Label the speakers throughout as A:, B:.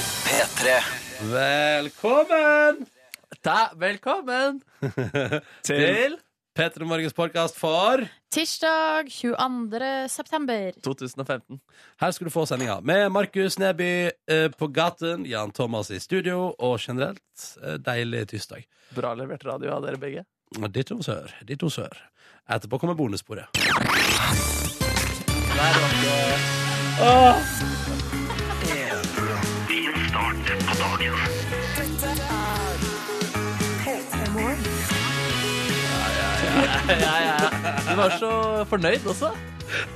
A: P3
B: Velkommen
C: Da, velkommen til
B: Petter og Morgens podcast for
D: Tirsdag 22. september.
C: 2015.
B: Her skal du få sendinga med Markus Neby eh, på gaten, Jan Thomas i studio og generelt eh, deilig tirsdag.
C: Bra levert radio av dere begge.
B: Ditto sør, ditto sør. Etterpå kommer bonussporet.
C: Ja, ja, ja. Du var så fornøyd også.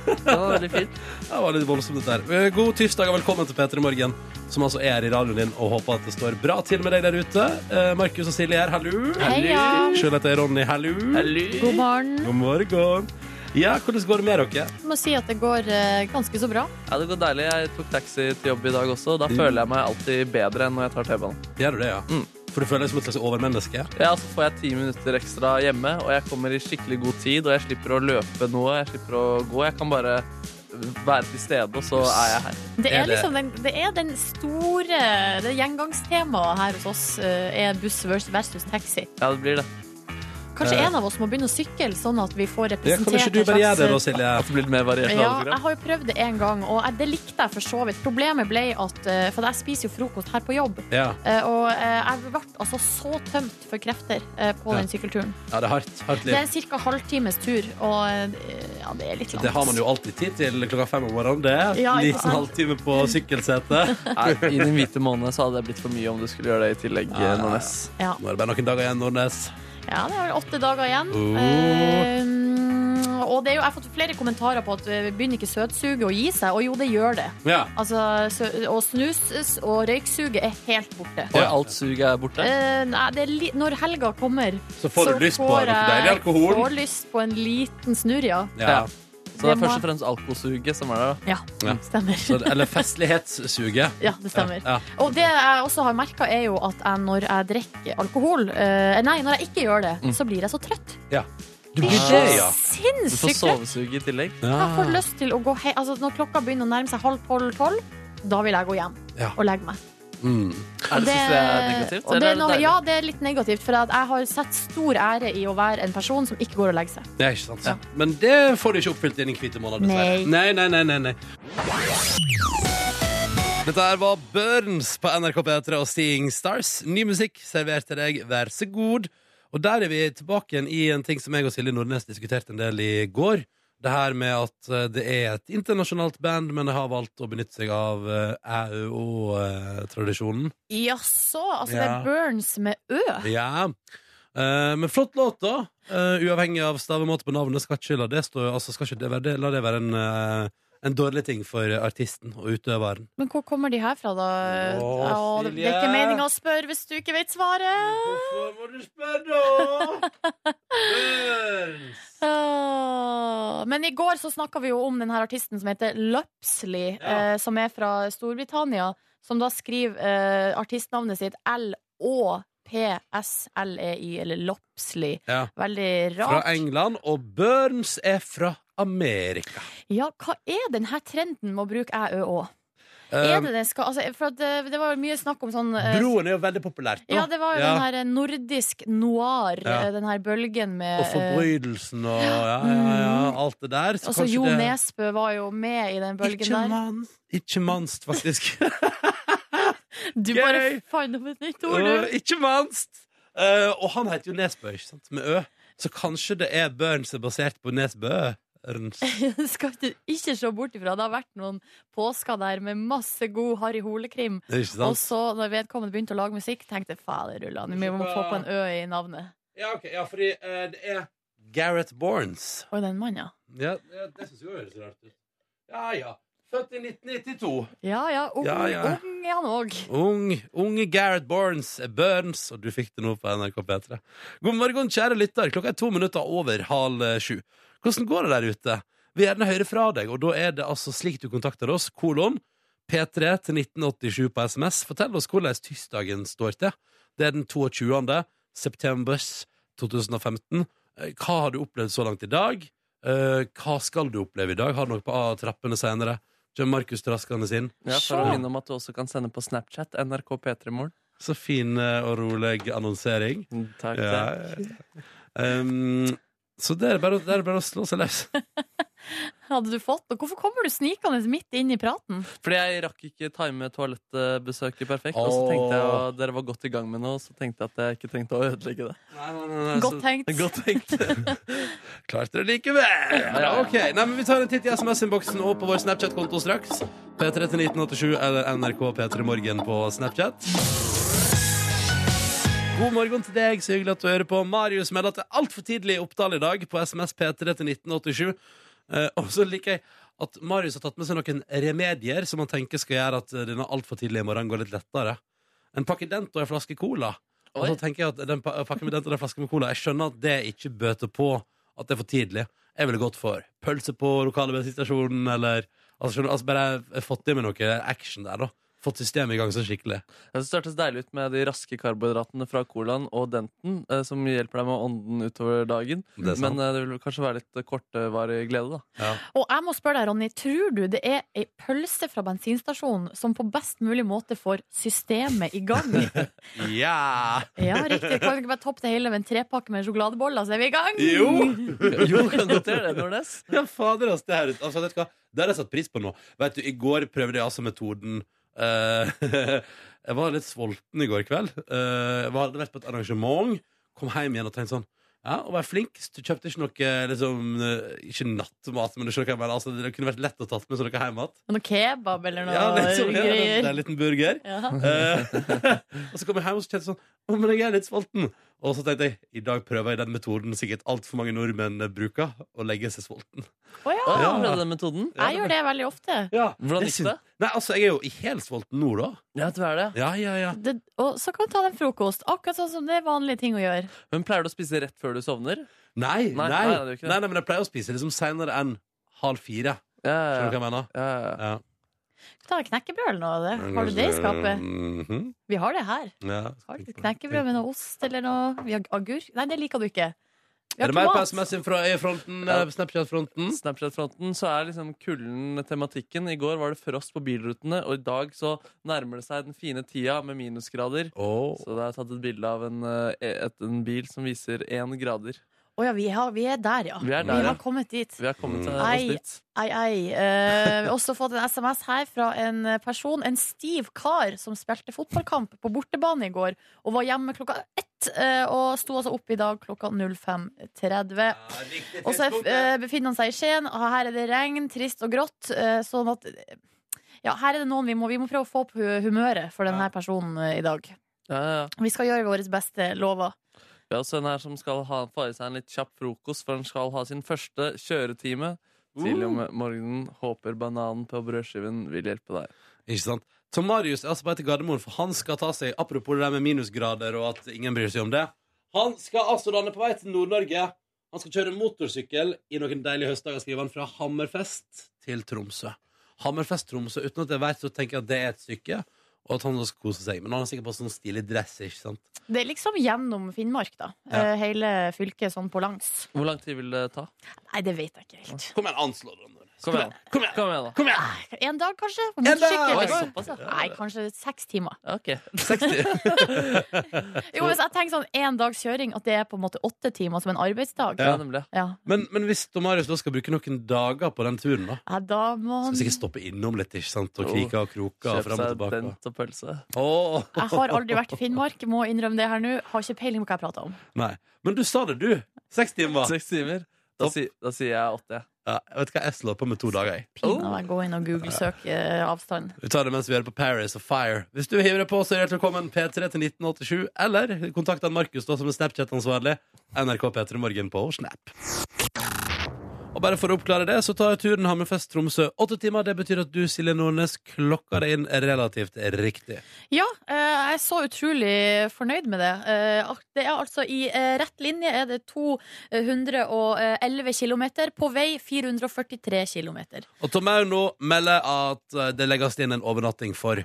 C: Det var veldig fint.
B: Det var litt voldsomt, dette her. Eh, God tirsdag og velkommen til P3 Morgen, som altså er i radioen din, og håper at det står bra til med deg der ute. Eh, Markus og Silje her, hallo.
D: Heia!
B: Sjøl heter jeg Ronny, hallo.
D: God morgen.
B: God morgen. Ja, hvordan går det med dere?
D: Jeg må si at det går eh, ganske så bra.
C: Ja, det går deilig. Jeg tok taxi til jobb i dag også. og Da føler jeg meg alltid bedre enn når jeg tar T-banen.
B: Gjør du det, ja?
C: Mm.
B: For du føler deg som et slags overmenneske?
C: Ja, så får jeg ti minutter ekstra hjemme, og jeg kommer i skikkelig god tid, og jeg slipper å løpe noe, jeg slipper å gå. Jeg kan bare være til stede, og så er jeg her.
D: Det
B: Er
D: er
B: det-
D: liksom den, det er den store Det gjengangstemaet her hos oss eh, er buss vers- versus taxi.
C: Ja, det blir det.
D: Kanskje
B: Eh.
D: en av oss må begynne å sykle, sånn at vi får
B: Ja, kan ikke
D: representert
B: du
D: en
B: bare gjøre det da,
D: slags- eh,
B: Silje?
C: At det blir litt mer variert
D: ja, jeg
C: radioprogram.
D: har jo prøvd det en gang, og jeg, det likte jeg for så vidt. Problemet ble at eh, For jeg spiser jo frokost her på jobb,
B: Ja.
D: eh, og eh, jeg ble altså så tømt for krefter eh, på
B: Ja.
D: den sykkelturen.
B: Ja, det er hardt. hardt
D: Det
B: liv.
D: er en ca. halvtimes tur, og eh, ja, det er litt langt.
B: Det har man jo alltid tid til klokka fem om morgenen. Det er
D: Ja,
B: en
D: ikke
B: liten
D: sant?
B: halvtime på sykkelsetet.
C: Nei, I den hvite måneden så hadde det blitt for mye om du skulle gjøre det i tillegg. eh,
B: Ja, ja, ja.
C: Nordnes.
D: Ja,
B: Nå er det bare noen dager igjen, Nordnes.
D: ja det er vel åtte dager igjen.
B: Oh.
D: Eh, og det er jo, jeg har fått flere kommentarer på at eh, begynner ikke søtsuget å gi seg, og jo, det gjør det.
B: Ja.
D: Altså, sø og snus og røyksuget er helt borte.
C: Og
B: Ja.
C: alt suget er borte.
D: Eh, nei, det er li når helga kommer,
B: Så får du lyst på noe deilig alkohol.
D: får lyst på en liten snurr, ja.
B: Ja.
C: Ja. Så det
D: det
C: er
D: må-
C: først og fremst alkosuget som er der. da.
D: Ja,
B: Ja.
D: stemmer.
B: Så, eller festlighetssuget.
D: Ja, det stemmer.
B: Ja.
D: Og det jeg også har merka, er jo at jeg, når jeg drikker alkohol eh, Nei, når jeg ikke gjør det,
C: Mm.
D: så blir jeg så trøtt.
B: Du
D: Blir
B: blir
D: så
B: det, ja.
C: Du får
D: sinnssykt trøtt.
C: sovesug i tillegg.
D: Jeg får lyst til å gå he altså, Når klokka begynner å nærme seg halv tolv-tolv, da vil jeg gå hjem
B: Ja.
D: og legge meg.
B: Mm.
C: Er det, synes du det er negativt?
D: og det er
C: eller
D: noe,
C: deilig?
D: ja, det er litt negativt, for at jeg har sett stor ære i å være en person som ikke går og legger seg.
B: Det er ikke sant. Men det får du ikke oppfylt innen hvite måned, dessverre. Nei, nei, nei, nei, nei. Dette her var Burns på NRK P3 og Seeing Stars. Ny musikk servert til deg, vær så god. Og der er vi tilbake igjen i en ting som jeg og Silje Nordnes diskuterte en del i går. Det her med at eh, det er et internasjonalt band, men det har valgt å benytte seg av eh, æ-ø-å-tradisjonen.
D: Jaså? Altså, det
B: Ja.
D: er Burns med Ø?
B: Ja. Eh, men flott låt, da. Eh, uavhengig av stavemåte på navnet. Skal ikke la det, stå, altså, skal ikke det, være, det- la det være en, eh, en dårlig ting for artisten og utøveren.
D: Men hvor kommer de her fra, da?
B: Å,
D: Ja, det, det er
B: Silje.
D: ikke meninga å spørre hvis du ikke vet svaret.
B: må du spørre, da? Burns!
D: Åh, Men i går så snakka vi jo om den her artisten som heter Lupsley,
B: Ja.
D: eh, som er fra Storbritannia, som da skriver eh, artistnavnet sitt L-Å-P-S-L-E-Y, eller Lopsley.
B: Ja.
D: Veldig
B: Fra
D: rart.
B: England, og Burns er fra Amerika.
D: Ja, hva er den her trenden med å bruke æ-ø-å?
B: Eh,
D: Er det det skal Altså, for at det, det var jo mye snakk om sånn eh,
B: Broen er jo veldig populært.
D: ja, det var jo den her eh, nordisk noir,
B: Ja.
D: eh, den her bølgen
B: Og
D: med eh,
B: forbrytelsen og ja, ja, ja, alt det der. Så
D: Altså,
B: kanskje
D: Jo
B: det-
D: Nesbø var jo med i den bølgen
B: Ikke
D: der.
B: manst, ikke manst, faktisk.
D: Du
B: Gøy!
D: bare fant opp et nytt ord, du.
B: Og Øh, ikke minst. Eh, og han heter jo Nesbø, ikke sant? Med Ø. Så kanskje det er Burns er basert på Nesbø? Ørns.
D: Det skal du ikke se bort ifra. Det har vært noen påsker der med masse god Harry Hole-krim.
B: Det er Ikke
D: Og
B: sant?
D: så, når vedkommende begynte å lage musikk, tenkte jeg faderullan, vi må få på en Ø i navnet.
B: Ja, ok, ja, fordi eh, det er Gareth Borns.
D: Oi, den mannen, ja.
B: Ja, det, det syns jeg også høres rart ut. Ja ja. Født i 1992.
D: Ja ja, ung,
B: Ja, ja.
D: ung er han òg.
B: Ung, unge Gareth Borns er Burns, og du fikk det nå på NRK P3. God morgen, kjære lytter. Klokka er to minutter over halv eh, sju. Hvordan går det der ute? Vi vil gjerne høre fra deg, og da er det altså slik du kontakter oss, kolon, P3 til 1987 på SMS. Fortell oss hvordan tirsdagen står til. Det er den 22. septembers 2015. Eh, Hva har du opplevd så langt i dag? Eh, Hva skal du oppleve i dag? Har du noe på ah, trappene senere? Kommer Markus traskende inn.
C: Ja, for å
D: Sjå.
C: minne om at du også kan sende på Snapchat NRK P3 Morgen. Mm,
B: Så fin eh, og rolig annonsering.
C: Takk,
B: Ja,
C: takk.
B: ja, ja. Um, så det er bare, det er bare å slå seg løs.
D: Hadde du fått og Hvorfor kommer du snikende midt inn i praten?
C: Fordi jeg rakk ikke time toalettbesøket perfekt. Og så tenkte jeg at dere var godt i gang med noe, og så tenkte jeg at jeg ikke trengte å ødelegge det.
D: Godt tenkt.
C: Godt tenkt.
B: Klarte det likevel! Ja, ok, Nei, men Vi tar en titt i SMS-innboksen og på vår Snapchat-konto straks. P3 til 1987 eller NRK P3 Morgen på Snapchat. God morgen til deg, så hyggelig at du hører på. Marius melder at det er altfor tidlig opptall i dag på SMS P3 til 1987. Eh, og så liker jeg at Marius har tatt med seg noen remedier som han tenker skal gjøre at eh, denne altfor tidlige morgenen går litt lettere. En pakke Dent og en flaske Cola. Og så
C: Oi.
B: tenker jeg at den pa- pakken med Dent og den flasken med Cola Jeg skjønner at det ikke bøter på at det er for tidlig. Jeg ville gått for pølse på lokale bensinstasjonen, eller altså, skjønner, du, altså Bare fått i meg noe action der, da. Fått systemet i gang sånn skikkelig.
C: Jeg synes Det hørtes deilig ut med de raske karbohydratene fra colaen og denten, eh, som hjelper deg med ånden utover dagen.
B: Det er sant.
C: Men eh, det vil kanskje være litt eh, kortvarig glede, da.
D: Og jeg må spørre deg, Ronny, tror du det er ei pølse fra bensinstasjonen som på best mulig måte får systemet i gang?
B: Ja!
D: Ja, riktig. Kan vi ikke bare toppe det hele med en trepakke med sjokoladeboller, så er vi i gang?
C: Jo, kan godt gjøre det, Nordnes.
B: Ja, fader, altså, det, her, ut- altså, vet du hva? det har jeg satt pris på nå. Vet du, I går prøvde jeg altså metoden eh, Jeg var litt sulten i går kveld. Uh, hadde vært på et arrangement, kom hjem igjen og tenkte sånn ja, og vær flink. Du kjøpte ikke noe liksom, eh, Ikke nattmat, men du skjønner hva jeg mener. Altså, det kunne vært lett å tatt med sånn noe hjemmat.
D: Noe kebab eller noe
B: Ja, liksom, ja, det er
D: greier.
B: en liten burger.
D: Ja.
B: Eh, og så kom jeg hjem og så kjente jeg sånn Å, men jeg er litt sulten. Og så tenkte jeg i dag prøver jeg den metoden sikkert altfor mange nordmenn eh, bruker. Å legge seg sulten.
D: Å ja.
C: Å,
B: Ja.
C: Prøvde den metoden?
D: Jeg gjør det veldig ofte.
B: Ja,
C: Hvordan gikk det?
B: Nei, altså, jeg er jo i helsulten nå, da.
C: Ja, du er det.
B: Ja, ja, ja.
D: Det, og så kan vi ta den frokost, akkurat sånn som det er vanlige ting å gjøre.
C: Men pleier du å spise rett før du sovner?
B: Nei, nei. Nei,
C: Nei, nei, det er jo ikke det.
B: nei, men jeg pleier å spise liksom seinere enn halv fire. Skjønner
C: Ja,
B: du
C: ja,
B: hva jeg mener?
C: ja, ja.
B: Ja.
D: Ta knekkebrød eller noe av det. Har du det i skapet?
B: Mhm.
D: Vi har det her.
B: ja,
D: Har du Knekkebrød med noe ost eller noe. Vi har agurk. Nei, det liker du ikke. Vi
B: Er
D: har
B: det mer på
D: tomat.
B: SMS-en fra E-fronten?
C: Ja.
B: eh, Snapchat-fronten?
C: Snapchat-fronten så er liksom kulden tematikken. I går var det frost på bilrutene, og i dag så nærmer det seg den fine tida med minusgrader.
B: Åh.
C: Så da har jeg tatt et bilde av en, eh, et, en bil som viser én grader.
D: Å ja, vi, har, vi er der, ja.
C: Vi er
D: Vi
C: der, ja.
D: har kommet dit.
C: Vi har kommet til
D: Nei.
C: oss dit.
D: Ei, ei. Eh, også fått en SMS her fra en person, en stiv kar, som spilte fotballkamp på bortebane i går og var hjemme klokka ett. eh, og sto altså opp i dag klokka 05.30. Og så eh, befinner han seg i Skien, og her er det regn, trist og grått. eh, sånn at ja, her er det noen vi må, vi må prøve å få opp hu- humøret for denne personen eh, i dag.
C: Ja, ja, ja.
D: Vi skal gjøre våre beste lover.
C: Vi har også en her som skal ha få i seg en litt kjapp frokost, for han skal ha sin første kjøretime. Tidlig
D: Uh.
C: om morgenen. Håper bananen på brødskiven vil hjelpe deg.
B: Ikke sant? Så Marius er altså på vei til Gardermoen, for han skal ta seg Apropos det der med minusgrader og at ingen bryr seg om det. Han skal altså da han er på vei til Nord-Norge. Han skal kjøre motorsykkel i noen deilige høstdager, skriver han, fra Hammerfest til Tromsø. Hammerfest Tromsø, uten at jeg vet, så tenker jeg at det er et stykke, og at han da skal kose seg. Men han er sikkert på sånn stilig dress, ikke sant?
D: Det er liksom gjennom Finnmark, da.
B: Ja.
D: Eh, hele fylket sånn på langs.
C: Hvor lang tid vil det ta?
D: Nei, det vet jeg ikke helt.
B: Kom igjen, anslå det. Anders.
C: Kom igjen,
B: Kom igjen.
C: Kom igjen da.
B: Kom igjen!
D: En dag, kanskje? På
B: dag!
D: motorsykkel? altså.
B: Oi,
C: såpass, ja.
D: Nei, kanskje seks timer.
C: Ok.
B: 60.
D: Jo, hvis jeg tenker sånn en dags kjøring, at det er på en måte åtte timer som en arbeidsdag.
C: Ja, nemlig.
D: Ja.
B: Men, men hvis da Marius da skal bruke noen dager på den turen, da
D: Ja, eh, da må
B: Skal sikkert stoppe innom litt, ikke sant? Og
C: Jo.
B: krike og kroke og
C: Kjøp
B: fram og
C: seg
B: tilbake.
C: dent og pølse.
B: Åh
D: Jeg har aldri vært i Finnmark, må innrømme det her nå. Har ikke peiling på hva jeg prater om.
B: Nei. Men du sa det, du. Seks timer.
C: Seks timer. Da,
B: Topp.
C: si, da sier jeg åtte. jeg.
B: Ja, jeg vet hva, jeg slår på med to dager. jeg.
D: Pinadø jeg går inn og google-søker eh, avstand.
B: Vi tar det mens vi er på Paris og Fire. Hvis du hiver deg på, så er hjertelig velkommen P3 til 1987. Eller kontakt han Markus, da, som er Snapchat-ansvarlig. NRK P3 Morgen på Snap. Og bare for å oppklare det, så tar turen Hammerfest-Tromsø åtte timer. Det betyr at du, Silje Nordnes, klokka deg inn relativt riktig.
D: Ja, eh, jeg er så utrolig fornøyd med det. Eh, at Det er altså i eh, rett linje er det 211 km, på vei 443 km.
B: Og Tom Auno melder at eh, det legges inn en overnatting for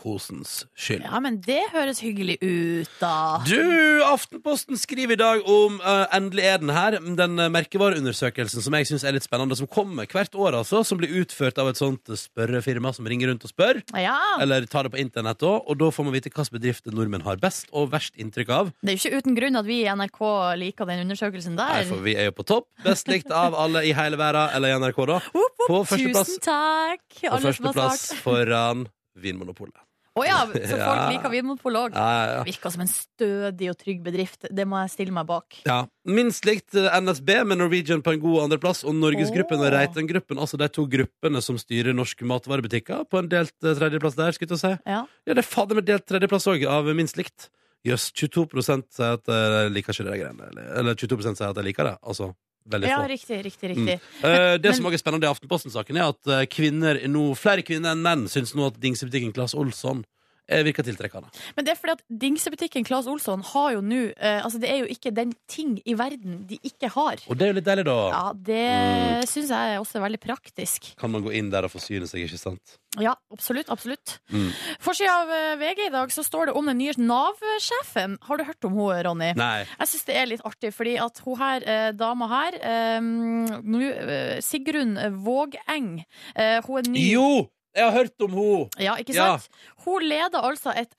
B: kosens skyld.
D: Ja, men det høres hyggelig ut, da.
B: Du, Aftenposten skriver i dag om eh, Endelig er den her. Den eh, merkevareundersøkelsen som jeg synes er litt spennende, som kommer hvert år, altså. Som blir utført av et sånt eh, spørrefirma som ringer rundt og spør.
D: Ja,
B: Eller tar det på internett òg. Og da får man vite hvilke bedrifter nordmenn har best og verst inntrykk av.
D: Det er jo ikke uten grunn at vi i NRK liker den undersøkelsen
B: Nei,
D: der.
B: for vi er jo på topp. Best likt av alle i hele verden, eller i NRK, da.
D: Opp, opp,
B: På førsteplass,
D: Tusen takk!
B: på
D: Alle som har
B: førsteplass
D: svart.
B: foran Vinmonopolet.
D: Å ja, så folk
B: Ja.
D: liker Vinmonopolog.
B: Ja, ja, ja.
D: Virker som en stødig og trygg bedrift. Det må jeg stille meg bak.
B: Ja, Minst likt eh, NSB med Norwegian på en god andreplass og Norgesgruppen og
D: Åh.
B: Reitengruppen, altså de to gruppene som styrer norske matvarebutikker, på en delt eh, tredjeplass der. skulle jeg til å si.
D: Ja.
B: Ja, det er fader meg delt tredjeplass òg, av minst likt. Jøss, 22 sier at eh, de liker ikke det greiene. Eller, eller 22 sier at de liker det. Altså, veldig
D: Ja,
B: få.
D: riktig, riktig, riktig.
B: Eh, det som også er spennende i Aftenposten-saken, er at eh, kvinner nå, flere kvinner enn menn syns nå at dingsebutikken Claes Olsson eh, virker tiltrekkende.
D: Men det er fordi at dingsebutikken Claes Olsson har jo nå eh, Altså, det er jo ikke den ting i verden de ikke har.
B: Og det er jo litt deilig, da.
D: Ja,
B: Mm.
D: det synes syns jeg er også veldig praktisk.
B: Kan man gå inn der og forsyne seg, ikke sant?
D: Ja, absolutt. absolutt.
B: Mm.
D: Forsida av eh, VG i dag så står det om den nye Nav-sjefen. Har du hørt om henne, Ronny?
B: Nei.
D: Jeg syns det er litt artig, fordi at hun her, eh, dama her eh, nå, eh, Sigrun Vågeng eh, Hun er ny.
B: Jo! Jeg har hørt om henne!
D: Ja, ikke
B: Ja.
D: sant? Hun leder altså et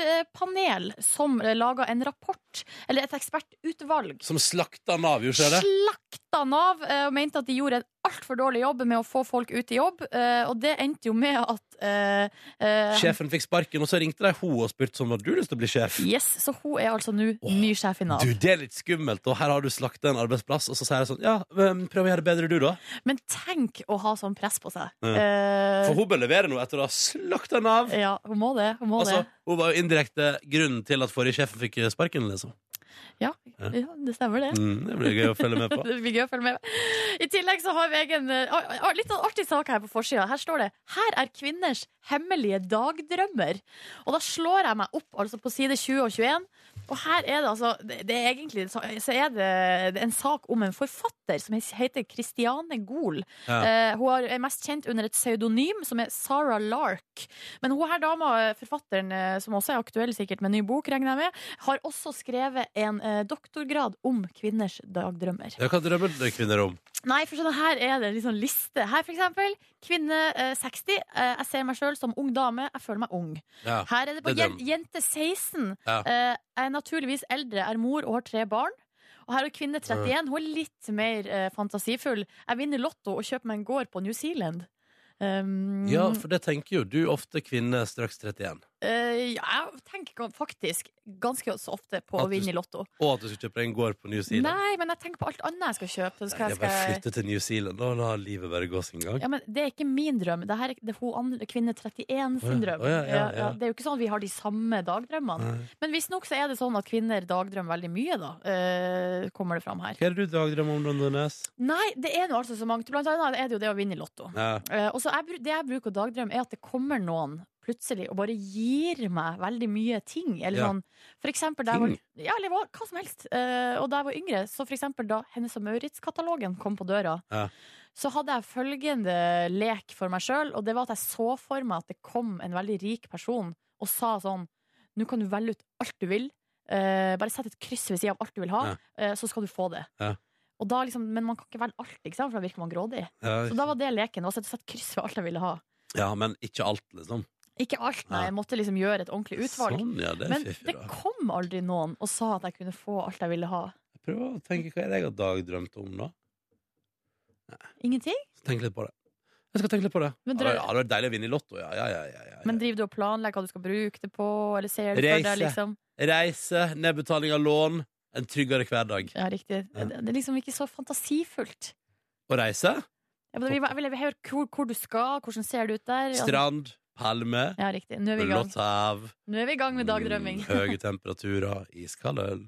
D: ekspertpanel som laga en rapport, eller et ekspertutvalg.
B: Som slakta Nav, gjorde ikke det?
D: Slakta Nav eh, og mente at de gjorde en altfor dårlig jobb med å få folk ut i jobb, eh, og det endte jo med at eh, eh,
B: Sjefen fikk sparken, og så ringte de henne og spurte om hun hadde lyst til å bli sjef.
D: Yes, så hun er altså nå
B: Åh,
D: ny sjef i Nav.
B: Du, Det er litt skummelt, og her har du slakta en arbeidsplass, og så sier jeg sånn Ja, men prøv å gjøre det bedre, du, da.
D: Men tenk å ha sånn press på seg.
B: Ja.
D: Eh,
B: For hun bør levere noe etter å ha slakta Nav.
D: ja, hun må det. Hun må
B: Altså, hun var jo indirekte grunnen til at forrige sjefen fikk sparken, liksom. ja.
D: det. Ja, det stemmer, det.
B: Mm, det blir gøy å følge med på.
D: Det blir gøy å følge med. I tillegg så har vi egen eh, ah, ah, litt sånn artig sak her på forsida. Her står det 'Her er kvinners hemmelige dagdrømmer'. Og da slår jeg meg opp altså på side 20 og 21. Og her er det altså Det, det er egentlig så så er det, det er en sak om en forfatter som heter Christiane Goel.
B: Ja.
D: Eh, hun har- er mest kjent under et pseudonym som er Sarah Lark. Men hun her dama, eh, forfatteren eh, som også er aktuell sikkert med ny bok, regner jeg med, har også skrevet en eh, doktorgrad om kvinners dagdrømmer.
B: Ja, hva drømmer dere kvinner om?
D: Nei, for sånn, her er det en litt sånn liste. Her for eksempel, kvinne eh, 60. Eh, jeg ser meg sjøl som ung dame. Jeg føler meg ung.
B: Ja.
D: Her er det på
B: det er
D: jen- jente 16.
B: Ja.
D: Eh, jeg er naturligvis eldre, er mor og har tre barn. Og her er kvinne 31. Hun er litt mer eh, fantasifull. Jeg vinner lotto og kjøper meg en gård på New Zealand. Um,
B: ja, for det tenker jo du ofte, kvinne straks 31.
D: eh, ja, jeg tenker gan- faktisk ganske så ofte på
B: At
D: å
B: du-
D: vinne i lotto.
B: Og at du skal kjøpe deg en gård på New Zealand.
D: Nei, men jeg tenker på alt annet jeg skal kjøpe. Så skal
B: Jeg
D: jeg,
B: bare
D: skal...
B: flytte til New Zealand og la livet bare gå sin gang.
D: Ja, men Det er ikke min drøm. Det her er det er hun andre, kvinne 31
B: Å ja,
D: sin drøm.
B: å ja, ja, ja.
D: Det er jo ikke sånn at vi har de samme dagdrømmene.
B: Nei.
D: Men visstnok så er det sånn at kvinner dagdrømmer veldig mye, da. eh, kommer det fram her.
B: Hva er det du dagdrømmer om, Rondenes?
D: Nei, det er nå altså så mangt. Blant annet er det jo det å vinne i Lotto.
B: Ja.
D: Eh, og så jeg, bru- Det jeg bruker å dagdrømme, er at det kommer noen plutselig og bare gir meg veldig mye ting. Eller
B: Ja.
D: sånn, for eksempel da jeg var,
B: Ting?
D: ja, eller hva, hva som helst. Eh, og da jeg var yngre, så for eksempel da Hennes og Maurits-katalogen kom på døra,
B: Ja.
D: så hadde jeg følgende lek for meg sjøl, og det var at jeg så for meg at det kom en veldig rik person og sa sånn Nå kan du velge ut alt du vil. Eh, bare sett et kryss ved sida av alt du vil ha,
B: Ja.
D: eh, så skal du få det.
B: Ja.
D: Og da liksom, men man kan ikke velge alt, ikke sant? for da virker man grådig. Så da
B: Ja.
D: var det leken. Det var å sette sette kryss ved alt jeg ville ha.
B: ja, men ikke alt, liksom.
D: Ikke alt, nei.
B: Ja.
D: Jeg måtte liksom gjøre et ordentlig utvalg.
B: Sånn, ja, det er
D: Men
B: fiffig,
D: det
B: da.
D: kom aldri noen og sa at jeg kunne få alt jeg ville ha.
B: Prøv å tenke hva er det jeg har dagdrømt om, da.
D: Ingenting?
B: Tenk litt på det. Jeg skal tenke litt på det.
D: Men
B: Ja,
D: drø-
B: det hadde vært deilig å vinne i Lotto, ja. ja, ja, ja, ja, ja.
D: Men driver du og planlegger hva du skal bruke det på, eller ser du for
B: Reise.
D: deg liksom
B: Reise, nedbetaling av lån, en tryggere hverdag.
D: Ja, riktig.
B: Ja.
D: Det det er liksom ikke så fantasifullt.
B: Å reise?
D: Ja, men vi vil jeg vil høre hvor, hvor du skal, hvordan ser det ut der? Ja.
B: Strand, palme,
D: Ja, riktig. Nå er vi i gang.
B: blått hav.
D: Nå er vi i gang med dagdrømming.
B: mm, Høye temperaturer, iskald øl.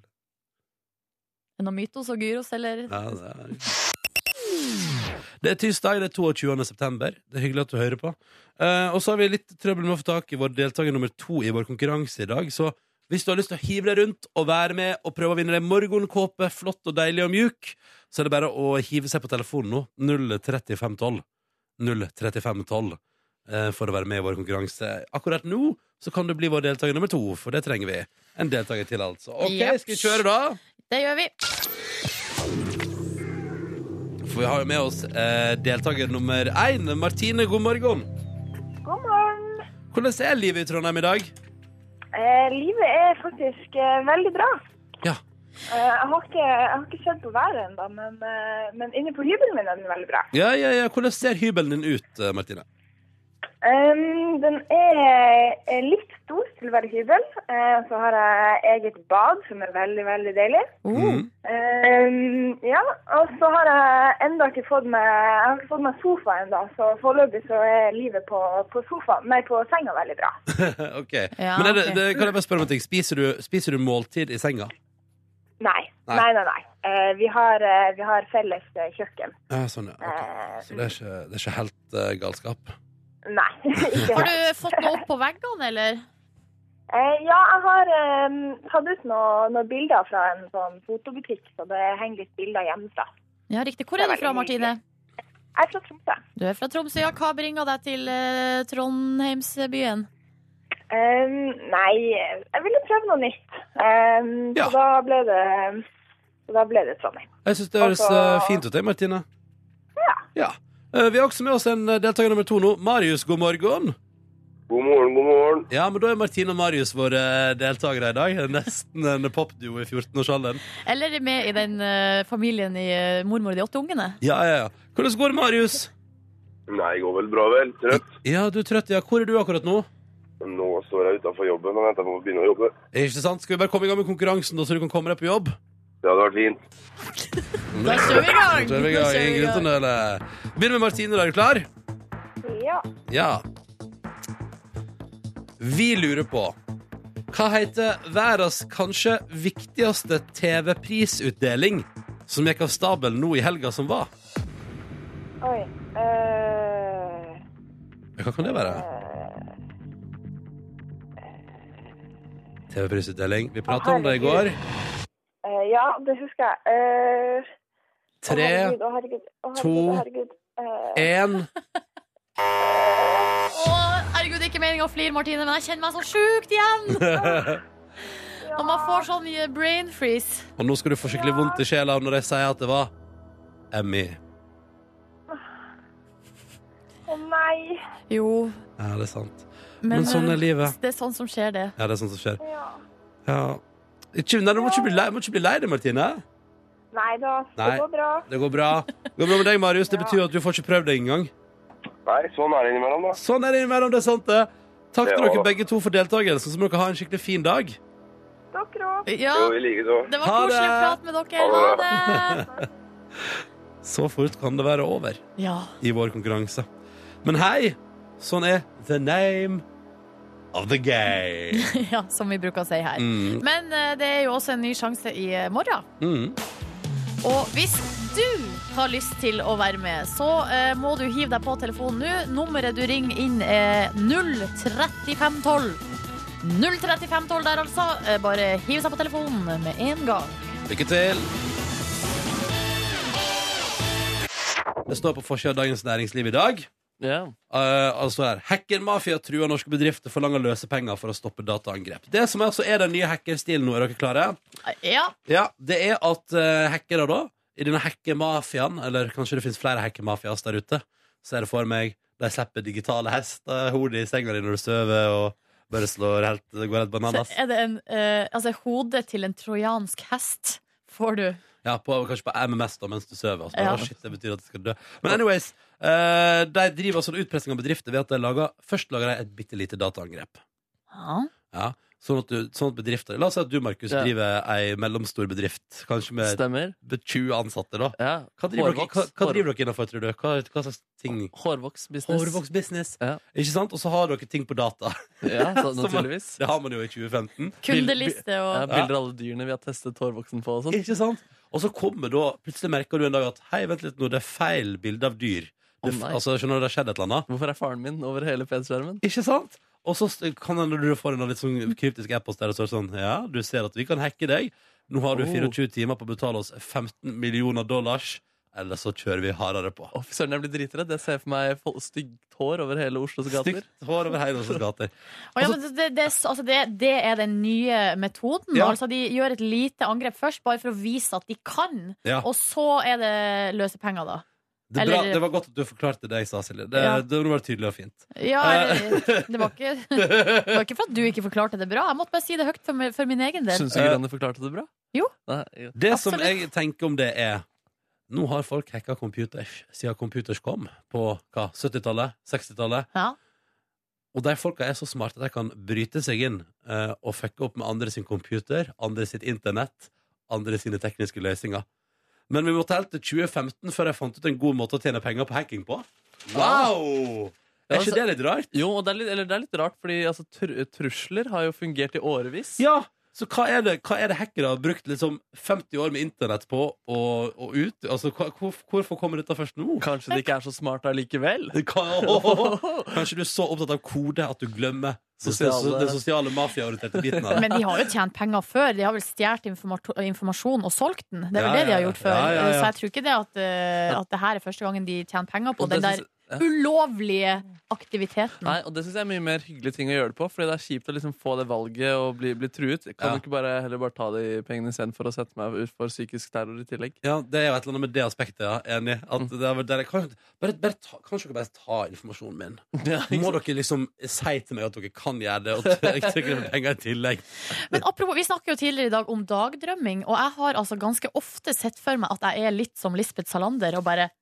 D: Er det noe mytos og gyros, eller?
B: Ja, det, er. det er tirsdag, det er 22. september. Det er hyggelig at du hører på. Eh, og så har vi litt trøbbel med å få tak i vår deltaker nummer to i vår konkurranse i dag. Så hvis du har lyst til å hive deg rundt og være med og prøve å vinne deg morgenkåpe, flott og deilig og mjuk, så er det bare å hive seg på telefonen nå. 03512. 03512. eh, for å være med i vår konkurranse. Akkurat nå så kan du bli vår deltaker nummer to, for det trenger vi. En deltaker til, altså. OK,
D: Jeps.
B: skal vi kjøre, da?
D: Det gjør vi.
B: For vi har jo med oss eh, deltaker nummer én, Martine. God morgen.
A: God morgen.
B: Hvordan er livet i Trondheim i dag?
A: Eh, livet er faktisk eh, veldig bra.
B: Ja.
A: Eh, jeg, har ikke, jeg har ikke sett på været ennå, men, eh, men inne på hybelen min er den veldig bra.
B: Ja, ja, ja. Hvordan ser hybelen din ut, eh, Martine?
A: Em, den er, er litt stor til å være hybel. Eh, og så har jeg eget bad, som er veldig, veldig deilig.
D: Oh,
B: Mm.
A: Em, ja, og så har jeg enda ikke fått meg, jeg har ikke fått meg sofa ennå, så foreløpig så er livet på, på sofaen, nei, på senga veldig bra.
B: ok.
D: Ja,
B: Men er det,
D: ok.
B: det, kan jeg bare spørre om en ting? Spiser du, spiser du måltid i senga?
A: Nei,
B: Nei.
A: nei, nei. nei. Eh, vi, har, eh, vi har felles eh, kjøkken.
B: Ja, sånn, ja. Ok. Så det er ikke, det er ikke helt eh, galskap?
A: Nei. ikke
D: Har
A: helt.
D: du fått noe opp på veggene, eller?
A: Eh, ja, jeg har eh, tatt ut noen noe bilder fra en sånn fotobutikk, så det henger litt bilder hjemmefra.
D: Ja, riktig. Hvor er du fra, Martine?
A: Jeg er fra Tromsø.
D: Du er fra Tromsø, ja. Hva bringer deg til eh, Trondheimsbyen?
A: Eh, nei, jeg ville prøve noe nytt. Eh,
B: Ja.
A: Så da ble det, så da ble det Trondheim.
B: Jeg syns det høres
A: Altså-
B: eh, fint ut, jeg, Martine.
A: Ja.
B: Eh, vi har også med oss en eh, deltaker nummer to nå. Marius, god morgen.
E: God morgen, god morgen.
B: Ja, men Da er Martine og Marius våre eh, deltakere i dag. Nesten en popduo i 14-årsalderen.
D: Eller er med i den eh, familien i eh, mormor og de åtte ungene?
B: Ja, ja, ja. Hvordan går det, Marius?
E: Nei, går vel bra, vel. Trøtt.
B: Ja, du er trøtt. Ja, hvor er du akkurat nå?
E: Men Nå står jeg utafor jobben og venter på å begynne å jobbe.
B: Ikke sant? Skal vi bare komme i gang med konkurransen, da, så du kan komme deg på jobb?
E: Det hadde vært fint.
D: Da kjører vi i
B: Da kjører vi i
D: gang! Da
B: gang.
D: kjører vi i
B: Ingen grunn til å nøle. Begynner med Martine. da. Er du klar?
A: Ja.
B: Ja. Vi lurer på hva heter verdens kanskje viktigste TV-prisutdeling som gikk av stabelen nå i helga som var?
A: Oi. Eh,
B: Ja, Hva kan det være? TV-prisutdeling. Vi prata om det i går.
A: eh, ja, det husker jeg. Eh, å,
B: Tre,
A: herregud, å, herregud, å, herregud,
B: to,
A: å, herregud. Eh,
B: én
D: Å, herregud, det er ikke meninga å flire, Martine, men jeg kjenner meg så sjukt igjen! Og man får sånn mye brain freeze.
B: Og nå skal du få skikkelig vondt i sjela når jeg sier at det var Emmy.
A: Å nei.
D: Jo,
B: Ja, det er sant.
D: men,
B: Men sånn er
D: eh,
B: livet.
D: det er sånn som skjer, det.
B: Ja, det er sånt som skjer.
A: Ja.
B: Ja. Ikke, nei, du må ikke bli lei, må ikke bli lei deg, Martine.
A: Nei da, det
B: Nei.
A: går bra.
B: Det går bra. Det går bra med deg, Marius. Det
A: Ja.
B: betyr at du får ikke prøvd deg engang.
E: Nei, sånn er det innimellom, da.
B: Sånn er det innimellom, det er sant, det. Takk til
E: Ja.
B: dere begge to for deltakelsen, så må dere ha en skikkelig fin dag.
A: Dere òg.
D: Ja,
E: Jo, i like så.
D: det var
B: Ha det.
D: koselig å prate med dere.
E: Ha det.
D: Ha det!
B: Så fort kan det være over
D: Ja.
B: i vår konkurranse. Men hei, sånn er the name of the game.
D: ja, som vi bruker å si her.
B: Mm,
D: Men eh, det er jo også en ny sjanse i eh, morgen.
B: mm.
D: Og hvis du har lyst til å være med, så eh, må du hive deg på telefonen nå. Nummeret du ringer inn er 03512. 03512 der, altså. Eh, Bare hiv seg på telefonen med en gang.
B: Lykke til! Det står på forsida av Dagens Næringsliv i dag.
C: Ja.
B: eh, altså her Hackermafia truer norske bedrifter, forlanger løsepenger for å stoppe dataangrep. Det som altså er den nye hackerstilen nå, er dere klare?
D: Eh, Ja,
B: Ja, Det er at eh, hackere, da, i denne hackermafiaen, eller kanskje det finnes flere hackermafias der ute, ser jeg for meg de slipper digitale hester, hodet i senga di når du sover, og bare slår helt, det går helt
D: så
B: bananas.
D: er det en eh, Altså, hodet til en trojansk hest får du.
B: Ja, på, kanskje på MMS da, mens du sover. og så bare,
D: Ja.
B: «Å, shit, det betyr at jeg skal dø. Men anyways, eh, de driver sånn utpressing av bedrifter ved at de lager, først lager de et bitte lite dataangrep.
D: Ja.
B: Ja. Sånn, at du, sånn at bedrifter La oss si at du, Markus,
C: Ja.
B: driver ei mellomstor bedrift. Kanskje med
C: Stemmer.
B: 20 ansatte, da.
C: Ja.
B: Hva driver, dere, hva,
C: Hårvoks.
B: hva driver dere innenfor, tror du? Hva, hva slags ting?
C: Hår- Hårvoksbusiness.
B: Hårvoksbusiness.
C: Ja.
B: Ikke sant? Og så har dere ting på data.
C: Ja, så,
B: Som-
C: naturligvis.
B: Det har man jo i 2015.
D: Kundeliste
C: Ja,
D: og
C: bilder av alle dyrene vi har testet hårvoksen på og sånn.
B: Ikke sant? Og så kommer da, plutselig merker du en dag at Hei, vent litt nå, det er feil bilde av dyr. Det,
C: Å, nei.
B: altså, skjønner du, det har skjedd et eller annet.
C: Hvorfor er faren min over hele PC-skjermen?
B: Ikke sant? Og så st- kan det når du får en litt sånn kryptisk e-post der og så er det sånn Ja, du ser at vi kan hacke deg. Nå har du
C: Oh.
B: 24 timer på å betale oss 15 millioner dollars. eller så kjører vi hardere på.
C: Å, fy søren, jeg blir dritredd. Jeg ser for meg fol- stygt hår over hele Oslos gater.
B: Stygt hår over hele Oslos gater.
D: Og ja, men det, det, altså det, det er den nye metoden.
B: Ja.
D: Altså De gjør et lite angrep først, bare for å vise at de kan.
B: Ja.
D: Og så er det løse penger, da.
B: Det, er
D: Eller-
B: bra, det var godt at du forklarte det jeg sa, Silje. Det,
D: Ja.
B: det var tydelig og fint.
D: Ja,
B: Eh.
D: eller, det var ikke, det var ikke for at du ikke forklarte det bra. Jeg måtte bare si det høyt for, mi- for min egen del.
C: Syns du Grande forklarte det bra?
D: Jo.
C: Eh, Nei, ja.
B: Det som
D: Absolutt.
B: jeg tenker om det, er Nå har folk hacka computers siden computers kom på hva, 70-tallet, 60-tallet.
D: Ja.
B: Og de folka er så smarte at de kan bryte seg inn eh, og fucke opp med andre sin computer, andre sitt internett, andre sine tekniske løsninger. Men vi måtte helt til 2015 før jeg fant ut en god måte å tjene penger på hacking på. Wow!
C: Ja,
B: Er ikke
C: altså-
B: det litt rart?
C: Jo, og det er litt, eller det er litt rart, fordi altså, tr trusler har jo fungert i årevis.
B: Ja, så hva er det, hva er det hackere har brukt liksom 50 år med internett på og, og ut? Altså, hva, hvor, hvorfor kommer dette først nå?
C: Kanskje de ikke er så smarte allikevel?
B: Hva- Kanskje du er så opptatt av kode at du glemmer
C: Sosiale-
B: den sosiale mafiaorienterte biten av det?
D: Men de har jo tjent penger før. De har vel stjålet informa- informasjon og solgt den. Det er
B: Ja,
D: vel det de har
B: ja, ja.
D: gjort før.
B: Ja, ja, ja.
D: Så jeg tror ikke det at, eh, at det her er første gangen de tjener penger på
C: Og
D: den
C: det
D: der
C: synes- ja.
D: ulovlige aktiviteten.
C: Nei, og det syns jeg er mye mer hyggelig ting å gjøre det på. Fordi det er kjipt å liksom få det valget og bli, bli truet. Jeg kan
B: Ja.
C: du ikke bare heller bare ta de pengene istedenfor å sette meg ut for psykisk terror i tillegg?
B: Ja, det er jo et eller annet med det aspektet, ja. Enig. At det er, vel der jeg kan, bare, bare ta, kanskje dere bare ta informasjonen min? Må dere liksom si til meg at dere kan gjøre det, og t- jeg trykker med penger i tillegg?
D: Men apropos, vi snakket jo tidligere i dag om dagdrømming, og jeg har altså ganske ofte sett for meg at jeg er litt som Lisbeth Salander og bare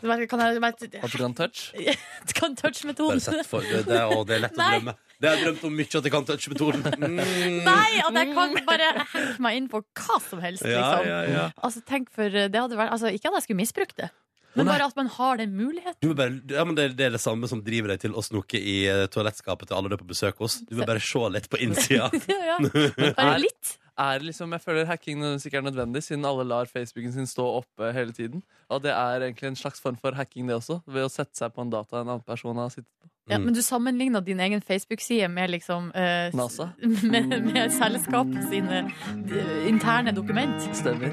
D: Kan jeg
C: At du kan touch?
B: Bare
D: Kan touch-metoden?
B: sett for det, det, er- å, det er lett å
D: Nei.
B: drømme. Det har jeg drømt om mye, at jeg kan touch-metoden. Mm.
D: Nei, at jeg kan bare hacke meg inn på hva som helst,
B: Ja,
D: liksom.
B: ja, ja.
D: Altså, tenk for det hadde vært altså, Ikke at jeg skulle misbruke det,
B: Å,
D: men
B: nei.
D: bare at man har den muligheten.
B: Du må bare, ja, men det, det er det samme som driver deg til å snoke i eh, toalettskapet til alle du er på besøk hos. Du vil bare se litt på innsida.
D: ja, ja. Bare
C: er-
D: litt.
C: Er liksom, Jeg føler hacking nødvendigvis ikke er nødvendig, siden alle lar Facebooken sin stå oppe hele tiden. Og det er egentlig en slags form for hacking, det også. Ved å sette seg på en data en annen person har sittet på.
D: Ja,
B: Mm.
D: men du sammenligna din egen Facebook-side med liksom eh,
C: NASA.
D: Med, med selskapet sine eh, interne dokument.
C: Stemmer.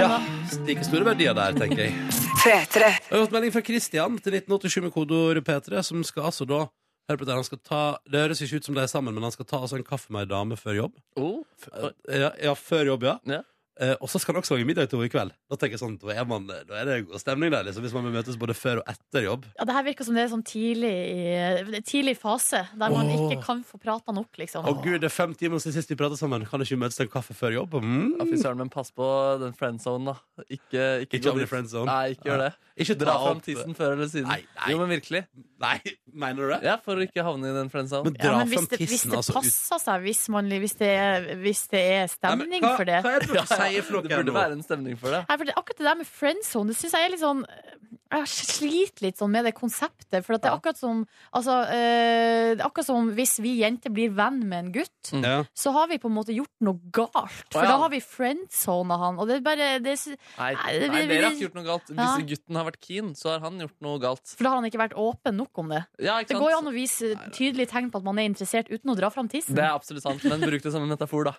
B: Ja, Like store verdier der, tenker jeg. Jeg har fått melding fra Kristian til 1987 med kodeord P3, som skal altså da Hør på det, han skal ta, det høres ikke ut som de er sammen, men han skal ta altså en kaffe med ei dame før jobb.
C: Oh,
B: Eh, Ja, ja før jobb, ja.
C: Ja.
B: Eh, og så skal han også lage middag til henne i kveld. Da tenker jeg sånn, da er, man, da er det god stemning der, liksom, hvis man vil møtes både før og etter jobb.
D: Ja, det her virker som det er sånn tidlig, i- tidlig fase, der man
B: Åh.
D: ikke kan få prata nok, liksom.
B: Å gud, det er fem timer siden sist vi pratet sammen. Kan ikke vi møtes til en kaffe før jobb?
C: Ja,
B: Mm.
C: Fy søren, men pass på den friendzonen, da. Ikke, ikke,
B: Ikke
C: gå
B: havne i
C: dit.
B: friendzone.
C: Nei, ikke gjør det.
B: Ikke
C: Dra fram
B: opp-
C: tissen før eller siden.
B: Nei, nei.
C: Jo, men virkelig.
B: Nei, mener du det?
C: Ja, For å ikke havne i den friendzonen.
B: Men dra
D: Ja, men hvis
B: fram
D: det, hvis
B: tissen,
D: det
B: altså. ut-
D: passer seg, hvis, man, hvis, det, er, hvis det er
B: Nei, men
D: stemning
B: hva-
D: for det.
B: Hva er det dere sier for
C: det
B: noe
C: burde
B: nå?
C: være en stemning for det.
D: Nei, for det akkurat det der med friendzone, det syns jeg er litt sånn Jeg sliter litt sånn med det konseptet. For at det
C: Ja.
D: er akkurat som altså, eh, Det er akkurat som hvis vi jenter blir venn med en gutt.
C: Mm.
B: Ja.
D: Så har vi på en måte gjort noe galt. For
C: Å, ja.
D: da har vi friendzona han. Og det er bare det, er-
C: Nei,
D: Nei, det-
C: nei,
D: vi-
C: dere har
D: vi-
C: ikke gjort noe galt.
D: Ja.
C: Hvis gutten har vært keen, så har han gjort noe galt.
D: For da har han ikke vært åpen nok om det.
C: Ja, ikke
D: Det
C: sant?
D: går jo an å vise tydelige tegn på at man er interessert uten å dra fram tissen.
C: Det er absolutt sant, men bruk det som en metafor, da.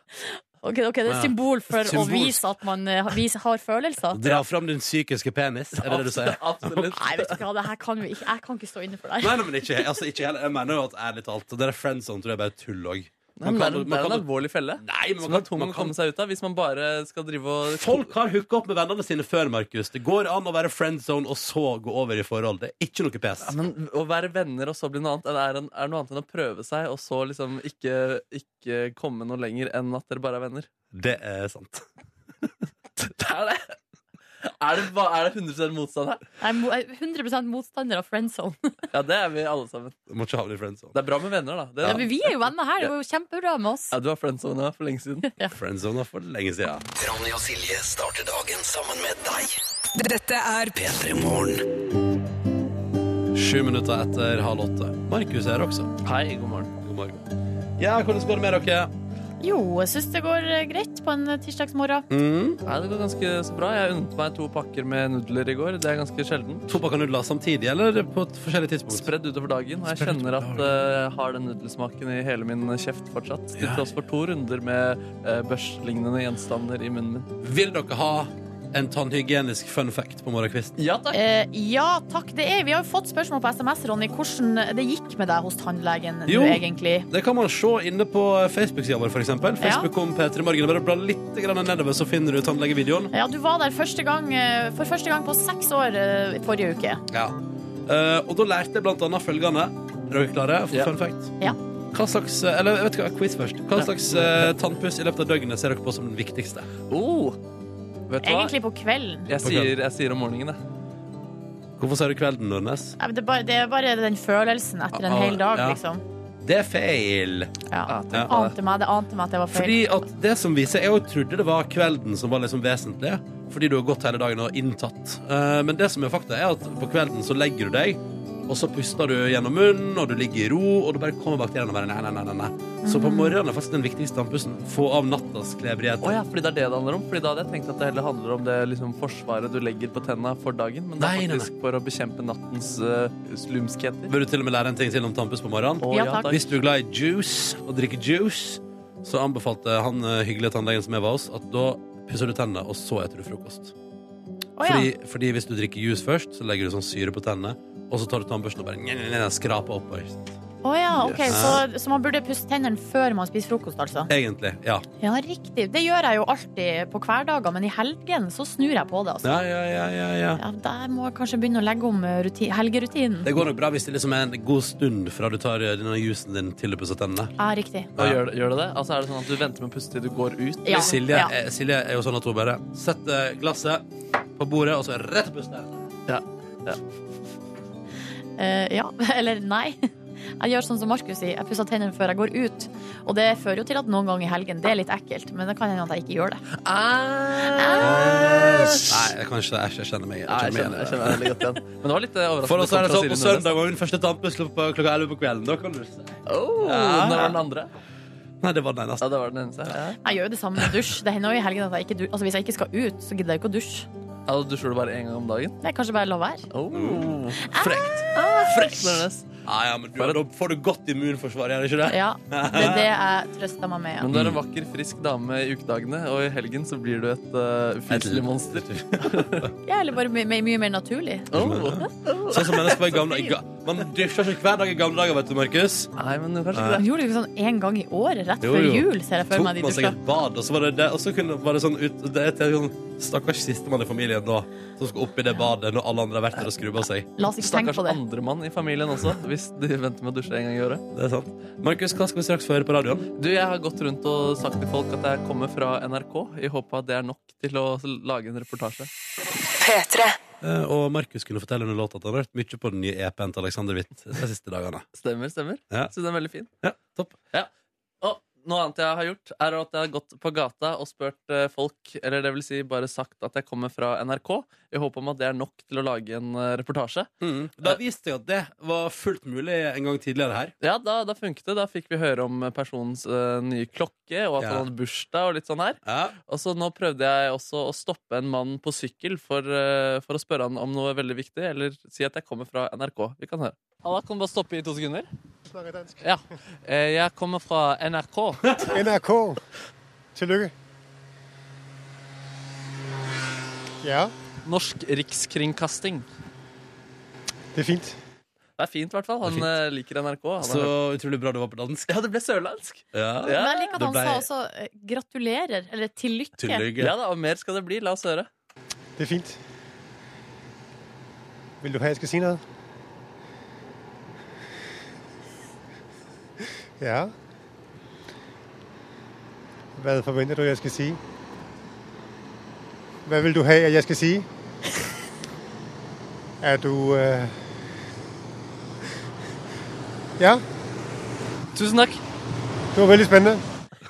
D: Ok, ok, det er
B: Ja.
D: et symbol for
B: Symbol.
D: å vise at man eh, vis- har følelser.
B: Dra fram din psykiske penis, er det det du sier?
C: Absolutt.
D: Nei, vet du hva, det her kan jo ikke, jeg kan ikke stå inne for det. her.
B: Nei, nei, men ikke, altså, ikke heller. Jeg mener jo at ærlig talt Det der friendzone tror jeg bare er tull òg.
C: Nei, men det er en- det er en alvorlig felle.
B: Nei, men
C: Som
B: man kan,
C: er tung
B: man
C: å
B: kan
C: komme seg ut av hvis man bare skal drive og
B: Folk har hooka opp med vennene sine før, Markus. Det går an å være friendzone og så gå over i forhold. Det er ikke noe pes.
C: Ja, men Å være venner og så bli noe annet det er, en, er noe annet enn å prøve seg og så liksom ikke, ikke komme noe lenger enn at dere bare er venner.
B: Det er sant.
C: Det er det! Er det, ba- er det 100 motstand her?
D: Jeg er mo- jeg er 100 motstander av friendzone.
C: Ja, det er vi alle sammen.
B: Du må ikke havne i friendzone.
C: Det er bra med venner, da. Det,
D: Ja, men vi er jo venner her, det går jo kjempebra med oss.
C: ja, du var friendzone for lenge siden.
B: Friendzone for lenge siden.
F: Ronny og Silje starter dagen sammen med deg.
G: Dette er
F: P3 Morgen.
B: Sju minutter etter halv åtte. Markus er her også.
C: Hei, god morgen.
B: God morgen. Ja, hvordan går det med dere?
D: Jo, jeg syns det går eh, greit på en eh, tirsdagsmorgen.
B: Mm.
C: Nei, Det går ganske så bra. Jeg unnet meg to pakker med nudler i går. Det er ganske sjelden.
B: Tobakk og nudler samtidig, eller på et forskjellig tidspunkt?
C: Spredd utover dagen, og jeg
B: Spredd
C: kjenner at
B: utover
C: eh, jeg har den nudelsmaken i hele min kjeft fortsatt. Til
B: Ja.
C: tross for to runder med eh, børslignende gjenstander i munnen min.
B: Vil dere ha en tannhygienisk fun fact på morgenkvisten.
C: Ja takk.
D: Eh, ja, takk. Det er. Vi har jo fått spørsmål på SMS, Ronny, hvordan det gikk med deg hos tannlegen
B: Jo.
D: nå, egentlig.
B: Det kan man se inne på Facebook-sida vår, f.eks. Facebook om P3 Morgen. Bare bla litt grann nedover, så finner du tannlegevideoen.
D: Ja, du var der første gang, eh, for første gang på seks år eh, forrige uke.
B: Ja. Eh, og da lærte jeg blant annet følgende. Er dere klare for
C: Ja.
B: fun fact?
D: Ja.
B: Hva slags, eh, eller vet du hva, quiz først. Hva
C: Ja.
B: slags eh, tannpuss i løpet av døgnet ser dere på som den viktigste?
C: Oh, vet du hva?
D: Egentlig på kvelden.
C: Jeg sier, jeg sier om morgenen, jeg.
B: Hvorfor sier du kvelden, Nordnes?
D: Nei, men Det er bare, det er bare den følelsen etter en
B: Ah,
D: hel dag,
B: ja.
D: liksom.
B: Det er feil.
D: Ja.
C: Ja, tenk på det.
D: Ante meg, det ante meg at det var feil.
B: Fordi at det som viser Jeg jo trodde det var kvelden som var liksom vesentlig Fordi du har gått hele dagen og inntatt Eh, Men det som er fakta er at på kvelden så legger du deg Og så puster du gjennom munnen Og du ligger i ro Og du bare kommer bakterien og bare nei, nei, nei, nei, nei Så på morgenen er faktisk den viktigste tannpussen Få av nattas klebrighet
C: Å ja, fordi det er det det handler om. Fordi da hadde jeg tenkt at det heller handler om det liksom, forsvaret du legger på tenna for dagen, men det
B: Nei,
C: er
B: nei,
C: faktisk for å bekjempe nattens eh, slumskheter.
B: Vil du til og med lære en ting til om tannpuss på morgenen?
C: Å,
D: Ja, takk.
B: Hvis du er glad i juice Og drikker juice Så anbefalte han eh, hyggelige tannlegen som jeg var hos At da pusser du tennene Og så etter du frokost
D: Å, ja.
B: Fordi, fordi hvis du drikker juice først, så legger du sånn syre på tennene, og så tar du tannbørsten og bare nye, nye, nye, skraper opp. ikke sant?
D: Å ja, ok,
C: Yes.
D: så, så man burde pusse tennene før man spiser frokost, altså?
B: Egentlig. Ja.
D: Ja, riktig. Det gjør jeg jo alltid på hverdager, men i helgen så snur jeg på det, altså.
B: Ja, ja, ja, ja, ja.
D: Ja, der må jeg kanskje begynne å legge om eh, ruti helgerutinen.
B: Det går nok bra hvis det liksom er en god stund fra du tar eh, denne juicen din til du pusser tennene.
D: Ja, riktig.
C: Og gjør, det- gjør det det? Altså Er det sånn at du venter med å puste til du går ut?
D: Ja.
B: Silje,
D: ja.
B: eh, Silje er jo sånn at hun bare setter glasset på bordet, og så rett og puste.
D: Eh, ja, eller nei. Jeg gjør sånn som Markus sier, jeg pusser tennene før jeg går ut. Og det fører jo til at noen ganger i helgen, det er litt ekkelt, men det kan hende at jeg ikke gjør det.
C: Ah.
B: Nei, jeg kan ikke det. Æsj, jeg kjenner meg
C: Nei,
B: Ah. jeg
C: jeg kjenner, jeg
B: kjenner meg igjen. i det.
C: kjenner det veldig godt igjen. Men det var litt eh, overraskende.
B: For oss er det sånn
C: kom fra
B: på
C: Silje Nordnes.
B: søndag var min første tannpuss på klokka 11 på kvelden. Da kan du se.
C: Oh,
B: Ja.
C: Når var den andre?
B: Nei, det var den eneste.
C: Ja, det var den eneste. Ja.
D: Jeg gjør jo det samme med dusj. Det hender jo i helgen at jeg ikke dusjer. Altså, hvis jeg ikke skal ut, så gidder jeg ikke å dusje.
C: Ja, du dusjer du bare én gang om dagen?
D: Nei, kanskje bare la være.
C: Oh.
B: Frekt.
C: Frekt, Nordnes.
B: Ja, ja, men du, da får du godt immunforsvar, gjør du ikke det?
D: Ja, det er det jeg trøster meg med.
C: Men du er en vakker, frisk dame i ukedagene, og i helgen så blir du et uh, ufyselig monster.
D: Ja, eller bare my my mye mer naturlig.
C: Oh.
B: Sånn som mennesker var i gamle i ga- Man dusjer ikke hver dag i gamle dager, vet du, Markus.
C: Nei, men kanskje
B: Nei.
C: ikke
D: Man gjorde det jo sånn én gang i året, rett
B: Jo,
D: før
B: jo.
D: jul, ser jeg for
B: Tok
D: meg de
B: man seg
D: dusja.
B: et bad, og så var det det. Og så kunne var det sånn ut det er til sånn, Stakkars sistemann i familien da, som skal opp i det badet når alle andre har vært der og skrubba seg.
D: La oss
C: det.
D: ikke tenke
C: Stakkars
D: på det.
C: andremann i familien også, hvis de venter med å dusje en gang i året.
B: Det er sant. Markus, hva skal vi straks få høre på radioen?
C: Du, Jeg har gått rundt og sagt til folk at jeg kommer fra NRK, i håp av at det er nok til å lage en reportasje.
B: Eh, Og Markus kunne fortelle under låta at han har hørt mye på den nye EP-en til Alexander Witt de siste dagene.
C: Stemmer, stemmer.
B: Ja.
C: Så den er veldig fin.
B: Ja, topp.
C: Og noe annet jeg har gjort, er at jeg har gått på gata og spurt eh, folk, eller det vil si bare sagt at jeg kommer fra NRK, i håp om at det er nok til å lage en eh, reportasje.
B: Mm. Da viste jeg at det var fullt mulig en gang tidligere her.
C: Ja, da, da funket det. Da fikk vi høre om personens eh, nye klokke, og at
B: Ja.
C: han hadde bursdag og litt sånn her.
B: Ja.
C: Og så nå prøvde jeg også å stoppe en mann på sykkel for, eh, for å spørre han om noe veldig viktig, eller si at jeg kommer fra NRK. Vi kan høre. Halla, kan du bare stoppe i to sekunder? Ja. Eh, Jeg kommer fra NRK.
G: NRK. Tillykke. Ja,
C: Norsk Rikskringkasting.
G: det er fint.
C: Det er fint, i hvert fall. Han
B: Det
C: eh, liker NRK. Han har
B: Så
C: hørt-
B: utrolig bra du var på dansk.
C: Ja, det ble sørlandsk!
B: Ja.
C: Ja.
D: Men jeg liker at
B: Da
D: han
B: ble-
D: sa også eh, gratulerer, eller til lykke.
B: Til lykke.
C: Ja da, og mer skal det bli. La oss høre.
G: Det er fint. Vil du have, jeg skal sige noget? Ja. Hvad forventer du, jeg skal sige? Hvad vil du have, at jeg skal sige? Er du... Øh... Ja,
C: Tusen takk!
G: det var veldig spændende.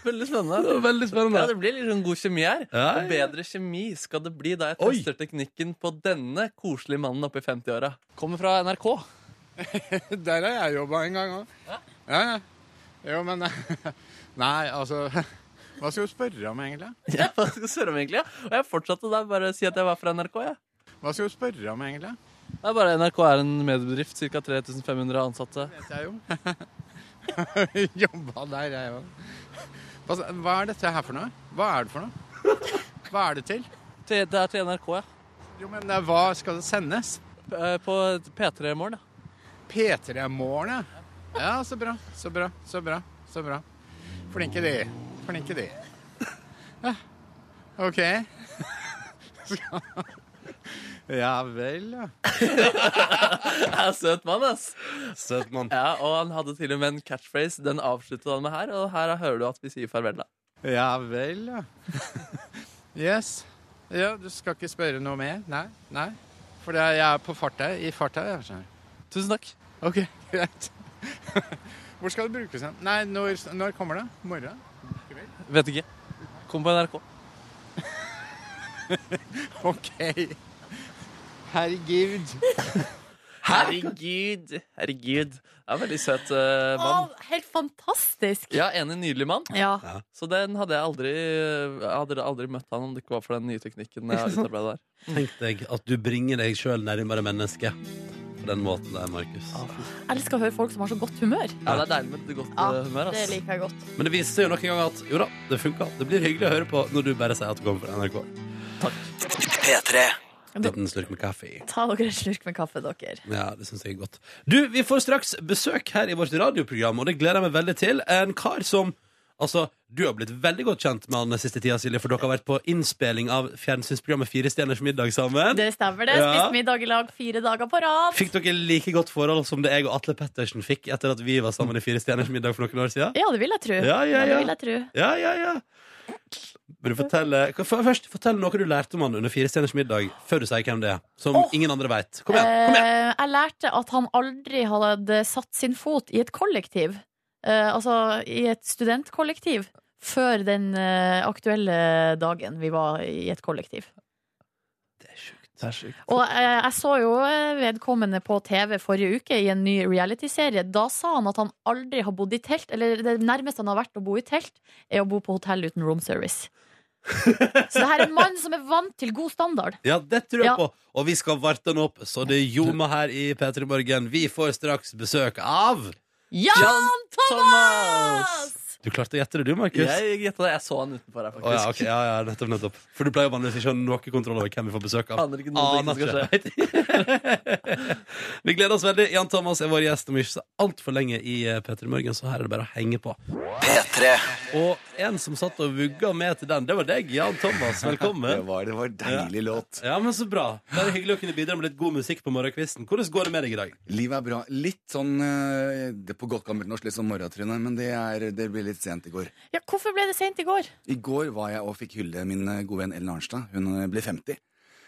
C: Veldig spennende.
B: Veldig
C: Ja,
B: spennende.
C: det blir litt sånn god kjemi her.
B: Ja,
C: Og
B: ja.
C: bedre kjemi skal det bli da jeg
B: Oi.
C: tester teknikken på denne koselige mannen oppe i 50-åra. Kommer fra NRK.
H: Der har jeg jobba en gang òg. Ja, ja. Jo, men Nei, altså Hva skal du spørre om, egentlig?
C: Ja, hva skal jeg spørre om egentlig? ja? Og jeg fortsatte da bare å si at jeg var fra NRK. Ja.
H: Hva skal du spørre om, egentlig?
C: Det er bare NRK er en mediebedrift, ca. 3500 ansatte.
H: Vet jeg jo. Jobba der, jeg òg. Hva hva er dette her for noe? Hva er det for noe? Hva er det til?
C: Til, det er til NRK, ja.
H: Jo, men eh, hva skal det sendes?
C: P- eh, På P3 i morgen, ja.
H: P3-morgen, ja. Ja, så bra, så bra, så bra, så bra. Flinke de. Flinke de. Ja. OK. Ja vel, ja.
C: Jeg er søt mann, ass.
B: Søt mann.
C: Ja, og han hadde til og med en catchphrase. Den avsluttet han med her, og her hører du at vi sier farvel, da.
H: Ja vel, ja. Yes. Ja, du skal ikke spørre noe mer? Nei? Nei? For jeg er på farta, i farta, jeg skjønner.
C: Tusen takk.
H: Ok, greit. Hvor skal det brukes hen? Nei, når, når kommer det? Morgen?
C: Vet ikke. Kom på NRK.
H: Ok. Herregud.
C: Herregud. Herregud. Det er en veldig søt eh, mann.
D: Å, helt fantastisk!
C: Ja, enig nydelig mann.
D: Ja.
C: Så den hadde jeg aldri Jeg hadde aldri møtt han om det ikke var for den nye teknikken jeg har utarbeidet der.
B: Tenk deg at du bringer deg sjøl nærmere mennesket på den måten der, Markus.
D: Jeg elsker å høre folk som har så godt humør.
C: Ja, det er deilig med et godt
D: Ja,
C: eh, humør,
D: Det
C: ass.
D: liker jeg godt.
B: Men det viser jo nok en gang at jo da, det funka. Det blir hyggelig å høre på når du bare sier at du kommer fra NRK.
F: P3.
B: Liten slurk med kaffe.
D: Ta dere en slurk med kaffe, dere.
B: Ja, det synes jeg er godt. Du, vi får straks besøk her i vårt radioprogram, og det gleder jeg meg veldig til. En kar som Altså, du har blitt veldig godt kjent med han den siste tida, Silje, for dere har vært på innspilling av fjernsynsprogrammet Fire stjerners middag sammen.
D: Det stemmer, det.
B: Ja.
D: Spist middag i lag fire dager på rad.
B: Fikk dere like godt forhold som det jeg og Atle Pettersen fikk etter at vi var sammen i Fire stjerners middag for noen år siden?
D: Ja, det vil jeg tro.
B: Ja, ja,
D: det
B: ja.
D: vil jeg tro.
B: Ja, ja, ja. Vil du fortelle Hva- for- Først, fortell noe du lærte om han under Fire stjerners middag, før du sier hvem det er. Som
D: Åh.
B: ingen andre veit. Kom igjen! kom igjen
D: Eh, jeg lærte at han aldri hadde satt sin fot i et kollektiv. Eh, altså i et studentkollektiv. Før den eh, aktuelle dagen vi var i et kollektiv.
B: Det er sjukt.
C: Det er sjukt.
D: Og eh, jeg så jo eh, vedkommende på TV forrige uke i en ny realityserie. Da sa han at han aldri har bodd i telt, eller det nærmeste han har vært å bo i telt, er å bo på hotell uten room service. Så det her er en mann som er vant til god standard.
B: Ja, det tror jeg
D: Ja.
B: på. Og vi skal varte den opp, så det ljomer her i P3 Morgen. Vi får straks besøk av
D: Jan
C: Thomas!
D: Thomas!
B: Du klarte å gjette det, du, Markus.
C: Jeg gjetta det. Jeg så han utenfor her,
B: Å, ja,
C: faktisk.
B: ok. ja, ja, nettopp, nettopp. For du pleier jo vanligvis ikke å ha noe kontroll over hvem vi får besøk av.
C: Aner ikke noe som skal skje.
B: vi gleder oss veldig. Jan Thomas er vår gjest om ikke så altfor lenge i eh, P3 Morgen, så her er det bare å henge på.
F: P3.
B: Og en som satt og vugga med til den, det var deg, Jan Thomas. Velkommen.
I: var, det var deilig låt.
B: Ja, men så bra. Det er hyggelig å kunne bidra med litt god musikk på morgenkvisten. Hvordan går det med deg i dag?
I: Livet er bra. Litt sånn eh, det er på godt gammelt norsk, litt sånn morgentryne, men det, er, det ble litt sent i går.
D: Ja, hvorfor ble det sent i går?
I: I går var jeg og fikk hylle min eh, gode venn Ellen Arnstad. Hun eh, ble 50.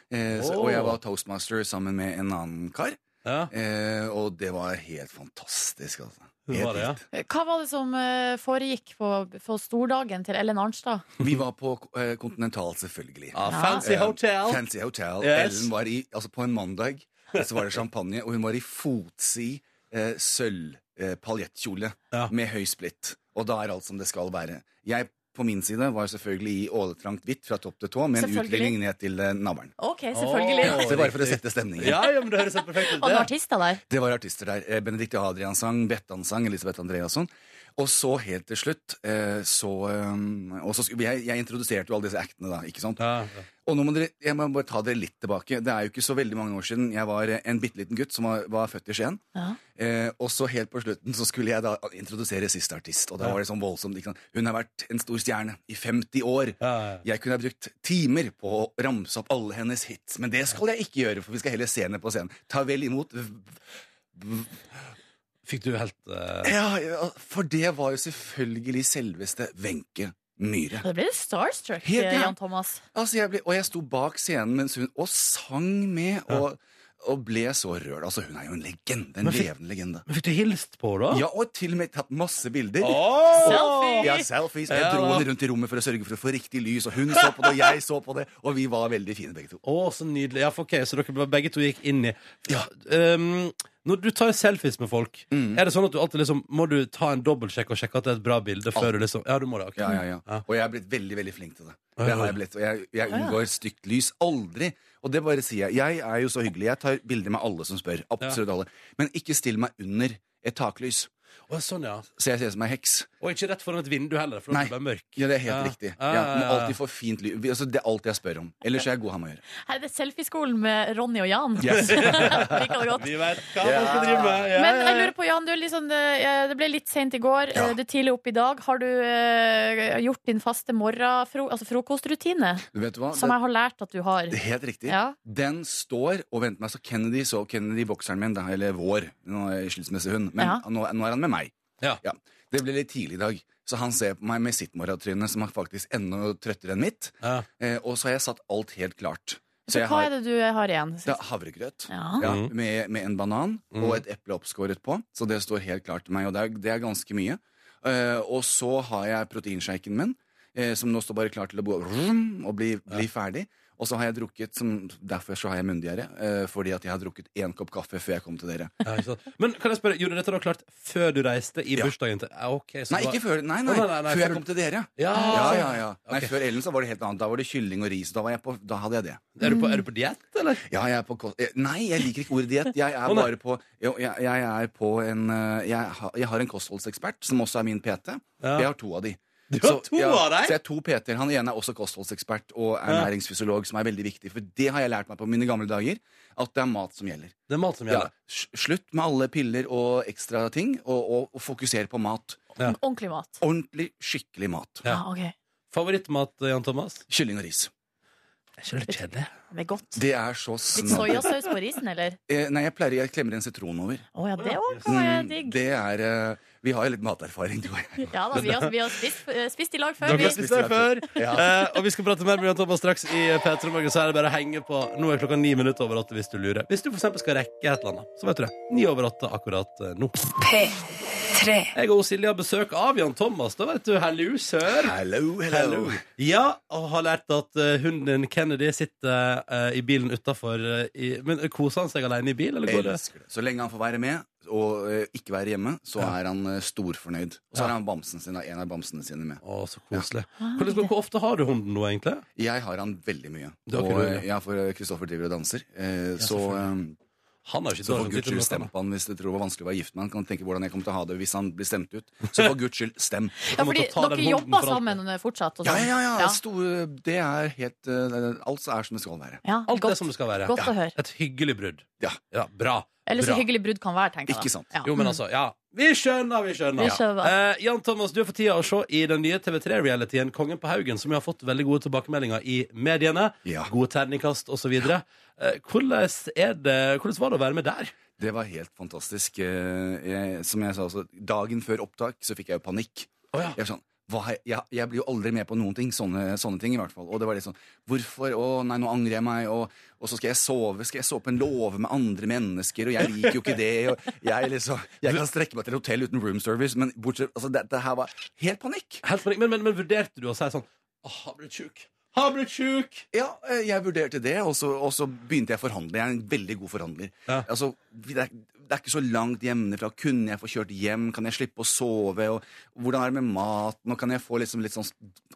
I: Eh, så,
B: Åh.
I: og jeg var toastmaster sammen med en annen kar.
B: Ja,
I: Eh, og det var helt fantastisk, altså.
B: det var det, ja.
D: Hva var det som eh, foregikk på, på stordagen til Ellen Arnstad?
I: Vi var på eh, Continental, selvfølgelig.
C: Ah,
B: Ja, fancy
I: Eh,
B: hotel.
I: Fancy Hotel.
B: Yes.
I: Ellen var i, altså på en mandag, så var det champagne, og hun var i fotsid eh, sølv eh, paljettkjole
B: Ja.
I: med høy splitt. Og da er alt som det skal være. Jeg på min side var selvfølgelig i åletrangt hvitt fra topp til tå, med en
D: Selvfølgelig.
I: utligning ned til eh, navlen.
D: Ok, selvfølgelig.
B: Åh.
I: Så det var bare for å sette stemningen.
B: Ja, ja, men det høres helt perfekt ut.
D: Hadde
B: det.
D: artister der.
I: Det var artister der. Eh, Benedicte Adrian sang, Bettan sang, Elisabeth Andreasson. Og så helt til slutt eh, så, eh, og så skulle- jeg, jeg introduserte jo alle disse actene, da. ikke sant?
B: Ja, ja.
I: Og nå må dere, jeg må bare ta dere litt tilbake. Det er jo ikke så veldig mange år siden jeg var eh, en bitte liten gutt som var, var født i Skien.
D: Ja.
I: Eh, og så helt på slutten så skulle jeg da introdusere siste artist, og da var det sånn voldsomt. Ikke sant? Hun har vært en stor stjerne i 50 år.
B: Ja, ja.
I: Jeg kunne ha brukt timer på å ramse opp alle hennes hits, men det skal jeg ikke gjøre, for vi skal heller se henne på scenen. Ta vel imot
B: Fikk du helt eh,
I: Ja, ja, for det var jo selvfølgelig selveste Wenche Myhre.
D: Da ble du starstruck,
I: Helt, ja.
D: eh, Jan Thomas.
I: Altså, jeg ble, og jeg sto bak scenen mens hun og sang med, og, og ble så rørt. Altså, hun er jo en legende. En
B: Men fikk-
I: levende legende.
B: Men fikk du hilst på, da?
I: Ja, og til og med tatt masse bilder.
D: Selfie!
I: Ja, selfies. Jeg
B: Ja,
I: dro
B: da.
I: henne rundt i rommet for å sørge for å få riktig lys, og hun så på det, og jeg så på det, og vi var veldig fine begge to.
B: Å, så nydelig. Ja, for ok, Så dere var- begge to gikk inn i ja, ehm, Når du tar selfies med folk,
I: Mm.
B: er det sånn at du alltid liksom må du ta en dobbeltsjekk og sjekke at det er et bra bilde før du liksom Ja, du må det. ok
I: Ja, ja, ja.
B: Ja.
I: Og jeg er blitt veldig, veldig flink til det.
B: Ja,
I: Det
B: ja.
I: har jeg blitt. Og jeg, jeg unngår stygt lys. Aldri. Og det bare sier jeg. Jeg er jo så hyggelig. Jeg tar bilder med alle som spør. Absolutt alle. Men ikke still meg under et taklys.
B: Å, sånn, ja.
I: Så jeg ser ut som ei heks.
B: Og ikke rett foran et vindu heller, for da
I: Nei.
B: blir det bare mørk.
I: Ja, det er helt
B: Ja.
I: riktig.
B: Ja,
I: Ja,
B: ja,
I: men
B: ja.
I: alltid for fint ly. Vi- Altså, det er alt jeg spør om. Ellers er jeg god ham å gjøre.
D: Her er det selfieskolen med Ronny og Jan.
I: Yes.
D: Liker det godt.
B: Vi vet hva man skal drive med. Ja,
D: Men
B: ja,
D: jeg
B: ja.
D: lurer på, Jan, du er litt sånn, eh, det ble litt seint i går.
I: Ja.
D: eh, Det er tidlig opp i dag. Har du eh, gjort din faste morgen, fro, altså frokostrutine?
I: Vet du hva?
D: Som jeg har lært at du har.
I: Det er helt riktig.
D: Ja.
I: Den står og venter meg. Så Kennedy så Kennedy, bokseren min, da, eller vår, nå er jeg skilsmisse hun, men
D: Ja.
I: nå, nå er han med meg.
B: Ja.
I: Det ble litt tidlig i dag, så han ser på meg med sitt morratryne, som er faktisk enda trøttere enn mitt.
B: Ja.
I: Eh, og så har jeg satt alt helt klart.
D: Så hva er det du eh, har igjen?
I: det er havregrøt
D: Ja.
I: ja,
B: Mhm.
I: med, med en banan
B: Mhm.
I: og et eple oppskåret på. Så det står helt klart til meg, og det er, det er ganske mye. Eh, og så har jeg proteinshaken min, eh, som nå står bare klar til å bo, vroom, og bli, bli ferdig. Og så har jeg drukket, som, derfor så har jeg munndiaré, eh, fordi at jeg har drukket én kopp kaffe før jeg kom til dere.
B: Ja, ikke sant. Men kan jeg spørre, gjorde dette da klart før du reiste i
I: Ja.
B: bursdagen til ja, ok, så
I: Nei,
B: det var-
I: ikke før, nei, nei,
B: Å, nei, nei, nei, før-
I: før jeg kom til dere.
B: Ja,
I: Ja, ja, ja. Nei,
B: Ok.
I: Før Ellen så var det helt annet. Da var det kylling og ris. Da, var jeg på, da hadde jeg det.
B: Er du på, er du på diett, eller?
I: Ja, jeg er på kost... eh, Nei, jeg liker ikke ordet diett. Jeg er
B: Å, nei.
I: bare på Jo, jeg, jeg er på en eh, jeg, har, jeg har en kostholdsekspert, som også er min PT.
B: Ja.
I: Jeg har to av de.
B: Du har
I: Så-
B: to
I: ja,
B: av
I: Så
B: deg!
I: jeg har to PT-er. Han ene er også kostholdsekspert og er
B: Ja.
I: næringsfysiolog, som er veldig viktig. For det har jeg lært meg på mine gamle dager, at det er mat som gjelder.
B: Det er mat som
I: Ja.
B: gjelder.
I: s- Slutt med alle piller og ekstra ting, og, og, og fokuser på mat.
D: Ordentlig mat.
I: Ordentlig, skikkelig mat.
B: Ja.
D: Ah, ok.
B: Favorittmat, eh, Jan Thomas?
I: Kylling og ris.
B: Er ikke det litt kjedelig?
D: Det er godt.
I: Det er så
D: Litt
I: snart.
D: soyasaus på risen, eller?
I: Eh, Nei, jeg pleier jeg klemmer en sitron over.
D: Å ja, det òg kan være
I: Mm,
D: digg.
I: Det er eh, Vi har jo litt materfaring, du og jeg.
D: Ja da, vi har, vi har spist, eh, spist i lag før.
B: Dere
D: Vi.
B: har spist det før.
I: Ja.
B: Eh, og vi skal prate mer med Jan Thomas straks i P3 Morgen, så er det bare å henge på. Nå er klokka ni minutter over åtte hvis du lurer. Hvis du for eksempel skal rekke et eller annet, så vet du det. Ni over åtte akkurat eh, nå. Jeg og Silje har besøk av Jan Thomas, da vet du. Hallo, sør.
I: Hello,
B: Hallo. Ja, og har lært at eh, hunden din Kennedy sitter eh, i bilen utafor. men koser han seg alene i bil, eller går det?
I: Elsker det. Så lenge han får være med og eh, ikke være hjemme, så er han eh, storfornøyd. Og så har han bamsen sin, da, en av bamsene sine med.
B: Å, så koselig. Hvordan, hvor ofte har du hunden nå, egentlig?
I: Jeg har han veldig mye.
B: Det har
I: og
B: ikke du,
I: eh,
B: ja.
I: ja, for eh, Kristoffer driver og danser. eh, så eh,
B: selvfølgelig. Han har jo ikke
I: så for
B: dårlig
I: Guds
B: samvittighet
I: skyld,
B: med
I: stem
B: noe
I: på han hvis du tror det var vanskelig å være gift med han. Kan tenke hvordan jeg kommer til å ha det hvis han blir stemt ut. Så for Guds skyld, stem.
D: Ja, fordi
B: Kommer til å ta den
D: dere
B: hunden
D: jobber
B: for alt.
D: sammen fortsatt? Og
I: Ja,
D: sånn.
I: ja, ja.
D: Ja.
I: Stor- det er helt eh, Alt er som det skal være.
D: Ja,
B: Alt det
D: godt.
B: som det skal være.
D: Godt å høre.
B: Et hyggelig brudd.
I: Ja.
B: bra.
D: Eller så
B: bra.
D: hyggelig brudd kan være, tenker jeg. da.
I: Ikke sant.
D: Ja. Mm.
B: Jo, men altså, ja. Vi skjønner, vi skjønner.
D: Vi skjønner.
B: Eh, Jan Thomas, du er for tida å se i den nye TV3-realityen Kongen på Haugen, som jo har fått veldig gode tilbakemeldinger i mediene.
I: Ja.
B: Gode terningkast osv. Eh, hvordan, er det, hvordan var det å være med der?
I: Det var helt fantastisk. Eh, Jeg, som jeg sa også, dagen før opptak så fikk jeg jo panikk.
B: Å, ja.
I: Jeg var sånn, hva, har jeg, jeg, jeg blir jo aldri med på noen ting. Sånne, sånne ting, i hvert fall. Og det var litt sånn Hvorfor? Å, nei, nå angrer jeg meg. Og, og så skal jeg sove. Skal jeg sove på en låve med andre mennesker? Og jeg liker jo ikke det. Og jeg, liksom, jeg kan strekke meg til et hotell uten room service, men bortsett altså, det, det her var helt panikk.
B: Helt panikk. Men, men, men vurderte du å si sånn Åh, har blitt sjuk. Har blitt sjuk!
I: Ja, eh, jeg vurderte det, og så, og så begynte jeg å forhandle. Jeg er en veldig god forhandler.
B: Ja.
I: Altså, det, er, det er ikke så langt hjemmefra. Kunne jeg få kjørt hjem? Kan jeg slippe å sove? Og, hvordan er det med mat? Nå kan jeg få liksom litt sånn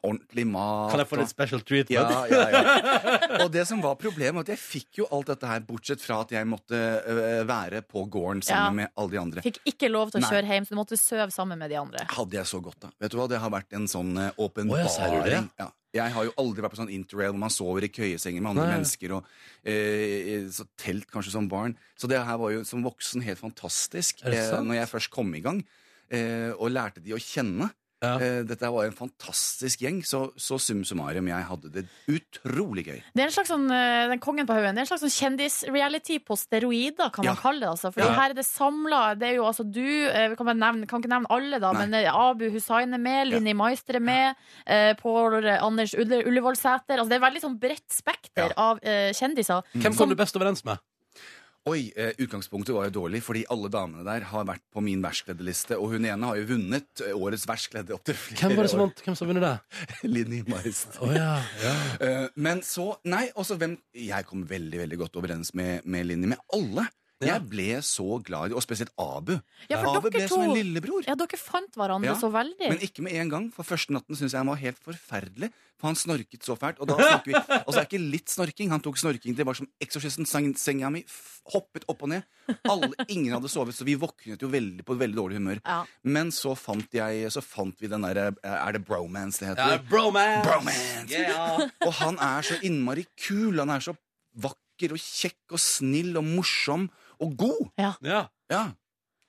I: ordentlig mat.
B: Kan jeg få
I: og-
B: litt special treatment?
I: ja, ja, ja. Og det som var problemet, var at jeg fikk jo alt dette her, bortsett fra at jeg måtte øh, være på gården
D: Ja.
I: sammen med alle de andre.
D: Fikk ikke lov til å
I: Nei.
D: kjøre hjem, så du måtte sove sammen med de andre.
I: Hadde jeg så godt, da. Vet du hva, Det har vært en sånn eh,
B: Å, ja, sier du
I: åpenbaring.
B: det?
I: ja. Jeg har jo aldri vært på sånn interrail hvor man sover i køyesenger med andre
B: Nei.
I: mennesker. og eh, så Telt kanskje som barn. Så det her var jo som voksen helt fantastisk. eh,
B: Er det sant?
I: når jeg først kom i gang eh, og lærte de å kjenne.
B: Ja.
I: Eh, dette her var jo en fantastisk gjeng, så, så sum summarum, jeg hadde det utrolig gøy.
D: Det er en slags sånn, eh, den kongen på haugen, det er en slags sånn kjendis-reality på steroider, kan
I: Ja.
D: man kalle det. Altså. Fordi
B: Ja.
D: her er det samla. Det er jo altså du eh, Vi kan, bare nevne, kan ikke nevne alle, da,
I: Nei.
D: men eh, Abu Hussain er med, Linni Meister er med, eh, Pål eh, Anders Ulle, Ullevålsæter altså, Det er veldig sånn bredt spekter av eh, kjendiser.
B: Hvem kom du best overens med?
I: Oi, eh, Utgangspunktet var jo dårlig, fordi alle damene der har vært på min verkskledderliste. Og hun ene har jo vunnet eh, årets verkskledde opptil flere
B: Hvem var det som
I: år.
B: vant? Hvem som vunnet det?
I: Linni Meister.
B: Å ja, ja.
I: Eh, men så Nei, også hvem Jeg kom veldig veldig godt overens med, med Linni. Med alle.
B: Ja.
I: Jeg ble så glad i Og spesielt Abu.
D: Ja, for
I: Abu
D: dere
I: ble som en
D: to
I: lillebror.
D: Ja, dere fant hverandre
I: Ja,
D: så veldig.
I: Men ikke med en gang, for første natten syntes jeg han var helt forferdelig. For han snorket så fælt. Og da snakker vi Og så er det ikke litt snorking. Han tok snorking til det var som eksorsisten sang senga mi. f- Hoppet opp og ned. Alle, ingen hadde sovet, så vi våknet jo veldig på veldig dårlig humør.
D: Ja.
I: Men så fant, jeg, så fant vi den derre Er det bromance det
B: Ja,
I: heter?
B: bromance!
I: Bromance.
B: Yeah.
I: Og han er så innmari kul. Han er så vakker og kjekk og snill og morsom og god.
B: Ja.
I: Ja.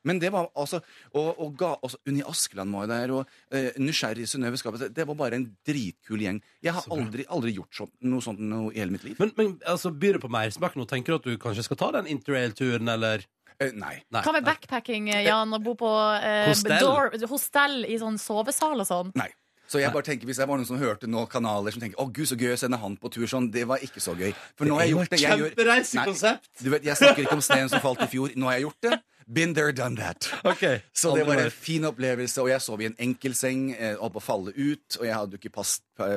I: Men det var altså Og, og ga, altså, Unni Askeland var jo der, og eh, Nysgjerrig Synnøve Skapet. Det var bare en dritkul gjeng. Jeg har
B: Så bra.
I: aldri, aldri gjort sånn, noe sånt noe i hele mitt liv.
B: Men, men altså, byr det på mersmak nå? Tenker du at du kanskje skal ta den interrail-turen, eller?
I: Eh, nei.
B: Nei.
D: Hva med backpacking, Jan? Å bo på eh,
B: Hostell.
D: door, hostell i sånn sovesal og sånn?
I: nei. Så jeg bare tenker, Hvis jeg var noen som hørte noen kanaler som tenker 'Å, gud, så gøy å sende han på tur', sånn, det var ikke så gøy. For nå har jeg gjort det. Jeg, gjør,
B: Kjempereisekonsept!
I: du vet, jeg snakker ikke om sneen som falt i fjor. Nå har jeg gjort det. Been there, done that.
B: Ok.
I: Så det
B: Andre
I: var en
B: vei.
I: fin opplevelse, og jeg sov i en enkeltseng, eh, holdt på å falle ut, og jeg hadde jo ikke pass,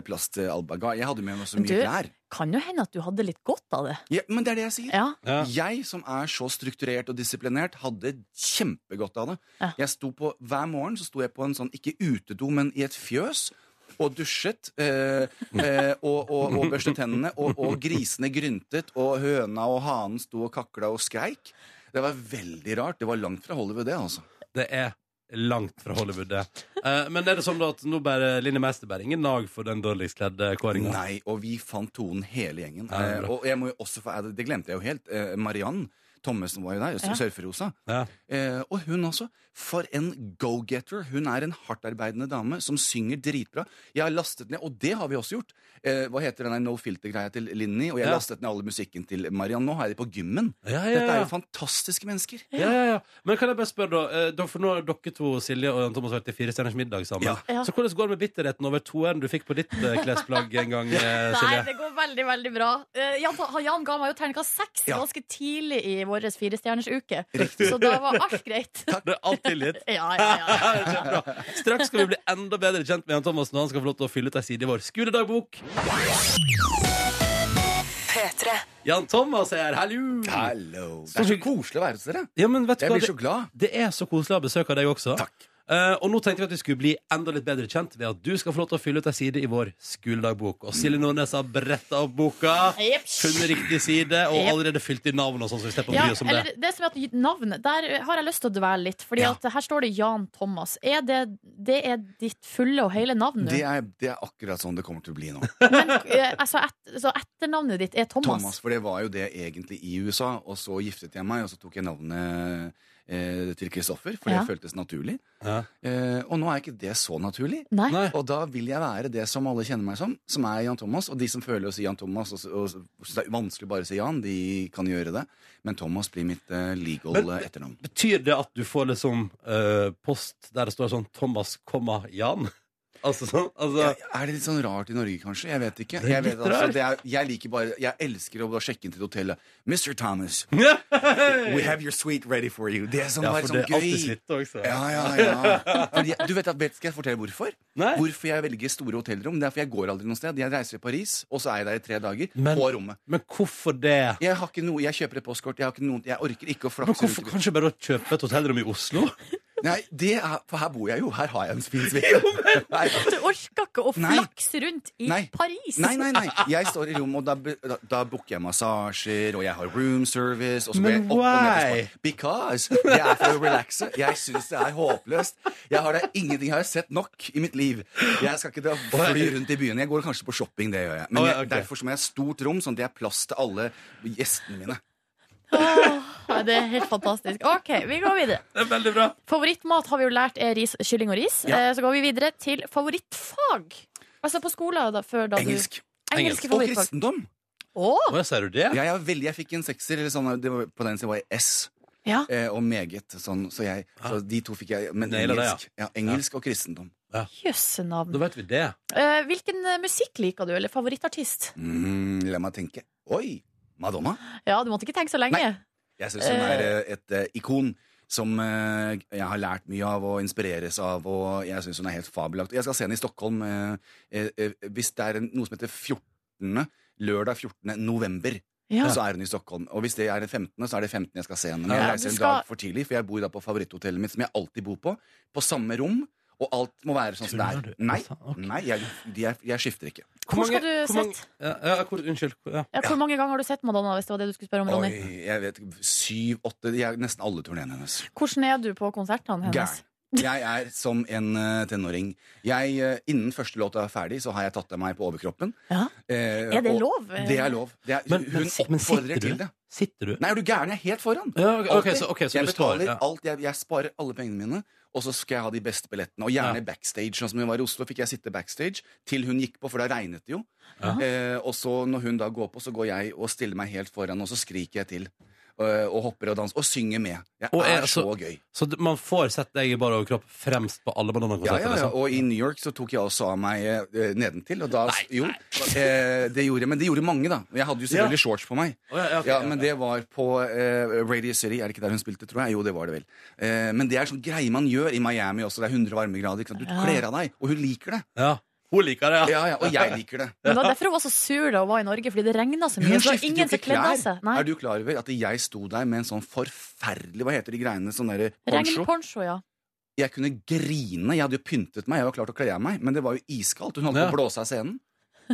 I: plass til all bagasje. Jeg hadde med meg så
D: Men
I: mye
D: du-
I: klær.
D: Kan jo hende at du hadde litt godt av det.
I: Ja, men det er det jeg sier.
D: Ja.
B: Ja.
I: Jeg som er så strukturert og disiplinert, hadde kjempegodt av det.
D: Ja.
I: Jeg sto på, Hver morgen så sto jeg på en sånn, ikke utedo, men i et fjøs. Og dusjet, eh, eh, og, og, og børstet tennene, og, og grisene gryntet, og høna og hanen sto og kakla og skreik. Det var veldig rart. Det var langt fra Hollywood, det, altså.
B: Det er langt fra Hollywood, det. Eh, men er det sånn da at nå bærer Linni Meister bærer ingen nag for den dårligst kledde kåringa?
I: Nei, og vi fant tonen hele gjengen.
B: Ja, det er
I: Eh,
B: bra.
I: og jeg må jo også få, det glemte jeg jo helt. Eh, Mariann Thommessen var jo der,
D: Ja.
I: surferosa.
B: Ja.
I: Eh, og hun også. For en go-getter. Hun er en hardtarbeidende dame som synger dritbra. Jeg har lastet ned, og det har vi også gjort, eh, hva heter den der No Filter-greia til Linni? Og jeg
B: Ja.
I: lastet ned alle musikken til Mariann. Nå er de på gymmen.
B: Ja, ja,
I: Dette er
B: ja.
I: jo fantastiske mennesker.
B: Ja, ja, ja. Men kan jeg bare spørre, da, eh, da? For nå har dere to, Silje og Jan Thomas, vært i Fire stjerners middag sammen.
I: Ja.
D: Ja.
B: Så hvordan går det med bitterheten over toeren du fikk på ditt eh, klesplagg en gang, eh,
D: Nei,
B: Silje?
D: det går veldig, veldig bra. Eh, Jan, Jan ga meg jo terningkast seks
I: Ja.
D: ganske tidlig i vår firestjernersuke, så da var alt greit.
B: Det er alltid litt.
D: Ja, ja, ja.
B: Kjempebra. Straks skal vi bli enda bedre kjent med Jan Thomas når han skal få lov til å fylle ut ei side i vår skoledagbok. Jan Thomas er her, hallo!
I: Hallo. Det er så koselig å være hos dere.
B: Ja, men vet du
I: Jeg
B: hva?
I: blir så
B: Det,
I: glad.
B: det er så koselig å ha besøk av deg også.
I: Takk.
B: Eh, og nå tenkte vi at vi skulle bli enda litt bedre kjent ved at du skal få lov til å fylle ut ei side i vår skoledagbok. Og Silje Nordnes har bretta opp boka,
D: Jepp.
B: funnet riktig side og
D: Jepp.
B: allerede fylt i navn og sånn, så vi slipper å
D: Ja,
B: bry oss om
D: eller
B: det.
D: det som er at navn, Der har jeg lyst til å dvele litt. Fordi
B: Ja.
D: at Her står det Jan Thomas. Er det, det er ditt fulle og hele navn nå?
I: Det er, det er akkurat sånn det kommer til å bli nå.
D: Men, eh, altså, et, så etternavnet ditt er Thomas?
I: Thomas, for det var jo det egentlig i USA. Og så giftet jeg meg, og så tok jeg navnet eh, til Kristoffer, for
D: Ja.
I: det føltes naturlig.
B: Ja.
I: Eh, og nå er ikke det så naturlig.
D: Nei.
B: Nei.
I: Og da vil jeg være det som alle kjenner meg som, som er Jan Thomas. Og de som føler å si Jan Thomas, og, s- og s- synes det er vanskelig å bare si Jan, de kan gjøre det. Men Thomas blir mitt eh, legal
B: Men-
I: eh, etternavn.
B: Betyr det at du får liksom eh, post der det står sånn 'Thomas, komma, Jan'? Altså sånn? Altså,
I: Ja, er det litt sånn rart i Norge, kanskje? Jeg vet ikke.
B: Det er
I: Jeg,
B: litt
I: vet, altså,
B: rart.
I: det er, jeg liker bare Jeg elsker å bare sjekke inn til hotellet. Mr. Thomas, we have your suite ready for you. Det er sånn,
B: Ja,
I: bare
B: for
I: sånn
B: det er alltid
I: gøy.
B: slitt også.
I: Ja, ja, ja. Fordi, du vet at, vet, skal jeg fortelle hvorfor?
B: Nei.
I: Hvorfor jeg velger store hotellrom? Det er fordi jeg går aldri noe sted. Jeg reiser til Paris, og så er jeg der i tre dager.
B: Men-
I: på rommet.
B: Men hvorfor det?
I: Jeg, har ikke noe, jeg kjøper et postkort. Jeg, har ikke noen, jeg orker ikke å
B: Men
I: flakse
B: hvorfor
I: rundt.
B: kanskje bare å kjøpe et hotellrom i Oslo?
I: Nei, det er, for her bor jeg jo. Her har jeg en fin suite. Nei,
D: Du orker ikke å
I: Nei.
D: flakse rundt i
I: Nei.
D: Paris!
I: nei, nei, nei. Jeg står i rommet, og da, bu- da, da booker jeg massasjer, og jeg har room service. Og så går
B: Men
I: jeg opp og ned til
B: why?
I: spa. Because. Det er for å relaxe. Jeg syns det er håpløst. Jeg har det ingenting jeg har sett nok i mitt liv. Jeg skal ikke dra fly rundt i byen. Jeg går kanskje på shopping, det gjør jeg. Men
B: Å, ja,
I: jeg,
B: ok.
I: derfor så må jeg ha stort rom, sånn at det er plass til alle gjestene mine.
D: Åh, nei, det er helt fantastisk. OK, vi går videre.
B: Det er veldig bra.
D: Favorittmat har vi jo lært er ris, kylling og ris.
I: Ja.
D: Eh, Så går vi videre til favorittfag. Altså på skolen da, før da
I: Engelsk.
D: du Engelske
I: Og
D: favorittfag.
I: kristendom.
D: Åh,
B: Å, ja, sier du det?
I: Jeg, er veldig, jeg fikk en sekser, eller sånn, det var, på den siden var jeg S.
D: Ja.
I: Eh, og meget. Sånn, så, jeg, så de to fikk jeg. Men
B: Naila Ah. det, ja.
I: engelsk, ja, engelsk og kristendom.
D: jøsse
B: Da
D: navn.
B: vet vi det.
D: Eh, Hvilken eh, musikk liker du, eller favorittartist?
I: Mm, la meg tenke. Oi! Madonna.
D: Ja, du måtte ikke tenke så lenge.
I: Jeg syns hun er eh, et eh, ikon som eh, jeg har lært mye av og inspireres av. Og jeg syns hun er helt fabelaktig. Jeg skal se henne i Stockholm eh, eh, eh, hvis det er en, noe som heter 14. Lørdag 14. november.
D: Ja.
I: Og så er hun i Stockholm. Og hvis det er den 15., så er det 15. jeg skal se henne. Men
D: Ja,
I: jeg
D: du
I: reiser en
D: skal-
I: dag for tidlig, for jeg bor da på favoritthotellet mitt, som jeg alltid bor på. På samme rom. Og alt må være sånn som det
B: Tuller
I: er.
B: du?
I: Nei,
B: Altså, ok.
I: nei jeg, jeg, jeg skifter ikke.
D: Hvor skal du
B: hvor mange,
D: sett?
B: ja, ja, hvor, Unnskyld. hvor- Ja.
D: Ja, hvor mange ganger har du sett Madonna? hvis det var det du skulle spørre om,
I: Oi,
D: Ronny?
I: jeg vet Syv-åtte Nesten alle turneene hennes.
D: Hvordan er du på konsertene hennes?
I: Gæren. Jeg er som en eh, tenåring. Jeg, eh, innen første låta er ferdig, så har jeg tatt av meg på overkroppen.
D: Ja.
I: Eh,
D: Er det
I: og-
D: lov?
I: Det er lov. Det er,
B: Men, men,
I: hun
B: si- men
I: oppfordrer
B: sitter
I: til
B: du?
I: det.
B: Sitter du?
I: Nei, er du gæren? Jeg er helt foran.
B: Ja, ok, ok,
I: Alltid.
B: så, ok, så
I: jeg
B: du står
I: betaler
B: ja.
I: alt, jeg, jeg sparer alle pengene mine, og så skal jeg ha de beste billettene. Og gjerne backstage. Sånn som jeg var i Oslo, fikk jeg sitte backstage til hun gikk på, for da regnet det jo.
B: Ja.
I: Eh, og så når hun da går på, så går jeg og stiller meg helt foran, og så skriker jeg til. eh, Og hopper og danser. Og synger med. Jeg
B: Og eh, altså- er-
I: er så
B: så-
I: gøy.
B: Så d- man får sett deg i bar overkropp fremst på alle liksom?
I: Ja,
B: Madonna-konserter?
I: ja, ja. Og i New York så tok jeg også av meg eh, nedentil. Og da, jo, eh, det gjorde jeg, men det gjorde mange, da. Jeg hadde jo selvfølgelig shorts på meg.
B: Å, ja, ja, ok,
I: ja,
B: ja,
I: Men det var på eh, Radio City. Er det ikke der hun spilte, tror jeg? Jo, det var det vel. Eh, men det er sånn greie man gjør i Miami også. Det er 100 varmegrader. Ikke sant? Du
D: Ja.
I: kler av deg, og hun liker det.
B: liksom? Ja. Hun liker det, ja.
I: Ja, ja, Og jeg liker det.
D: Men det var derfor hun var så sur da hun var i Norge, fordi det regna så mye. Så
I: Hun
D: det var
I: skiftet jo
D: ingen som
I: ikke
D: kledde av
I: klær.
D: seg. Nei.
I: Er du klar over at jeg sto der med en sånn forferdelig Hva heter de greiene? Sånn derre poncho?
D: Regnponcho, ja.
I: Jeg kunne grine. Jeg hadde jo pyntet meg, jeg var klar til å kle av meg, men det var jo iskaldt. Hun holdt på
B: Ja.
I: å blåse av scenen.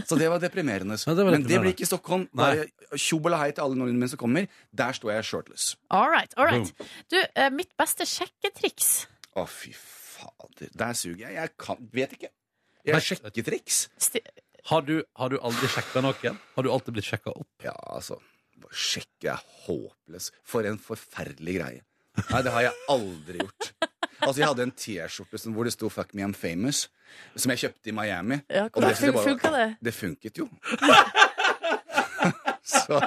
I: Så det var deprimerende.
B: Ja, det var
I: men det
B: deprimerende.
I: blir ikke i Stockholm.
B: Nei.
I: Bare Tjob eller hei til alle nordmennene mine som kommer. Der står jeg shirtless.
D: All right. All right. Du, eh, mitt beste sjekketriks
I: Å, fy fader. Der suger jeg. Jeg kan Vet ikke. Jeg
B: Best-
I: sjekker triks.
D: Sti-
B: Har du, har du aldri sjekka noen? Har du alltid blitt sjekka opp?
I: Ja, altså. bare Sjekke er håpløs. For en forferdelig greie. Nei, det har jeg aldri gjort. Altså, Jeg hadde en T-skjorte som- hvor det sto 'Fuck me, I'm famous', som jeg kjøpte i Miami.
D: Ja,
I: Og
D: hvordan
I: det synes jeg
D: fun-
I: bare-
D: funka det?
I: Det funket jo. Så,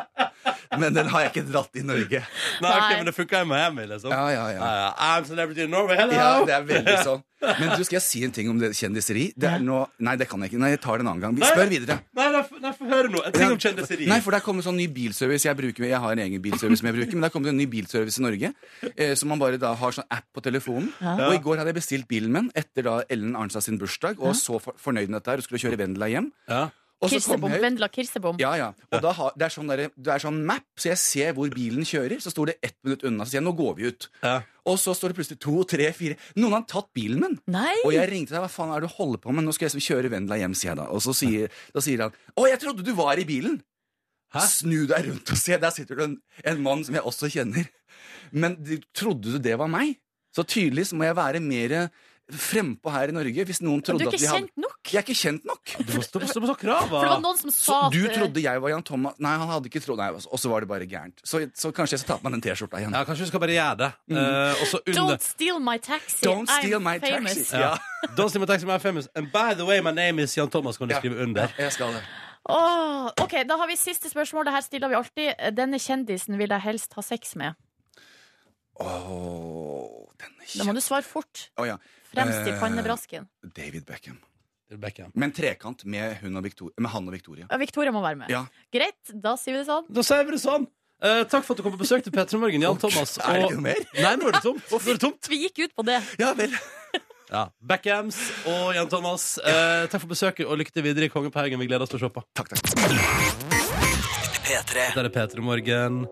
I: men den har jeg ikke dratt i Norge.
B: Nei,
D: Nei.
B: ok, men det funka i Miami, liksom.
I: Ja, ja, ja.
B: Ja, ja. I'm celebrity in Norway, hello!
I: Ja, det er veldig sånn. Men du, skal jeg si en ting om det kjendiseri? Det er nå- nei, det kan jeg ikke. Nei, jeg tar det en annen gang. Vi spør videre.
B: Nei, nei, f- nei, få høre nå. En ting om kjendiseri.
I: Nei, for der kommer sånn ny bilservice. Jeg, bruker, jeg har en egen bilservice som jeg bruker, men der kommer det en ny bilservice i Norge. Eh, som man bare da har sånn app på telefonen. Og i går hadde jeg bestilt bilen min etter da Ellen Arnstad sin bursdag, og så for, fornøyd med dette her og skulle kjøre Vendela hjem.
B: Ja.
I: Og så kom
D: Kirsebom.
I: jeg ut-
D: Vendela Kirsebom.
I: Ja, ja. Og da har, det, er sånn derre- det er sånn map, så jeg ser hvor bilen kjører. Så står det ett minutt unna, så sier jeg nå går vi ut.
B: Ja.
I: Og så står det plutselig to, tre, fire. Noen har tatt bilen min!
D: Nei!
I: Og jeg ringte deg, hva faen er det du holder på med? Nå skal jeg liksom kjøre Vendela hjem, sier jeg da. Og så sier, da sier han, å, jeg trodde du var i bilen!
B: Hæ?
I: Snu deg rundt og se, der sitter det en, en mann som jeg også kjenner. Men du, trodde du det var meg? Så tydelig så må jeg være mer frempå her i Norge hvis noen
D: Du
I: trodde
D: er
I: at
D: ikke
I: vi hadde...
D: kjent nok?
I: Jeg er ikke kjent nok!
B: Du må stå på, stå på
D: For det
B: krava.
D: var noen som
I: Så
D: sa at
I: du
D: eh,
I: trodde jeg var Jan Thomas Nei, han hadde ikke trodd Nei, altså, og så var det bare gærent. Så, så kanskje jeg skal ta på meg den T-skjorta igjen.
B: Ja, kanskje du skal bare gjøre det.
I: Mm.
B: Eh, og så under
D: Don't steal my taxi.
I: Don't steal
D: I'm
I: my
D: famous.
I: taxi.
B: Ja. Don't steal my taxi, my famous. And by the way, my name is Jan Thomas, kan du
I: Ja.
B: skrive under.
I: Jeg skal det.
D: Åh, ok, Da har vi siste spørsmål. Det her stiller vi alltid. Denne kjendisen vil jeg helst ha sex med.
I: Åh, denne
D: Da må
I: kjæ...
D: du svare fort.
I: Å ja.
D: Fremst i
I: Eh,
D: pannebrasken.
I: David Beckham.
B: Beckham.
I: Men trekant med, hun og Victoria, med han og Victoria.
D: Ja, Victoria må være med.
I: Ja.
D: Greit, da sier vi det sånn.
B: Da sier vi det sånn. Eh, takk for at du kom på besøk til Petter Morgen, Jan Thomas.
I: Er det ikke noe mer?
B: Nei, nå er det tomt. Nå er det tomt.
D: Vi gikk ut på det.
I: Ja vel.
B: Ja. Backhams og Jan Thomas, eh, takk for besøket og lykke til videre i Kongepaugen. Vi gleder oss til å se på.
I: Takk, takk.
F: P3.
B: Der er Peter i morgen.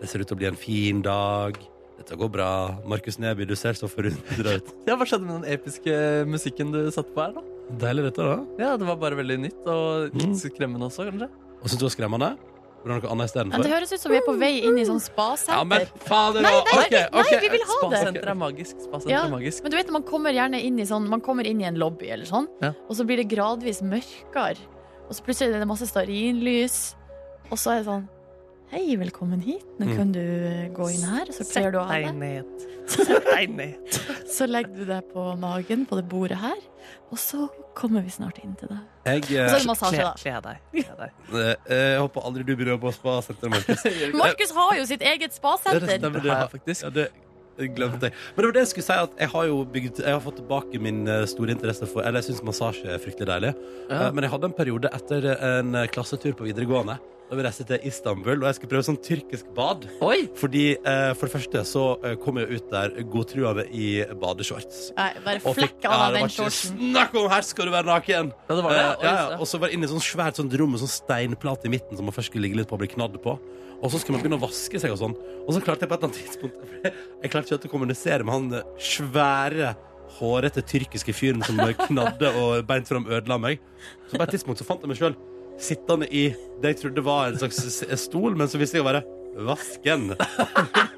B: Det ser ut til å bli en fin dag. Dette går bra. Markus Neby, du ser så forundra ut.
C: Ja, Hva skjedde med den episke eh, musikken du satte på her? da?
B: Deilig dette, da.
C: Ja, Det var bare veldig nytt, og litt
B: Mm.
C: skremmende også, kanskje?
B: Og syns du det var skremmende? Burde du ha noe annet
D: Ja, det
B: istedenfor?
D: høres ut som vi er på vei inn i sånn
B: Ja, men
D: spasenter.
B: fader
D: Nei,
B: og-
D: nei,
B: Ok,
D: nei,
B: ok.
D: vi vil ha det.
C: Spasenter er magisk. Spasenter
D: Ja.
C: er magisk.
D: Men du vet når man kommer gjerne inn i sånn Man kommer inn i en lobby eller sånn,
C: Ja.
D: og så blir det gradvis mørkere. Og så plutselig er det masse stearinlys, og så er det sånn Hei, velkommen hit. Nå
B: Mm.
D: kan du eh, gå inn her, og så kler du av deg.
C: ned. Sett deg ned.
D: Så legger du deg på magen på det bordet her, og så kommer vi snart inn til deg.
B: Jeg,
D: Og så
B: eh,
D: er det massasje, da.
C: Kle deg. Kle deg.
B: eh, jeg håper aldri du blir på spasenter, Markus.
D: Markus har jo sitt eget
B: Det
D: spasenter.
B: stemmer.
C: Det har jeg faktisk.
B: Ja, det det glemte jeg. Men det var det jeg skulle si, at jeg har jo bygd Jeg har fått tilbake min eh, store interesse for Eller jeg syns massasje er fryktelig deilig.
C: Ja.
B: Eh, Men jeg hadde en periode etter en eh, klassetur på videregående Da vi reiste til Istanbul, og jeg skulle prøve sånn tyrkisk bad.
C: Oi!
B: Fordi eh, for det første så eh, kom jeg ut der godtruende i badeshorts.
D: Nei, bare
B: Og fikk-
D: flekk av
B: Ja, det
D: deg
B: var
D: den
B: ikke
D: shortsen.
B: Snakk om her skal du være naken!
C: Ja, det var det.
B: Eh,
C: Oi,
B: ja,
C: se.
B: ja. Og så var det inne i sånn svært sånn rom med sånn steinplate i midten som man først skulle ligge litt på og bli knadd på. Og så skulle man begynne å vaske seg og sånn. Og så klarte jeg på et eller annet tidspunkt Jeg klarte ikke å kommunisere med han eh, svære, hårete tyrkiske fyren som knadde og beint fram ødela meg. Så på et tidspunkt så fant jeg meg sjøl sittende i det jeg trodde var en slags s- stol, men så viste jeg å være vasken.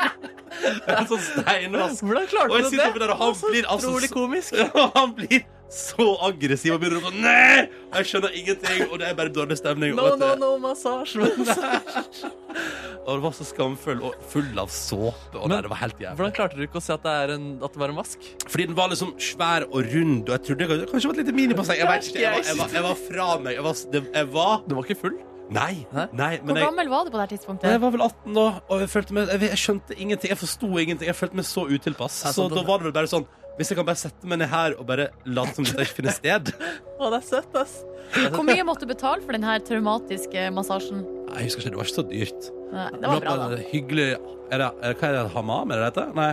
B: en sånn steinvask.
C: Hvordan
B: Og
C: klarte
B: jeg
C: du
B: sitter oppi
C: det?
B: der, og han blir altså
C: Utrolig komisk.
B: og han blir så aggressiv og begynner å gå Nei! Og Jeg skjønner ingenting, og det er bare dårlig stemning.
C: No,
B: og,
C: no,
B: vet du,
C: no, massasje.
B: og det var så skamfull og full av såpe. Og
C: Men-
B: nei, det var helt jævlig.
C: Hvordan klarte du ikke å se at det, er en, at det var en vask?
B: Fordi den var liksom svær og rund, og jeg trodde kanskje- kanskje det var et lite minibasseng. Jeg vet ikke. Jeg var, jeg var, jeg var fra meg. Jeg var, det, jeg var
C: Du var ikke full?
B: Nei.
C: Hæ?
B: nei
D: Hvor
B: men jeg,
D: gammel var du på det her
B: jeg
D: tidspunktet?
B: var vel 18 da, og jeg, følte meg, jeg, jeg skjønte ingenting. Jeg forsto ingenting. Jeg følte meg så utilpass.
C: Ja,
B: Så
C: sånn,
B: da
C: da-
B: var det vel bare sånn Hvis jeg kan bare sette meg ned her og bare late som dette ikke finner sted
C: Å, det er søtt, ass.
D: Hvor mye måtte du betale for den her traumatiske massasjen?
B: Nei, jeg husker ikke. Det var ikke så dyrt.
D: Nei, det var bra, da.
B: Hyggelig er det, er det, Hva er det? Hamam, er det det heter? Nei.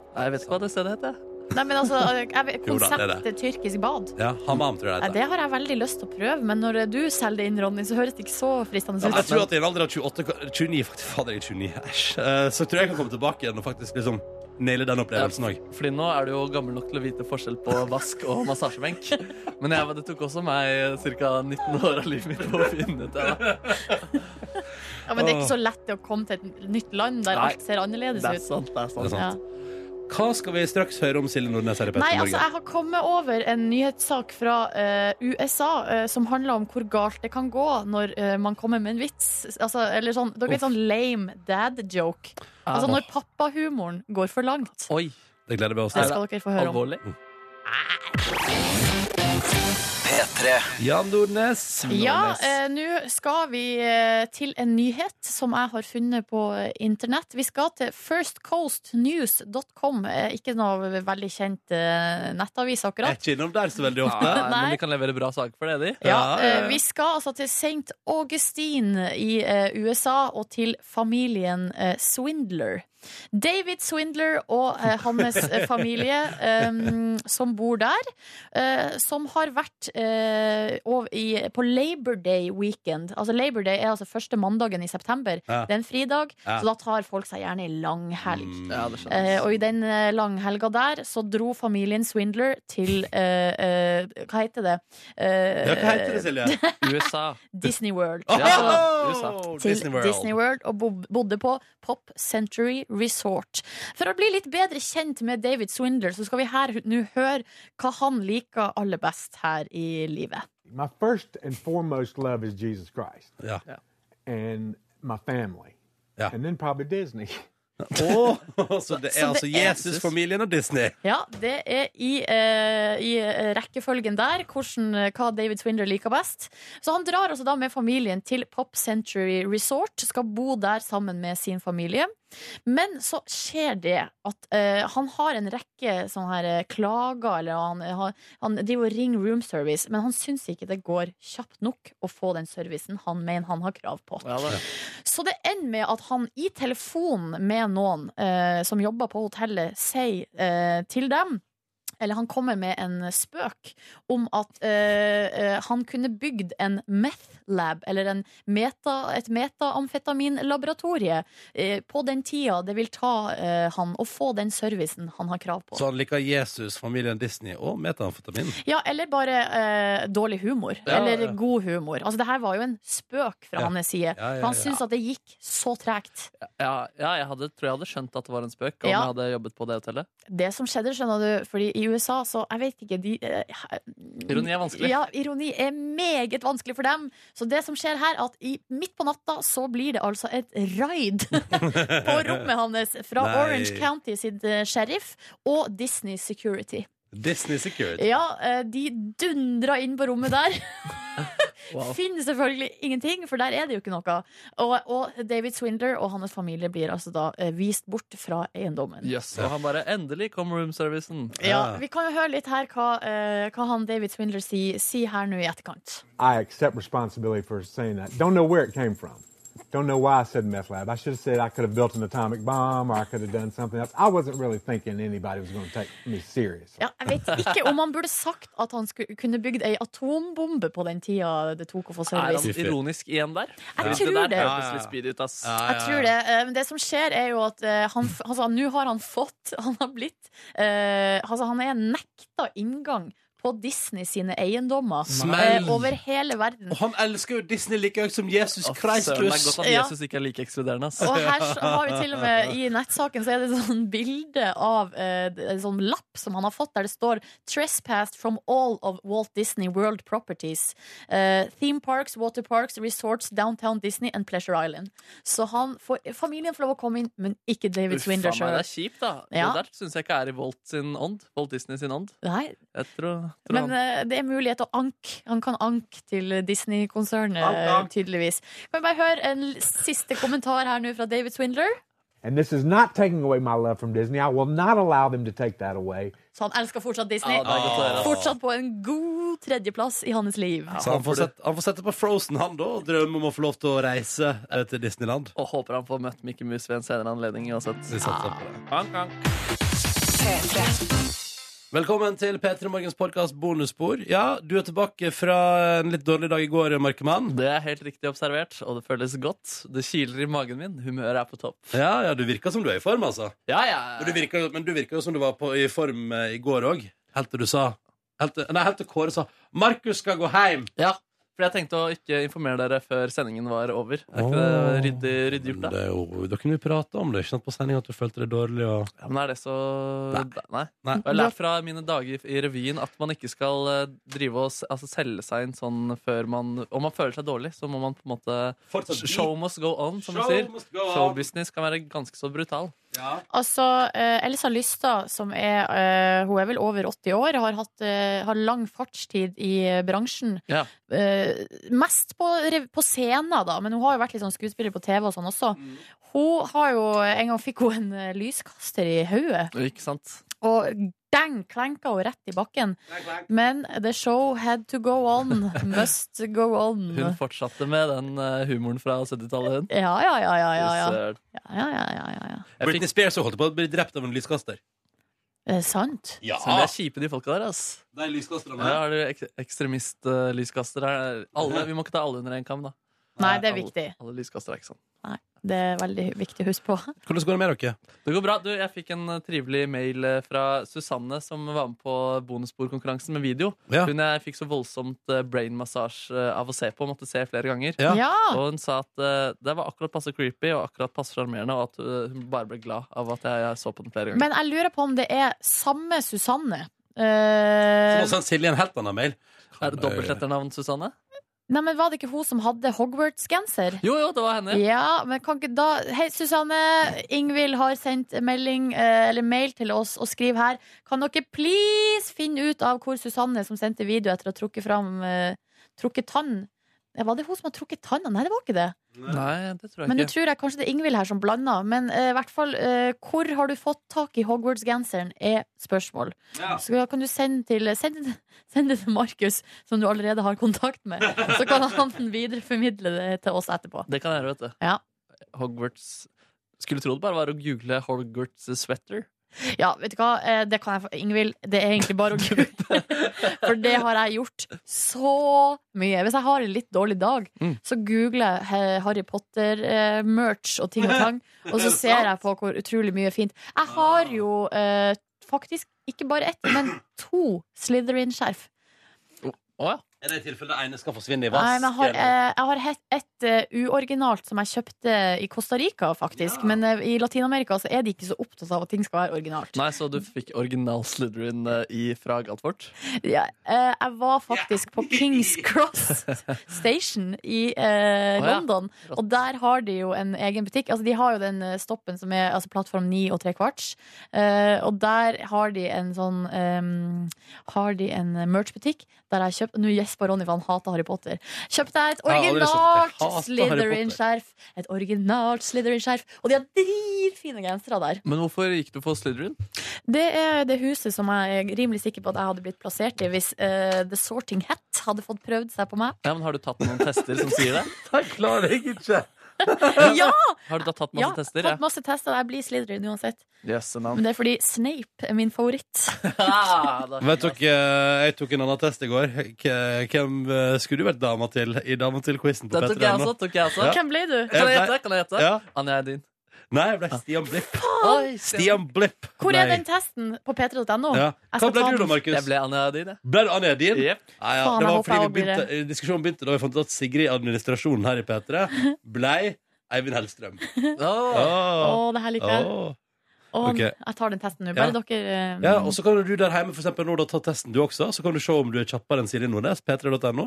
C: Nei, jeg vet ikke hva det stedet heter. jeg.
D: Nei, men altså, jeg, vet-
B: Jo da, det er det.
D: konseptet tyrkisk bad.
B: Ja, Hamam, tror jeg
D: Nei,
B: det heter.
D: det har jeg veldig lyst til å prøve, men når du selger det inn, Ronny, så høres det ikke så fristende
B: Jeg
D: ut.
B: tror at i en alder av 28 kan- 29, faktisk, fader, jeg er 29, æsj, eh, så tror jeg jeg kan komme tilbake igjen og faktisk liksom naile den opplevelsen òg.
C: Fordi nå er du jo gammel nok til å vite forskjell på vask og massasjebenk. Men jeg, det tok også meg ca. 19 år av livet mitt på å finne ut det. da.
D: Ja, men det er ikke så lett å komme til et nytt land der
C: Nei.
D: alt ser annerledes
C: Det er
D: ut.
C: sant, det er
B: Det er
C: sant.
B: sant.
D: Ja.
B: Hva skal vi straks høre om Silje Nordnes her i
D: Nei,
B: Petter
D: altså, jeg har kommet over en nyhetssak fra eh, USA eh, som handler om hvor galt det kan gå når eh, man kommer med en vits. Altså, eller sånn, dere vet sånn lame dad joke. Altså
B: Ah.
D: når pappahumoren går for langt.
C: Oi,
B: Det gleder vi oss
D: Det
B: til.
D: skal dere få høre om.
C: alvorlig.
F: P3.
B: Jan Nordnes.
D: Ja,
B: Nordnes.
D: eh, nå skal vi eh, til en nyhet som jeg har funnet på eh, internett. Vi skal til firstcoastnews.com. Eh, ikke noe veldig kjent eh, nettavis
B: Jeg er
D: akkurat.
B: ikke innom der så veldig ofte.
C: Nei, men de kan levere bra saker for det, de.
D: Ja,
B: Ja, ja, ja.
D: eh, Vi skal altså til St. Augustine i eh, USA og til familien eh, Swindler. David Swindler og eh, hans eh, familie eh, som bor der, eh, som har vært eh, ov- i, på Labor Day weekend. Altså Labor Day er altså første mandagen i september.
B: Ja.
D: Det er en fridag,
B: Ja.
D: så da tar folk seg gjerne en lang helg.
B: Mm.
C: Ja, det skjønner jeg.
D: Eh, og i den eh, langhelga der så dro familien Swindler til eh, eh, Hva heter det? Eh,
B: Ja, hva heter det, Silje?
C: USA.
D: Disney World.
B: Åh,
D: Altså,
C: USA.
D: til Disney World. og bo- bodde på Pop Century Resort. For å bli litt bedre kjent med David Swindler, så skal vi her nå høre hva han liker aller best her i livet.
G: My first and foremost love is Jesus Christ
B: Ja.
G: and my family.
B: Ja.
G: And then probably Disney.
B: Åh, så det er
D: Så
B: altså
D: det er-
B: Jesus-familien og Disney.
D: Ja, det er i, eh, i eh, rekkefølgen der hvordan, eh, hva David Swindler liker best. Så han drar altså da med familien til Pop Century Resort, skal bo der sammen med sin familie. Men så skjer det at eh, han har en rekke sånne her eh, klager, eller han, eh, han, han driver og ringer room service, men han syns ikke det går kjapt nok å få den servicen han mener han har krav på.
C: Ja, det.
D: Så det ender med at han i telefonen med noen eh, som jobber på hotellet, sier eh, til dem eller han kommer med en spøk om at eh, eh, han kunne bygd en meth lab, eller en meta, et metaamfetaminlaboratorie, eh, på den tida det vil ta eh, han å få den servicen han har krav på.
B: Så han liker Jesus, familien Disney og metamfetamin.
D: Ja, eller bare eh, dårlig humor.
B: Ja,
D: eller
B: ja.
D: god humor. Altså, det her var jo en spøk fra
B: Ja.
D: hans side.
B: Ja, ja,
D: For han
B: ja.
D: syntes at det gikk så tregt.
C: Ja, ja, jeg hadde, tror jeg hadde skjønt at det var en spøk om
D: Ja.
C: jeg hadde jobbet på det hotellet.
D: Det som skjedde, skjønner du, fordi i USA så Jeg vet ikke, de eh,
C: Ironi er vanskelig.
D: Ja, ironi er meget vanskelig for dem. Så det som skjer her, at i, midt på natta så blir det altså et raid på rommet hans fra
B: Nei.
D: Orange County sitt eh, sheriff og Disney Security.
B: Disney Security.
D: Ja, eh, de dundra inn på rommet der.
C: Wow.
D: Finner selvfølgelig ingenting, for der er det jo ikke noe. Og, og David Swindler og hans familie blir altså da eh, vist bort fra eiendommen.
C: Yes, og han bare 'endelig kom roomservicen'.
D: Ja, Vi kan jo høre litt her hva, eh, hva han David Swindler sier si her nå i etterkant.
G: I accept responsibility for saying that. Don't know where it came from. Don't know why I said meth lab. I should have said I could have built an atomic bomb or I could have done something else. I wasn't really thinking anybody was going to take me serious.
D: Ja, jeg vet ikke om han burde sagt at han skulle, kunne bygd ei atombombe på den tida det tok å få
C: Er
D: service.
C: han ironisk igjen der?
D: Jeg
C: det
D: tror
C: der
D: det.
C: hørtes litt speedy ut, ass.
D: Jeg tror det. eh, Men det som skjer, er jo at eh, han f- altså, nå har han fått Han har blitt eh, Altså, han er nekta inngang på Disney sine eiendommer
B: Smell.
D: eh, over hele verden.
J: Og han elsker jo Disney like høyt som Jesus
C: Å,
J: Christ.
C: søren, Det er godt at
D: Ja.
C: Jesus ikke er like ekskluderende, ass.
D: Og her s- har vi til og med i nettsaken så er det sånn bilde av eh, det- en sånn lapp som han har fått, der det står 'Trespassed from all of Walt Disney World properties'. Eh, theme parks, water parks, resorts, downtown Disney and Pleasure Island. Så han får, familien får lov å komme inn, men ikke David
C: Uff, faen
D: Swinder
C: meg, det
D: sjøl.
C: er kjipt, da.
D: Ja.
C: Det der syns jeg ikke er i Walt sin ånd. Walt Disney sin ånd.
D: Nei,
C: Jeg tror, tror
D: men
C: han.
D: eh, det er mulighet til å anke. Han kan anke til Disney-konsernet, eh, tydeligvis. Kan vi bare høre en l- siste kommentar her nå fra David Swindler?
G: And this is not taking away my love from Disney. I will not allow them to take that away.
D: Så han elsker fortsatt Disney.
C: Ja, det er godt å høre, altså. ass.
D: fortsatt på en god tredjeplass i hans liv.
B: Så han får, sette, han får sette på Frozen, han da, og drømme om å få lov til å reise eh, til Disneyland.
C: Og håper han får møtt Mickey Mouse ved en senere anledning uansett.
B: Vi satser på det. Velkommen til P3 Morgens podkast bonusspor. Ja, du er tilbake fra en litt dårlig dag i går, Markemann.
C: Det er helt riktig observert, og det føles godt. Det kiler i magen min. Humøret er på topp.
B: Ja, ja, du virker som du er i form, altså.
C: Ja, ja.
B: Og du virker, jo- men du virker jo som du var på, i form eh, i går òg. Helt til du sa helt til, Nei, helt til Kåre sa 'Markus skal gå heim'.
C: Ja, for jeg tenkte å ikke informere dere før sendingen var over. Er ikke
B: Åh.
C: det ryddig, ryddig gjort, da?
B: er jo, da kunne vi prate om det. Ikke sant på sending at du følte deg dårlig og
C: Ja, men er det så Nei.
B: Nei.
C: Og Jeg har lært fra mine dager i revyen at man ikke skal eh, drive og s- altså, selge seg inn sånn før man Om man føler seg dårlig, så må man på en måte
B: Fortsatt
C: Show must go on, som man sier.
B: must go on.
C: Showbusiness kan være ganske så brutal.
D: Altså, eh, Elsa Lystad, som er eh, Hun er vel over 80 år, har, hatt, eh, har lang fartstid i eh, bransjen.
C: Ja.
D: Eh, mest på, rev- på scenen, da, men hun har jo vært litt sånn skuespiller på TV og sånn også.
C: Mm.
D: Hun har jo En gang fikk hun en eh, lyskaster i hodet,
C: Ikke sant?
D: og dang, klenka hun rett i bakken. Men the show had to go on. Must go on.
C: Hun fortsatte med den eh, humoren fra 70-tallet, hun.
D: Ja, ja, ja, ja, ja. ja.
C: Søren.
D: ja, ja, ja, ja, ja.
C: Jeg
B: Britney
C: fikk,
B: Spears holdt på å bli drept av en lyskaster.
D: Er det sant?
B: Ja,
C: så de er kjipe, de folka der. ass
B: de lyskasterne
C: Her har du ek ekstremistlyskaster. Vi må ikke ta alle under én kam, da.
D: Nei, det er
C: alle-
D: viktig.
C: Alle lyskaster er ikke sånn.
D: Det er veldig viktig å huske på.
B: Hvordan går det med dere?
C: Det går bra. Du, jeg fikk en eh, trivelig mail eh, fra Susanne, som var med på bonusbordkonkurransen med video.
B: Ja.
C: Hun jeg fikk så voldsomt eh, brain massage eh, av å se på, måtte se flere ganger.
B: Ja.
D: Ja!
C: Og hun sa at eh, det var akkurat passe creepy og akkurat passe sjarmerende, og at eh, hun bare ble glad av at jeg, jeg så på den flere ganger.
D: Men jeg lurer på om det er samme Susanne. Eh,
B: Så må sende Silje en helt annen mail.
C: er det dobbeltletternavn, Susanne?
D: nei, men Var det ikke hun som hadde Hogwarts-genser?
C: Jo, jo, det var henne.
D: Ja, men kan ikke da Hei, Susanne. Ingvild har sendt melding, eh, eller mail til oss og skriver her. Kan dere please finne ut av hvor Susanne som sendte video etter å ha trukket fram eh, Trukket tann? Ja, Var det hun som har trukket tanna? Nei, det var ikke det.
C: Nei, det tror jeg
D: Men nå
C: ikke.
D: tror jeg kanskje det er Ingvild her som blander. Men eh, i hvert fall, eh, hvor har du fått tak i Hogwarts-genseren, er spørsmål.
B: Ja.
D: Så da kan du sende, til, send, send det til Markus, som du allerede har kontakt med. Så kan han videreformidle det til oss etterpå.
C: Det kan jeg gjøre, vet du.
D: Ja.
C: Hogwarts Skulle tro det bare var å google Hogwarts sweater.
D: Ja, vet du hva, eh, det kan jeg for Ingvild, det er egentlig bare å google. For det har jeg gjort så mye. Hvis jeg har en litt dårlig dag,
C: Mm.
D: så googler jeg eh, Harry Potter-merch og ting og tang, og så ser jeg på hvor utrolig mye fint. Jeg har jo eh, faktisk ikke bare ett, men to Slytherin-skjerf.
C: Å ja.
B: Er det i tilfelle det ene skal forsvinne i
D: Nei,
B: vask?
D: men jeg har, eh, jeg har et, et eh, uoriginalt som jeg kjøpte i Costa Rica, faktisk. Men eh, i Latin-Amerika så er de ikke så opptatt av at ting skal være originalt.
C: Nei, så du fikk original Slytherin eh, i fra Galtvort?
D: Ja, eh, jeg var faktisk på Kings Cross Station i eh,
C: Å, ja.
D: London. Og der har de jo en egen butikk. Altså, de har jo den eh, stoppen som er altså, plattform 9 og 3 kvarts. Eh, og der har de en sånn eh, Har de en merch-butikk der jeg kjøpte Nå gjesper Ronny, for han hater Harry Potter. Kjøpte jeg et
B: har aldri sett- jeg
D: originalt
B: hater Harry
D: Slytherin-skjerf. Et originalt Slytherin-skjerf. Og de har dritfine gensere der.
C: Men hvorfor gikk du for Slytherin?
D: Det er det huset som jeg er rimelig sikker på at jeg hadde blitt plassert i hvis eh, The Sorting Hat hadde fått prøvd seg på meg.
C: Ja, men Har du tatt noen tester som sier det?
B: Jeg klarer jeg ikke.
D: Ja!
C: Har du da tatt masse
D: Ja,
C: tester?
D: tatt masse tester. Jeg blir Slytherin uansett.
C: Jøsse
D: Men det er fordi Snape er min favoritt.
B: Vet dere, eh, jeg tok en annen test i går. K- Hvem eh, skulle du vært dama til i Dama til-quizen på
C: Det tok
B: P3?
C: jeg også. Tok jeg også.
B: Ja.
D: Hvem ble du?
C: Kan jeg gjette? Kan jeg gjette?
B: Ja.
C: Anja er din.
B: Nei, jeg ble Stian Blipp.
C: Oi,
B: Stian Blipp.
D: Hvor er
B: Nei.
D: den testen? På p3.no?
B: Ja.
D: Jeg
B: Hva
D: skal
B: ble du
D: ta
B: da,
D: den.
B: Markus?
C: Jeg ble Anja er din, jeg.
B: Ble du Anja Edin? Ja, ja.
D: Faen,
B: Det
D: jeg
B: var fordi
D: håper
B: vi
D: jeg også blir
B: begynte, diskusjonen begynte da vi fant ut at Sigrid i administrasjonen her i P3 ble Eivind Hellstrøm.
D: Å, det her liker jeg.
B: Åh.
D: Å,
B: Ok.
D: Jeg tar den testen nå.
B: Ja.
D: Bare dere eh,
B: Ja, og så kan du der hjemme for eksempel, nå da, ta testen du også, så kan du se om du er kjappere enn Silje Nordnes. P3.no.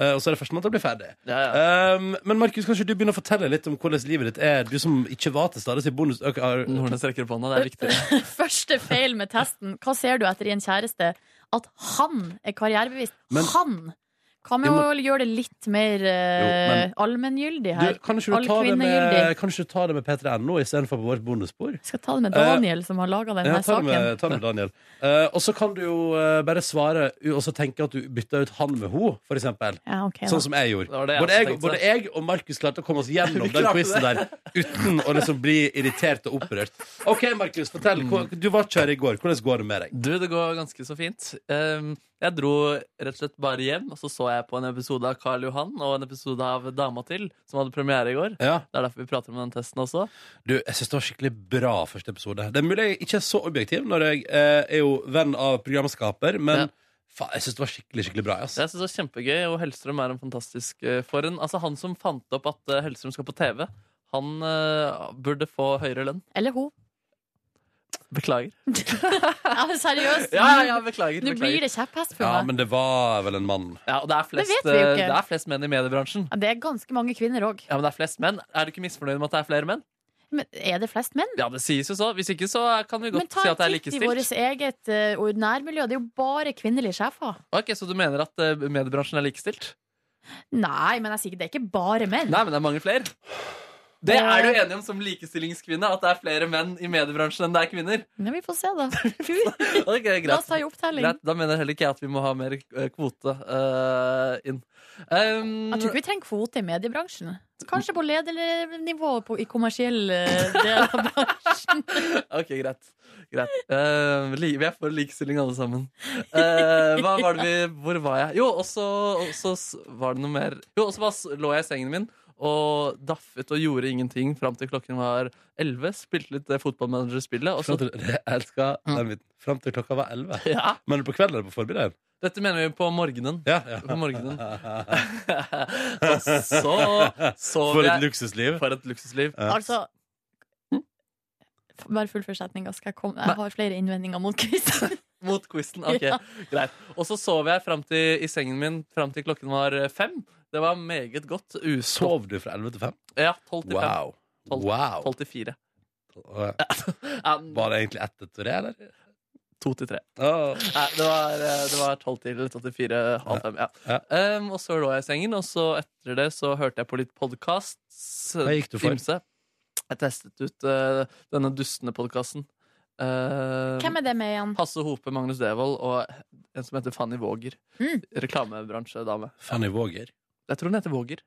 B: Eh, og så er det førstemann til å bli ferdig. Um, men Markus, kan ikke du begynne å fortelle litt om hvordan livet ditt er? Du som ikke var til stede i bonus... ok, har-
C: Nordnes rekker opp hånda, det er viktig.
D: Første feil med testen. Hva ser du etter i en kjæreste? At han er karrierebevisst.
B: Men-
D: han! Hva med
B: Jo,
D: å gjøre det litt mer eh,
B: Jo, men-
D: allmenngyldig
B: Du,
D: her?
B: kan ikke du ta det med,
D: Allkvinnegyldig.
B: kan ikke du ta det med P3.no istedenfor på vårt bonusspor?
D: Skal ta det med Daniel, som har laga denne
B: Ja, ta det
D: saken.
B: med, ta det med Daniel. Eh, og så kan du jo eh, bare svare u- og så tenke at du bytter ut han med ho, for eksempel.
D: Ja, ok, da.
B: sånn som jeg gjorde.
C: Det var det jeg
B: både, jeg,
C: tenkte.
B: både jeg og Markus klarte å komme oss gjennom
C: Vi
B: den
C: klarte
B: quizen der uten å liksom bli irritert og opprørt. OK, Markus, fortell. Hvor- Du var ikke her i går. Hvordan går det med deg?
C: Du, det går ganske så fint. Ehm, jeg dro rett og slett bare hjem, og så så jeg på en episode av Karl Johan og en episode av Dama til, som hadde premiere i går.
B: Ja.
C: Det er derfor vi prater om den testen også.
B: Du, jeg synes det var skikkelig bra første episode. Det er mulig jeg ikke er så objektiv når jeg eh, er jo venn av programskaper, men faen, jeg synes det var skikkelig, skikkelig bra. Ass.
C: Jeg synes det var kjempegøy, og Hellstrøm er en fantastisk eh, for en Altså, han som fant opp at eh, Hellstrøm skal på TV, han eh, burde få høyere lønn.
D: Eller hun.
C: Beklager.
D: Ja, men seriøst.
C: Ja, ja, ja, beklager,
D: Nå
C: beklager.
D: blir det kjepphest for
B: Ja,
D: meg.
B: men det var vel en mann.
C: Ja, og det er flest,
D: Det vet vi jo
C: eh,
D: ikke.
C: det er flest menn i mediebransjen.
D: Ja, det er ganske mange kvinner òg.
C: Ja, men det Er flest menn. Er du ikke misfornøyd med at det er flere menn?
D: Men er det flest menn?
C: Ja, det sies jo så. Hvis ikke, så eh, kan vi
D: Men
C: godt
D: ta
C: si
D: en
C: at det er
D: titt i
C: likestilt.
D: vårt eget eh, nærmiljø. Det er jo bare kvinnelige sjefer.
C: Ok, Så du mener at eh, mediebransjen er likestilt?
D: Nei, men jeg sier ikke det er ikke bare menn.
C: Nei, men det er mange flere. Det er du enig om som likestillingskvinne, at det er flere menn i mediebransjen enn det er kvinner?
D: Men vi får se, da.
C: Ok, greit.
D: La oss ta en opptelling.
C: Greit, da mener heller ikke jeg at vi må ha mer eh, kvote eh, inn. Um,
D: Jeg tror ikke vi trenger kvote i mediebransjen. Kanskje på ledernivå på, i kommersiell eh, del av bransjen.
C: ok, greit. greit. Eh, li- vi er for likestilling, alle sammen. Eh, hva var det vi, hvor var jeg? Jo, og så og så s- var det noe mer Jo, og så bare s- lå jeg i sengen min og daffet og gjorde ingenting fram til klokken var elleve. Spilte litt det fotballmanagerspillet. Og
B: Fram
C: så,
B: til, jeg elsker
C: Mm.
B: den biten. Fram til klokka var 11.
C: Ja.
B: Men på kvelden eller på formiddagen?
C: dette mener vi på morgenen.
B: Ja, ja.
C: På morgenen. Og så sov
B: For et
C: jeg
B: luksusliv.
C: For et luksusliv.
D: Altså f- Bare fullfør setninga. skal Jeg komme Jeg har flere innvendinger mot quizen.
C: Mot quizen. Ok,
D: Ja.
C: greit. Og så sov jeg frem til, i sengen min fram til klokken var eh, fem. Det var meget godt. Usov.
B: Sov du fra 11 til 5?
C: Ja, tolv til fem.
B: Wow.
C: Tolv-
B: wow. eh,
C: Tolv til fire. Ja,
B: Var det egentlig ett etter det, eller?
C: to til tre.
B: Åh.
C: Nei, det var, eh, det var tolv til tolv til fire, halv fem. Ja. Um, og så lå jeg i sengen, og så etter det så hørte jeg på litt podkast.
B: Hva gikk du for?
C: Jeg testet ut eh, denne dustende podkasten.
D: Hvem er det med igjen?
C: Hasse Hope, Magnus Devold og en som heter Fanny Våger.
D: Mm.
C: Reklamebransjedame.
B: Fanny Våger.
C: Jeg tror hun heter Våger.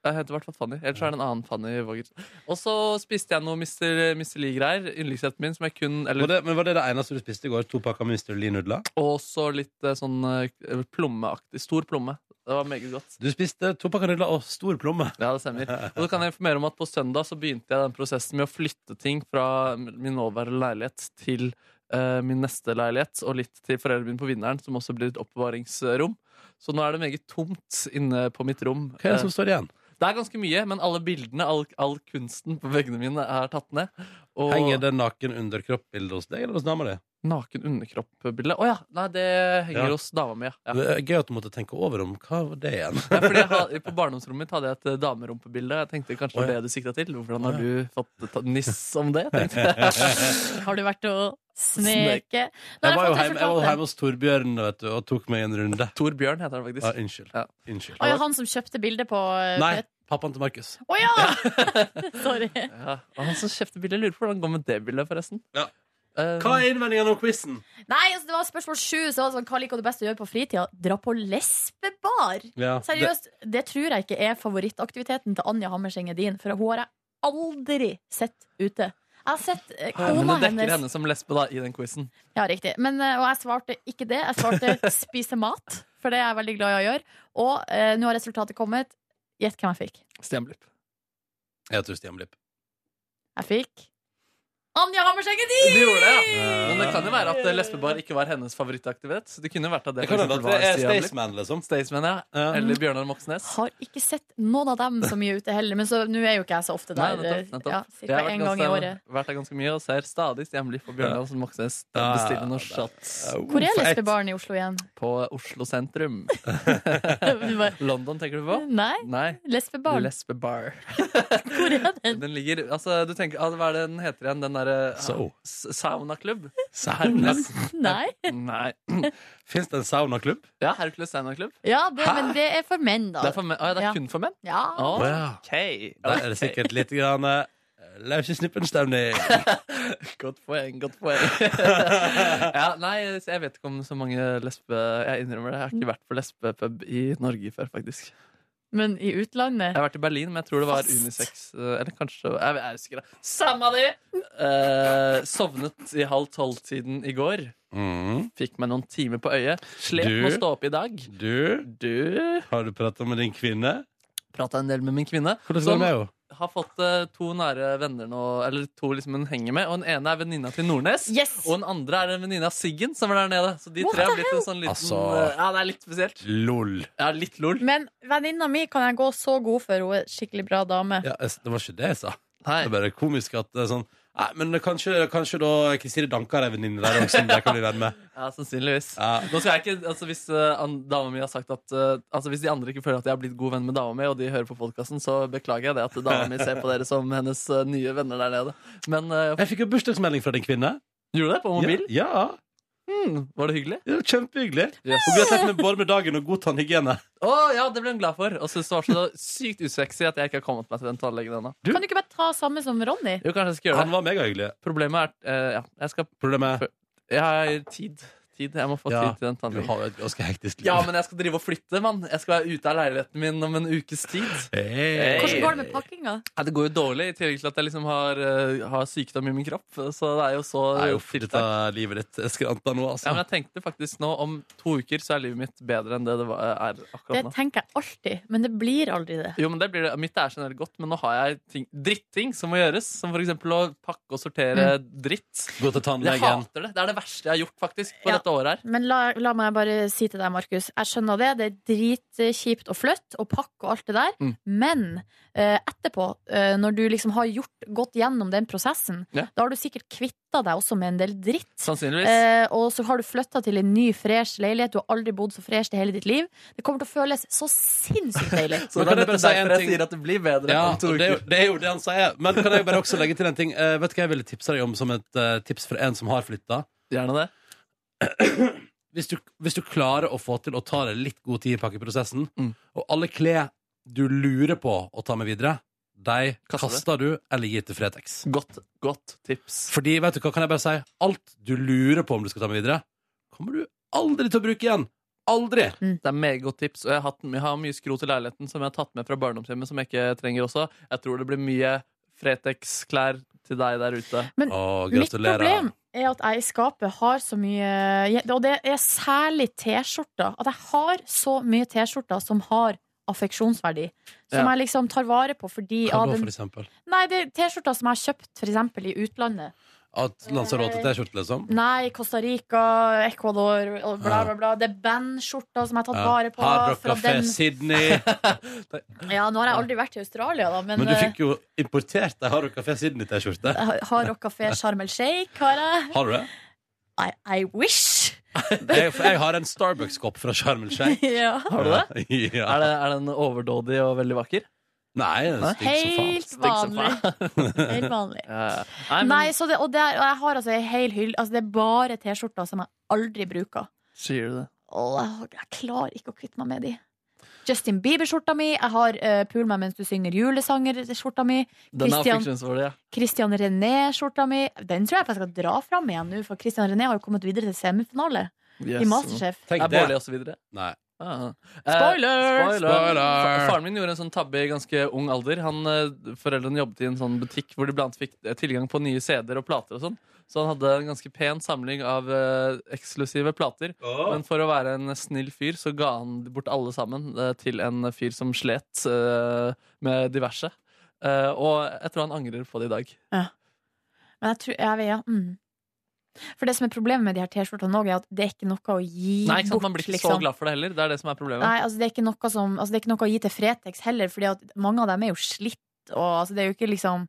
C: Jeg heter i hvert fall Fanny. Ellers er det en annen Fanny Våger. Og så spiste jeg noe Mr. Mr. Lee-greier. Yndlingsretten min, som jeg kun
B: Var
C: Eller
B: det, men var det det eneste du spiste i går? To pakker Mr. Lee-nudler?
C: også litt eh, sånn eh, plommeaktig. Stor plomme. Det var meget godt.
B: Du spiste to pakker nudler og stor plomme.
C: Ja, det stemmer. Og så kan jeg informere om at på søndag så begynte jeg den prosessen med å flytte ting fra min nåværende leilighet til eh, min neste leilighet, og litt til foreldrene mine på Vinneren, som også blir et oppbevaringsrom. Så nå er det meget tomt inne på mitt rom.
B: Hva er det som står igjen?
C: Eh, det er ganske mye, men alle bildene, all, all kunsten på veggene mine er tatt ned. Og
B: Henger det naken underkropp-bildet hos deg eller hos dama di?
C: naken underkropp-bilde. Å ja! Nei, det
B: Ja.
C: henger hos dama mi, ja. ja.
B: Det er Gøy at du måtte tenke over om hva var det igjen.
C: Ja, fordi jeg har, på barndomsrommet mitt hadde jeg et eh, damerumpebilde. Jeg tenkte kanskje
B: Å,
C: det var
B: ja.
C: det du sikta til. Hvordan
B: Å,
C: har du fått ta- niss om det? tenkte jeg.
D: Har du vært og sneke? Nå har
B: Jeg var jo hjemme, jeg var
D: fått resultatet.
B: hjemme hos Torbjørn vet du, og tok meg en runde.
C: Tor Bjørn heter han faktisk.
B: Ja, unnskyld.
C: Ja.
B: unnskyld.
D: Å ja, han som kjøpte bildet på eh,
B: Nei,
D: Pet-
B: pappaen til Markus.
D: Å ja! Sorry.
C: Ja. Og han som kjøpte bildet, lurer på hvordan det går med det bildet, forresten.
B: Ja.
C: Eh,
B: Hva er innvendingene om quizen?
D: Nei, altså, det var spørsmål sju. Så var det sånn, hva liker du best å gjøre på fritida? Dra på lesbeball? har.
B: Ja,
D: Seriøst, det... tror jeg ikke er favorittaktiviteten til Anja Hammerseng Edin, for hun har jeg aldri sett ute. Jeg har sett eh,
C: Men
D: kona
C: det dekker
D: hennes
C: henne som lesbe da, i den quizen.
D: Ja, riktig. Men, eh, og jeg svarte ikke det. Jeg svarte spise mat, for det er jeg veldig glad i å gjøre. Og eh, nå har resultatet kommet. Gjett hvem jeg fikk.
C: Stianblipp.
B: Jeg tror Stianblipp.
D: Jeg fikk Anja Hammerseng Edin!
C: Du gjorde det, ja. Men det kan jo være at eh, lesbebar ikke var hennes favorittaktivitet. Så det kunne jo vært at det,
B: Det kan
C: for
B: hende at det
C: eksempel var
B: er
C: Stian Blipp.
B: Staysman, liksom.
C: Staysman, ja. Eller Bjørnar Moxnes.
D: Har ikke sett noen av dem så mye ute heller, men så nå er jo ikke jeg så ofte
C: Nei,
D: der.
C: nettopp, nettopp.
D: Ja,
C: Jeg
D: cirka
C: har vært
D: én gang i
C: ganske-
D: året.
C: Vært der ganske mye og ser stadig Stian Blipp og Bjørnar Moxnes
B: Ja, ja,
C: bestille noen shots.
D: Hvor er lesbebarn i Oslo igjen?
C: På Oslo sentrum. London, tenker du på?
D: Nei.
C: Nei.
D: Lesbebarn.
C: Lesbebar. Hvor er den? Den ligger altså, du tenker, ah, Hva er det den heter igjen? Den derre ah,
B: So.
C: Saunaklubb?
B: Sauna?
D: Nei.
C: Nei.
B: Fins det en saunaklubb?
C: Ja, Hercules saunaklubb.
D: Ja, det, men det er for menn, da.
C: Det er for menn. Å, ja, det er kun for menn?
D: Ja.
C: Oh,
B: ja.
C: ok.
B: Der er det sikkert litt grann eh, løse snippen-stemning.
C: Godt poeng, godt poeng. ja, nei, så jeg vet ikke om så mange lesbe Jeg innrømmer det, jeg har ikke vært på lesbepub i Norge før, faktisk.
D: Men i utlandet
C: Jeg har vært i Berlin, men jeg tror det var unisex. eh, Eller kanskje Jeg er usikker. da. Samme det! Eh, sovnet i halv tolv-tiden i går.
B: Mm.
C: Fikk meg noen timer på øyet. Slet med å
B: Du-
C: stå opp i dag.
B: Du, har du prata med din kvinne?
C: Prata en del med min kvinne.
B: Hvordan går det
C: som
B: med henne?
C: Har fått eh, to nære venner nå, eller to liksom hun henger med. Og den ene er venninna til Nordnes, og den andre er en venninne av Siggen, som er der nede. Så de
D: What
C: tre har
D: the
C: blitt en sånn liten
B: Altså-
C: eh, Ja, det er litt spesielt.
B: Lol.
C: Ja, litt lol.
D: Men venninna mi kan jeg gå så god for. Hun er en skikkelig bra dame.
B: Ja, jeg- det var ikke det jeg sa. Det er bare komisk at det er sånn Nei, men kanskje, kanskje da Kristine Danke har ei venninne der også som dere kan bli venn med.
C: Ja, sannsynligvis. Nå skal jeg ikke, altså Hvis eh, an- dama mi har sagt at eh, Altså hvis de andre ikke føler at jeg har blitt god venn med dama mi, og de hører på podkasten, så beklager jeg det at dama mi ser på dere som hennes eh, nye venner der nede. Men eh,
B: Jeg fikk jo bursdagsmelding fra din kvinne.
C: Gjorde du det? På mobil?
B: Ja. ja.
C: hmm, var det hyggelig?
B: Det var Kjempehyggelig.
C: Yes.
B: Og gratulerer med både med dagen og god tannhygiene.
C: Å ja, det ble hun glad for. Og syntes det var så sykt usexy at jeg ikke har kommet meg til den tannlegen ennå.
D: Kan du ikke bare ta samme som Ronny?
C: Jo, kanskje jeg skal gjøre det.
B: Han var megahyggelig.
C: Problemet er eh, Ja, jeg skal
B: Problemet
C: Jeg har tid. tid. Jeg må få
B: Ja,
C: tid til den
B: Du
C: tannlegen.
B: har jo et ganske hektisk liv.
C: Ja, men jeg skal drive og flytte, mann. Jeg skal være ute av leiligheten min om en ukes tid.
B: Hey.
D: Hvordan går det med pakkinga?
C: Ja, det går jo dårlig, i tillegg til at jeg liksom har, eh, har sykdom i min kropp. Så det er jo så
B: Nei, uff,
C: firkant.
B: dette er livet ditt skranta nå, altså.
C: Ja, men jeg tenkte faktisk nå, om to uker så er livet mitt bedre enn det det var, eh, er
D: Det
C: akkurat nå.
D: tenker jeg alltid, men det blir aldri det.
C: Jo, men det blir det. Mitt er generelt godt, men nå har jeg ting, drittting som må gjøres. Som for eksempel å pakke og sortere
D: Mm.
C: dritt.
B: Gå til
C: Jeg
B: tannlegen.
C: hater det. Det er det verste jeg har gjort faktisk på
D: Ja.
C: dette året her.
D: Men la, la meg bare si til deg, Markus. Jeg skjønner det. Det er dritkjipt å flytte og pakke og alt det der.
C: Mm.
D: Men eh, etterpå, eh, når du liksom har gjort, gått gjennom den prosessen,
C: Ja. Sånn,
D: da har du sikkert kvitta deg også med en del dritt.
C: Sannsynligvis.
D: Eh, og så har du flytta til en ny, fresh leilighet. Du har aldri bodd så fresh i hele ditt liv. Det kommer til å føles så sinnssykt deilig.
C: Så
B: Men kan
C: det er
B: jeg
C: derfor
B: bare si en
C: jeg
B: ting?
C: sier at det blir bedre
B: Ja,
C: om to
B: og det, er jo,
C: uker.
B: det er jo det han sier. Men kan jeg bare også legge til en ting? Eh, vet du hva jeg ville tipsa deg om som et eh, tips fra en som har flytta?
C: Gjerne det.
B: Hvis, du- hvis du klarer å få til å ta deg litt god tid i pakkeprosessen,
C: Mm.
B: og alle klær du lurer på å ta med videre, de
C: Kaster
B: kaster,
C: det.
B: du eller gir til Fretex.
C: Godt, godt tips.
B: Fordi, vet du hva, kan jeg bare si, alt du lurer på om du skal ta med videre, kommer du aldri til å bruke igjen. Aldri!
C: Det er meget godt tips. Og jeg har, hatt, jeg har mye skrot i leiligheten som jeg har tatt med fra barndomshjemmet, som jeg ikke trenger også. Jeg tror det blir mye Fretex-klær til deg der ute.
B: Å,
D: Mitt
B: gratulerer.
D: problem er at jeg i skapet har så mye Og det er særlig T-skjorter. At jeg har så mye T-skjorter som har affeksjonsverdi. Som
C: Ja.
D: jeg liksom tar vare på fordi
B: Hva
D: av
B: da,
D: den
B: for eksempel?
D: Nei, det er T-skråter som jeg har kjøpt for eksempel i utlandet.
B: At Lanzarote-T-skjorte, liksom?
D: Nei, Costa Rica, Ecuador og bla, bla, bla. Det er bandskjorter som jeg har tatt vare på.
B: Hard Rock
D: fra
B: Café
D: den-
B: Sydney.
D: Ja, nå har jeg aldri vært i Australia, da, men,
B: Men du fikk jo importert ei Hard Rock Café Sydney-T-skjorte.
D: eh, Har Rock Café Sharm el Sheikh, har jeg.
B: Har du det?
D: I, I wish.
B: Jeg, for jeg har en Starbucks-kopp fra Sharm el Sheikh.
D: ja.
C: Har du det?
B: Ja.
C: Er, det, er den overdådig og veldig vakker?
B: Nei, den er stygg som faen.
D: Helt
C: Stygg som
D: vanlig. Helt vanlig.
C: Ja, ja. Eh, Nei, men
D: Nei, så det, og, det er, og jeg har altså ei hel hylle Altså, det er bare T-skjorter som jeg aldri bruker.
C: Sier du det?
D: Åh, jeg, jeg klarer ikke å kvitte meg med de. Justin Bieber-skjorta mi, jeg har eh, Pul meg mens du synger julesanger-skjorta mi.
C: Den er
D: Christian-
C: affeksjonsverdig, ja.
D: Christian René-skjorta mi. Den tror jeg faktisk jeg skal dra fram igjen nå, for Christian René har jo kommet videre til semifinale
C: Yes.
D: i Masterchef.
B: Tenk
C: Er
B: det.
C: Bårli også videre?
B: Nei.
C: Ah. Eh,
D: Spoiler!
C: spoiler!
D: Spoiler!
C: Fa- Faren min gjorde en sånn tabbe i ganske ung alder. Han, eh, foreldrene jobbet i en sånn butikk hvor de blant annet fikk eh, tilgang på nye CD-er og plater. og sånn Så han hadde en ganske pen samling av eh, eksklusive plater.
K: Åh.
C: Men for å være en snill fyr så ga han bort alle sammen eh, til en fyr som slet eh, med diverse. Eh, og jeg tror han angrer på det i dag.
D: Men jeg tror jeg vet, ja. mm. For det som er problemet med de her T-skjortene òg, er at det er ikke noe å gi
C: Nei, ikke sant?
D: bort.
C: Man blir ikke så
D: liksom.
C: glad for det heller. Det er det som er problemet.
D: Nei, altså det er ikke noe som altså Det er ikke noe å gi til Fretex heller, Fordi at mange av dem er jo slitt, og altså det er jo ikke liksom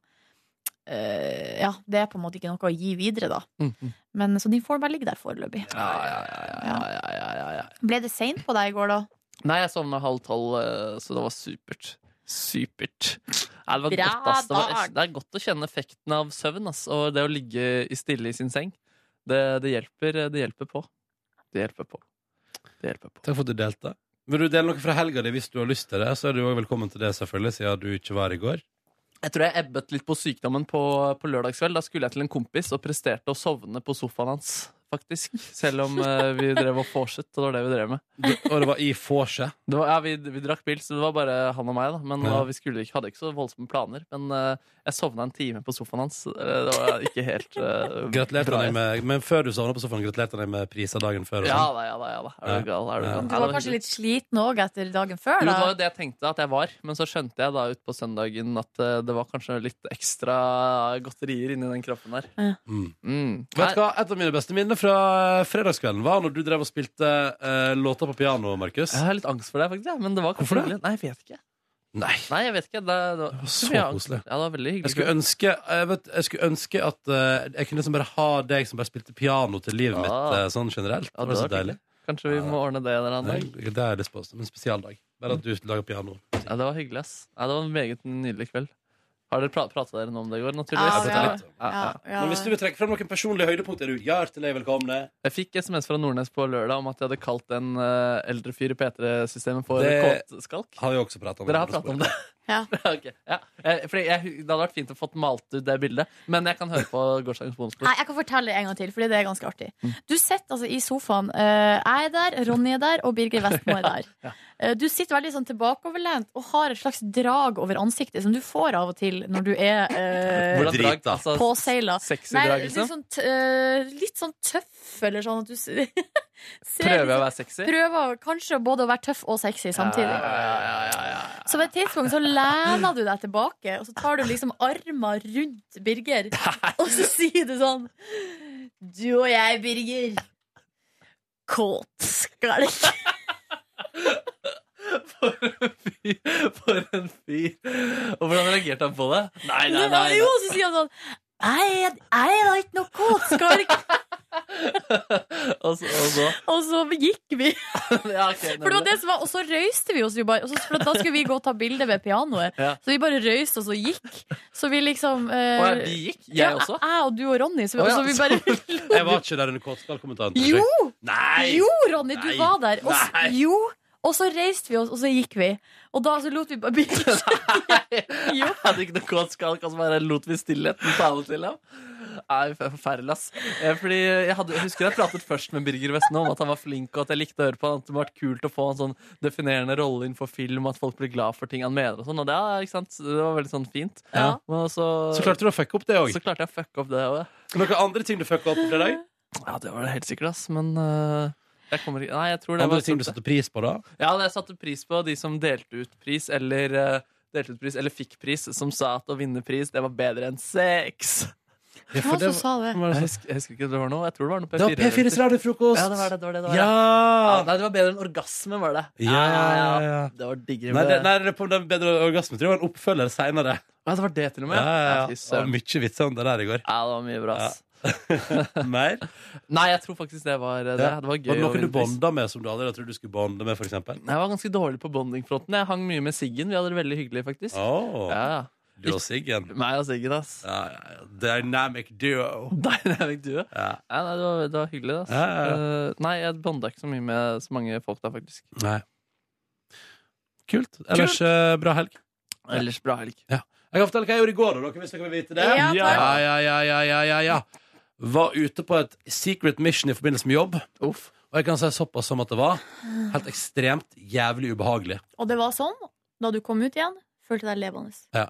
D: eh, Ja, det er på en måte ikke noe å gi videre, da.
C: Mm,
D: Men så de får bare ligge der foreløpig. Ble det seint på deg i går, da?
C: Nei, jeg sovna halv tolv, eh, så det var supert. Supert. Nei, det, var
D: Bra
C: godt, ass. Det, var,
D: dag.
C: det er godt å kjenne effekten av søvn ass. og det å ligge i stille i sin seng. Det, det, hjelper, det hjelper på. Det hjelper på. Det hjelper på.
B: Takk for at du delte. Vil du dele noe fra helga di hvis du har lyst til det, så er du også velkommen til det, selvfølgelig, siden du ikke var her i går.
C: Jeg tror jeg ebbet litt på sykdommen på, på lørdagskveld. Da skulle jeg til en kompis og presterte å sovne på sofaen hans. Faktisk. Selv om eh, vi drev og vorset, og det var det vi drev med.
B: Og det var i vorset?
C: Ja, vi, vi drakk pils, så det var bare han og meg. da Men
B: Ja.
C: og Vi skulle ikke, hadde ikke så voldsomme planer. Men eh, jeg sovna en time på sofaen hans. Eh, Det var ikke helt eh,
B: Gratulerte
C: bra.
B: han deg med altså. Men før du sovna på sofaen, gratulerte han deg med priser dagen før? sånn.
C: Ja da, ja da. ja da Er du gal? Er du gal?
D: Du var kanskje litt sliten òg etter dagen før,
C: Jo, det
D: da?
C: var jo det jeg tenkte at jeg var, men så skjønte jeg da ut på søndagen at eh, det var kanskje litt ekstra godterier inni den kroppen der.
B: Mm.
C: Nei.
B: Vet du hva, Et av mine beste minner fra eh, fredagskvelden var når du drev og spilte eh, låter på piano, Markus.
C: Jeg har litt angst for det, faktisk. Ja, men det var kanskje
B: Hvorfor det?
C: hyggelig. Nei, jeg vet ikke.
B: Nei.
C: jeg vet ikke. Det, det var
B: Så
C: mye angst.
B: koselig.
C: Ja, det var veldig
B: Jeg
C: hyggelig.
B: skulle ønske, jeg vet, jeg skulle ønske at eh, jeg kunne liksom bare ha deg som bare spilte piano til livet mitt
C: Ah.
B: eh, sånn generelt.
C: Ja,
B: det var så
C: hadde vært
B: deilig.
C: hyggelig. Kanskje vi må ordne det en eller annen dag.
B: Det er- det er jeg lyst på som en spesialdag. Bare at du lager piano.
C: Ja, det var hyggelig, ass. Ja, det var en meget nydelig kveld. Har dere pra prata dere noe om det i går,
B: Ja,
C: naturligvis?
B: vi har det.
C: Ja, ja.
B: Men hvis du vil trekke frem noen personlige høydepunkt, er du hjertelig velkomne.
C: Jeg fikk SMS fra Nordnes på lørdag om at jeg hadde kalt en eh, eldre fyr i P3-systemet for
B: Det
C: kåtskalk.
B: har vi også pratet om.
C: Dere har pratet om det? Ok, ja. Eh, fordi jeg, det hadde vært fint å fått malt ut det bildet, men jeg kan høre på gårsdagens
D: Nei,
C: bonusbord.
D: jeg kan fortelle en gang til, fordi det er ganske artig.
C: Mm.
D: Du sitter altså i sofaen. eh, Jeg er der, Ronny er der, og Birger Vestmo er der. Eh, Du sitter veldig sånn tilbakeoverlent og har et slags drag over ansiktet som du får av og til når du er eh,
C: Hvordan drag? Altså,
D: påseila.
C: sexy
D: Nei,
C: drag,
D: litt
C: liksom?
D: sånn t- eh, litt sånn tøff, eller sånn at du s- ser
C: Prøver
D: litt
C: jeg å
D: sånn-
C: være sexy?
D: Prøver kanskje både å være tøff og sexy samtidig.
C: Ja, ja, ja, ja, ja.
D: Så på et tidspunkt så lener du deg tilbake, og så tar du liksom armer rundt Birger. Og så sier du sånn Du og jeg, Birger. Kåt skalk.
C: For en fyr! Og hvordan reagerte han på det? Nei, nei, nei.
D: Jo, så sier han sånn Nei, jeg jeg er da ikke noe kåt skalk.
C: Og så, og så.
D: Og så gikk vi.
C: Ja, ok,
D: For det var det som var, Og så røyste vi oss jo bare. og så- For da skulle vi gå og ta bilde ved pianoet.
C: Ja.
D: Så vi bare røyste oss og gikk. Så vi liksom eh,
B: Å, ja, de gikk? Jeg
D: ja,
B: også?
D: Jeg og du og Ronny. Så
B: Å,
D: vi,
B: ja,
D: så vi bare
B: Jeg var ikke der under kåtskallkommentaren. til
D: Jo!
B: seg. Nei!
D: Jo, Ronny, du
B: Nei.
D: var der. Og, s-
B: Nei.
D: jo, og så reiste vi oss, og så gikk vi. Og da så lot vi bare bilen
C: Jeg hadde ikke noe kåtskalk, og så bare lot vi stillheten tale til ham. Nei, for- forferdelig, ass. Eh, Fordi jeg, hadde, jeg husker jeg pratet først med Birger Vestmo om at han var flink, og at jeg likte å høre på han, at det var kult å få en sånn definerende rolle innenfor film, at folk blir glad for ting han mener og sånn, og det, er, ikke sant? det var veldig sånn fint.
B: Ja.
C: Men så,
B: Så klarte du å fucke opp det òg.
C: Så klarte jeg å fucke opp det også.
B: Noen andre ting du fucka opp på fredag?
C: Ja, det var det helt sikkert, ass, men... eh, Jeg kommer ikke... Nei, jeg tror det
B: Andre
C: var
B: ting du satte pris på, da?
C: Ja, det satte pris på de som delte ut pris eller, eh, delte ut pris, eller fikk pris, som sa at å vinne pris, det var bedre enn sex.
B: Ja, for Hvem var det det som var- sa det? hvem var det som-
C: Jeg husker, jeg husker ikke, det var noe, jeg tror det var noe
B: Det var P4s radiofrokost.
C: Ja, det var det, det var det, det var
B: Ja!
C: det. Nei, det var bedre enn orgasme, var det.
B: Ja, ja, ja.
C: Det var diggere
B: Nei, det,
C: med-
B: nei, det på den bedre orgasme tror jeg var en oppfølger seinere.
C: Ja, det var det til og med.
B: Ja, ja,
C: Ja,
B: ja.
C: fy
B: Det var
C: søren.
B: mye vitser om det der i går.
C: Ja, det var mye bra, ass.
B: Mer?
C: Nei, jeg tror faktisk det var eh, det. Det var gøy
B: Var det
C: å
B: noen du
C: vinne pris.
B: bonda med som du aldri hadde trodd du skulle bonde med, for eksempel?
C: Jeg var ganske dårlig på bondingfronten. Jeg hang mye med Siggen. Vi hadde det veldig hyggelig, faktisk.
B: Åh,
C: Ja.
B: Du og Siggen.
C: Meg og Siggen, ass.
B: Ja, ja, ja. Dynamic duo.
C: Dynamic duo?
B: Ja.
C: Ja, nei, det, var, det var hyggelig, ass.
B: Ja, ja, ja.
C: Eh, nei, jeg bonda ikke så mye med så mange folk da, faktisk.
B: Nei. Kult. Ellers eh, bra helg.
C: Ellers bra helg.
B: Ja. Jeg kan fortelle hva jeg gjorde i går, da, dere, hvis dere vil vite det.
C: Ja, takk.
B: ja, ja, ja, ja, ja, ja. Var ute på et secret mission i forbindelse med jobb. Og jeg kan si såpass som at det var helt ekstremt jævlig ubehagelig.
D: Og det var sånn, da du kom ut igjen, følte deg levende.
B: Ja.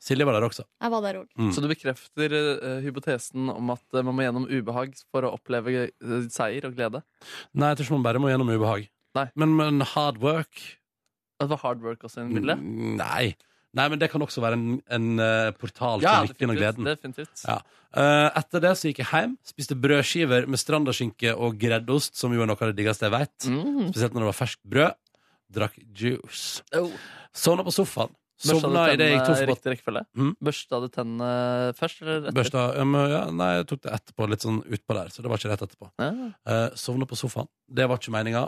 B: Silje var der også.
D: Jeg var der òg.
B: Mm.
C: Så du bekrefter eh, hypotesen om at eh, man må gjennom ubehag for å oppleve eh, seier og glede?
B: Nei, jeg tror ikke man bare må gjennom ubehag. Men, men hard work
C: At det var hard work også i bildet?
B: Mm, Nei. Nei, men det kan også være en, en eh, portal til
C: Ja,
B: lykken og
C: definitivt,
B: gleden.
C: definitivt.
B: Ja. Eh, etter det så gikk jeg hjem, spiste brødskiver med strandaskinke og greddost, som jo er noe av det diggeste jeg vet.
C: Mm.
B: Spesielt når det var ferskt brød. Drakk juice.
C: Oh.
B: Sovna på sofaen.
C: Børsta
B: Sovna
C: du
B: i det jeg gikk
C: tennene i
B: tom for
C: riktig rekkefølge?
B: Mm.
C: Børsta du tennene først, eller etter?
B: Børsta ja, men, ja, Nei, jeg tok det etterpå, litt sånn utpå der. Så det var ikke rett etterpå. Eh, sovna på sofaen. Det var ikke meninga,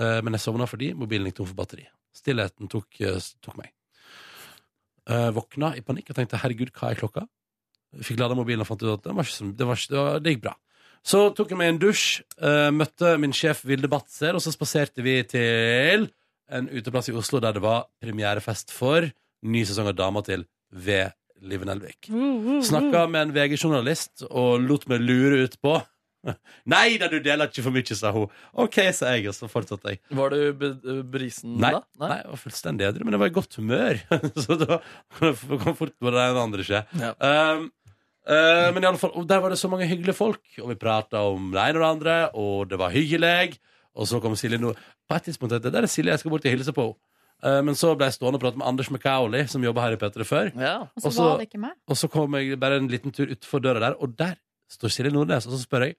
B: eh, men jeg sovna fordi mobilen gikk tom for batteri. Stillheten tok, eh, s- tok meg. Eh, våkna i panikk og tenkte 'herregud, hva er klokka?' Fikk lada mobilen og fant ut at den var ikke så, det, var ikke, det, var, det gikk bra. Så tok jeg meg en dusj, eh, møtte min sjef Vilde Batzer, og så spaserte vi til en uteplass i Oslo der det var premierefest for ny sesong av Dama til ved Live Nelvik. Snakka med en VG-journalist og lot meg lure ut på. Nei da, du deler ikke for mye, sa hun. OK, sa jeg, og så fortsatte jeg.
C: Var du be- eh, brisen
B: Nei,
C: da?
B: nei. jeg var fullstendig edru, men jeg var i godt humør. så da kan fort både det ene og det andre skje. Um, uh, men i alle fall, og der var det så mange hyggelige folk, og vi prata om det ene og det andre, og det var hyggelig. Og så kom Silje nå. På et tidspunkt tenkte jeg der er Silje jeg skal bort og hilse på. Uh, men så ble jeg stående og prate med Anders McCauley, som jobba her i P3 før.
D: Og så
B: Og så-
D: var det ikke meg.
B: og så kom jeg bare en liten tur utfor døra der, og der står Silje Nordnes. Og så spør jeg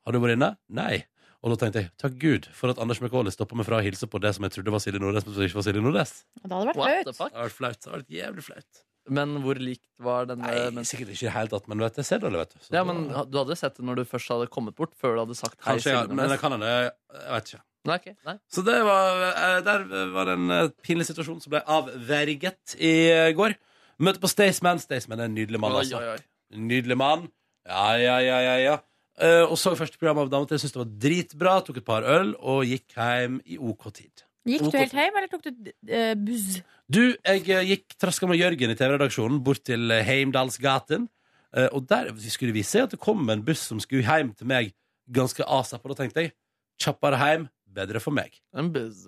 B: har du vært inne. Nei. Og da tenkte jeg takk Gud for at Anders McCauley stoppa meg fra å hilse på det som jeg trodde var Silje Nordnes, men som ikke var Silje Nordnes.
D: Det hadde vært
C: What
D: flaut.
C: the fuck?
B: Det var flaut. Det var jævlig flaut.
C: Men hvor likt var denne
B: Nei,
C: men-
B: sikkert ikke i det hele tatt, men vet, du, jeg ser dårlig, vet du. Så
C: Ja,
B: da-
C: men ha- Du hadde sett det når du først hadde kommet bort, før du hadde sagt hei.
B: Kanskje, ja, men
C: Silje
B: det
C: Nordnes.
B: kan hende. Jeg vet ikke.
C: Nei, ok, nei.
B: Så det var, eh, der var det en eh, pinlig situasjon som ble avverget i eh, går. Møtte på Staysman. Staysman er en nydelig mann.
C: Oi,
B: altså.
C: oi, oi.
B: Nydelig mann. Ja, ja, ja, ja, ja. Eh, og så første program av Dame til. Syntes det var dritbra. Tok et par øl og gikk hjem i OK tid.
D: Gikk
B: Ok.
D: du helt hjem, eller tok du eh, buss?
B: Du, jeg eh, gikk traska med Jørgen i TV-redaksjonen bort til eh, Heimdalsgaten. eh, og der skulle vi se at det kom en buss som skulle hjem til meg ganske asap. Og da tenkte jeg kjappere hjem, bedre for meg.
C: En buzz.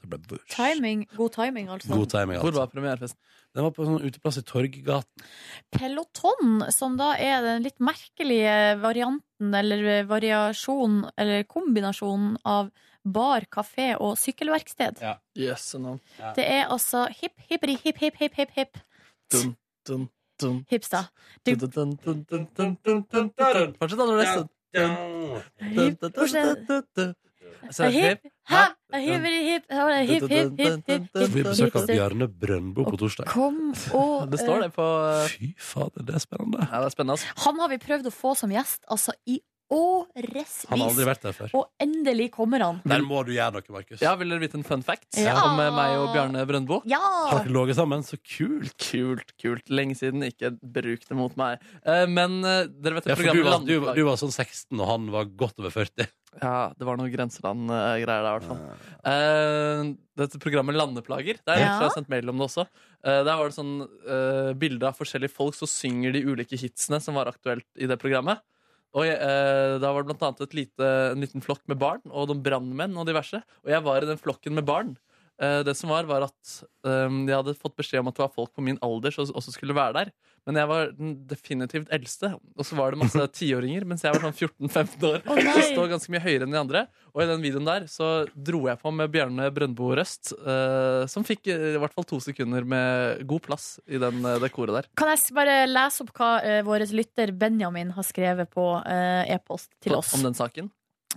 B: Det ble buss.
D: Timing. God timing, altså.
B: God timing,
C: Hvor
B: altså.
C: var premierefesten?
B: Den var på en sånn uteplass i Torggaten.
D: Peloton, som da er den litt merkelige varianten eller variasjonen eller kombinasjonen av bar, kafé og sykkelverksted.
C: Yes, no.
D: Det er altså hipp, hipperi, hipp, hipp, hipp, hipp, hipp.
C: Dun, dun, dun.
D: Hipsta.
C: Dun, dun, dun, dun, dun, dun, dun, dun, dun. Fortsett, da, Nordnes. sånn. Dun, dun, dun, dun, dun, dun. Så er det
D: Hipp,
C: hipp.
D: ha, hipperi, hipp, ha, hipp, hipp, hipp, hipp,
B: Så vi
D: hipp,
B: besøk av
D: hipp.
B: Bjarne Brøndbo på torsdag.
D: Kom og
C: Det står det på
B: Fy fader, det er spennende.
C: Ja, det er spennende. altså. ass.
D: eh, Han har vi prøvd å få som gjest, altså i årevis.
B: Han har aldri vært der før.
D: Og endelig kommer han.
B: Der må du gjøre noe, Markus.
C: Ja, Vil dere vite en fun fact
D: Ja.
C: om eh, meg og Bjarne Brøndbo?
D: Ja!
B: Har dere ligget sammen? Så kult.
C: Kult, kult. Lenge siden. Ikke bruk det mot meg. Eh, Men eh, dere vet
B: Ja,
C: det
B: for du
C: programmet
B: var, du,
C: Landslag-
B: du var sånn 16, og han var godt over 40.
C: Ja, det var noen grenseland-greier der, i hvert fall. Eh, dette programmet Landeplager, der
D: Ja.
C: har jeg sendt mail om det også. Eh, der var det sånn eh, bilde av forskjellige folk, så synger de ulike hitsene som var aktuelt i det programmet. Og jeg, eh, Da var det blant annet et lite, en liten flokk med barn, og noen brannmenn og diverse. Og jeg var i den flokken med barn. Eh, det som var, var at eh, jeg hadde fått beskjed om at det var folk på min alder som også skulle være der. Men jeg var den definitivt eldste, og så var det masse tiåringer. Mens jeg var sånn 14-15 år.
D: Å, nei!
C: og stod ganske mye høyere enn de andre. Og i den videoen der så dro jeg på med Bjarne Brøndbo-røst, eh, som fikk eh, i hvert fall to sekunder med god plass i den, eh, det koret der.
D: Kan jeg s- bare lese opp hva uh, vår lytter Benjamin har skrevet på eh, e-post til oss?
C: Om den saken.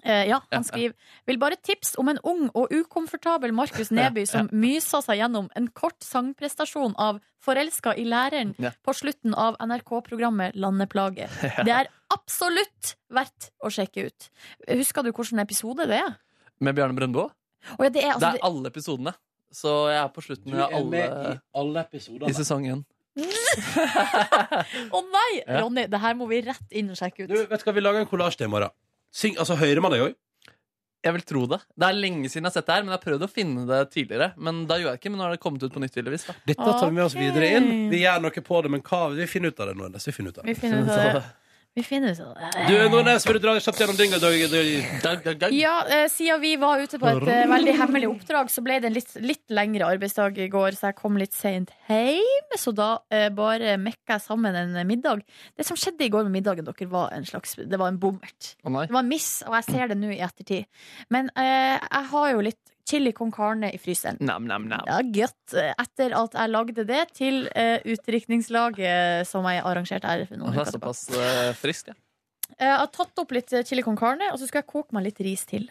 D: Eh, ja,
C: Ja, ja.
D: han skriver Vil bare tips om en ung og ukomfortabel Markus Neby som mysa seg gjennom en kort sangprestasjon av 'Forelska i læreren'
C: Ja.
D: på slutten av NRK-programmet 'Landeplage'. Det er absolutt verdt å sjekke ut. Husker du hvilken episode det er?
C: Med Bjarne Brøndbo.
D: Å ja, det er altså
C: det er alle episodene. Så jeg er på slutten av alle
B: alle
C: i
B: episodene.
C: sesong én.
D: det- Å nei!
C: Ja.
D: Ronny, det her må vi rett inn og sjekke ut.
B: Du, vet du hva, vi lager en kollasj til i morgen. Syng, altså, hører man det òg?
C: Jeg vil tro det. Det er lenge siden jeg har sett det her, men jeg har prøvd å finne det tidligere. Men da gjorde jeg ikke, men nå har det kommet ut på nytt, tydeligvis. da.
B: Dette tar vi med oss
D: Ok.
B: videre inn. Vi gjør noe på det, men hva? Vi finner ut av det nå. Nordnes. Vi finner ut av det.
D: Vi finner ut av det. Vi finner ut av det.
B: Du, Nordnes, vil du dra kjapt gjennom dynga? dag- dag- dag- dag?
D: Ja, eh, siden vi var ute på et eh, veldig hemmelig oppdrag, så ble det en litt, litt lengre arbeidsdag i går, så jeg kom litt seint hjem. Så da eh, bare mekka jeg sammen en middag. Det som skjedde i går med middagen, dere, var en slags Det var en bommert. Det var en miss, og jeg ser det nå i ettertid. Men eh, jeg har jo litt chili con carne i fryseren.
C: Nam, nam, nam.
D: Ja, godt. Etter at jeg lagde det til eh, utdrikningslaget som jeg arrangerte her for noen
C: Det er
D: uker tilbake.
C: såpass eh, friskt, ja.
D: Eh, Jeg har tatt opp litt eh, chili con carne, og så skulle jeg koke meg litt ris til.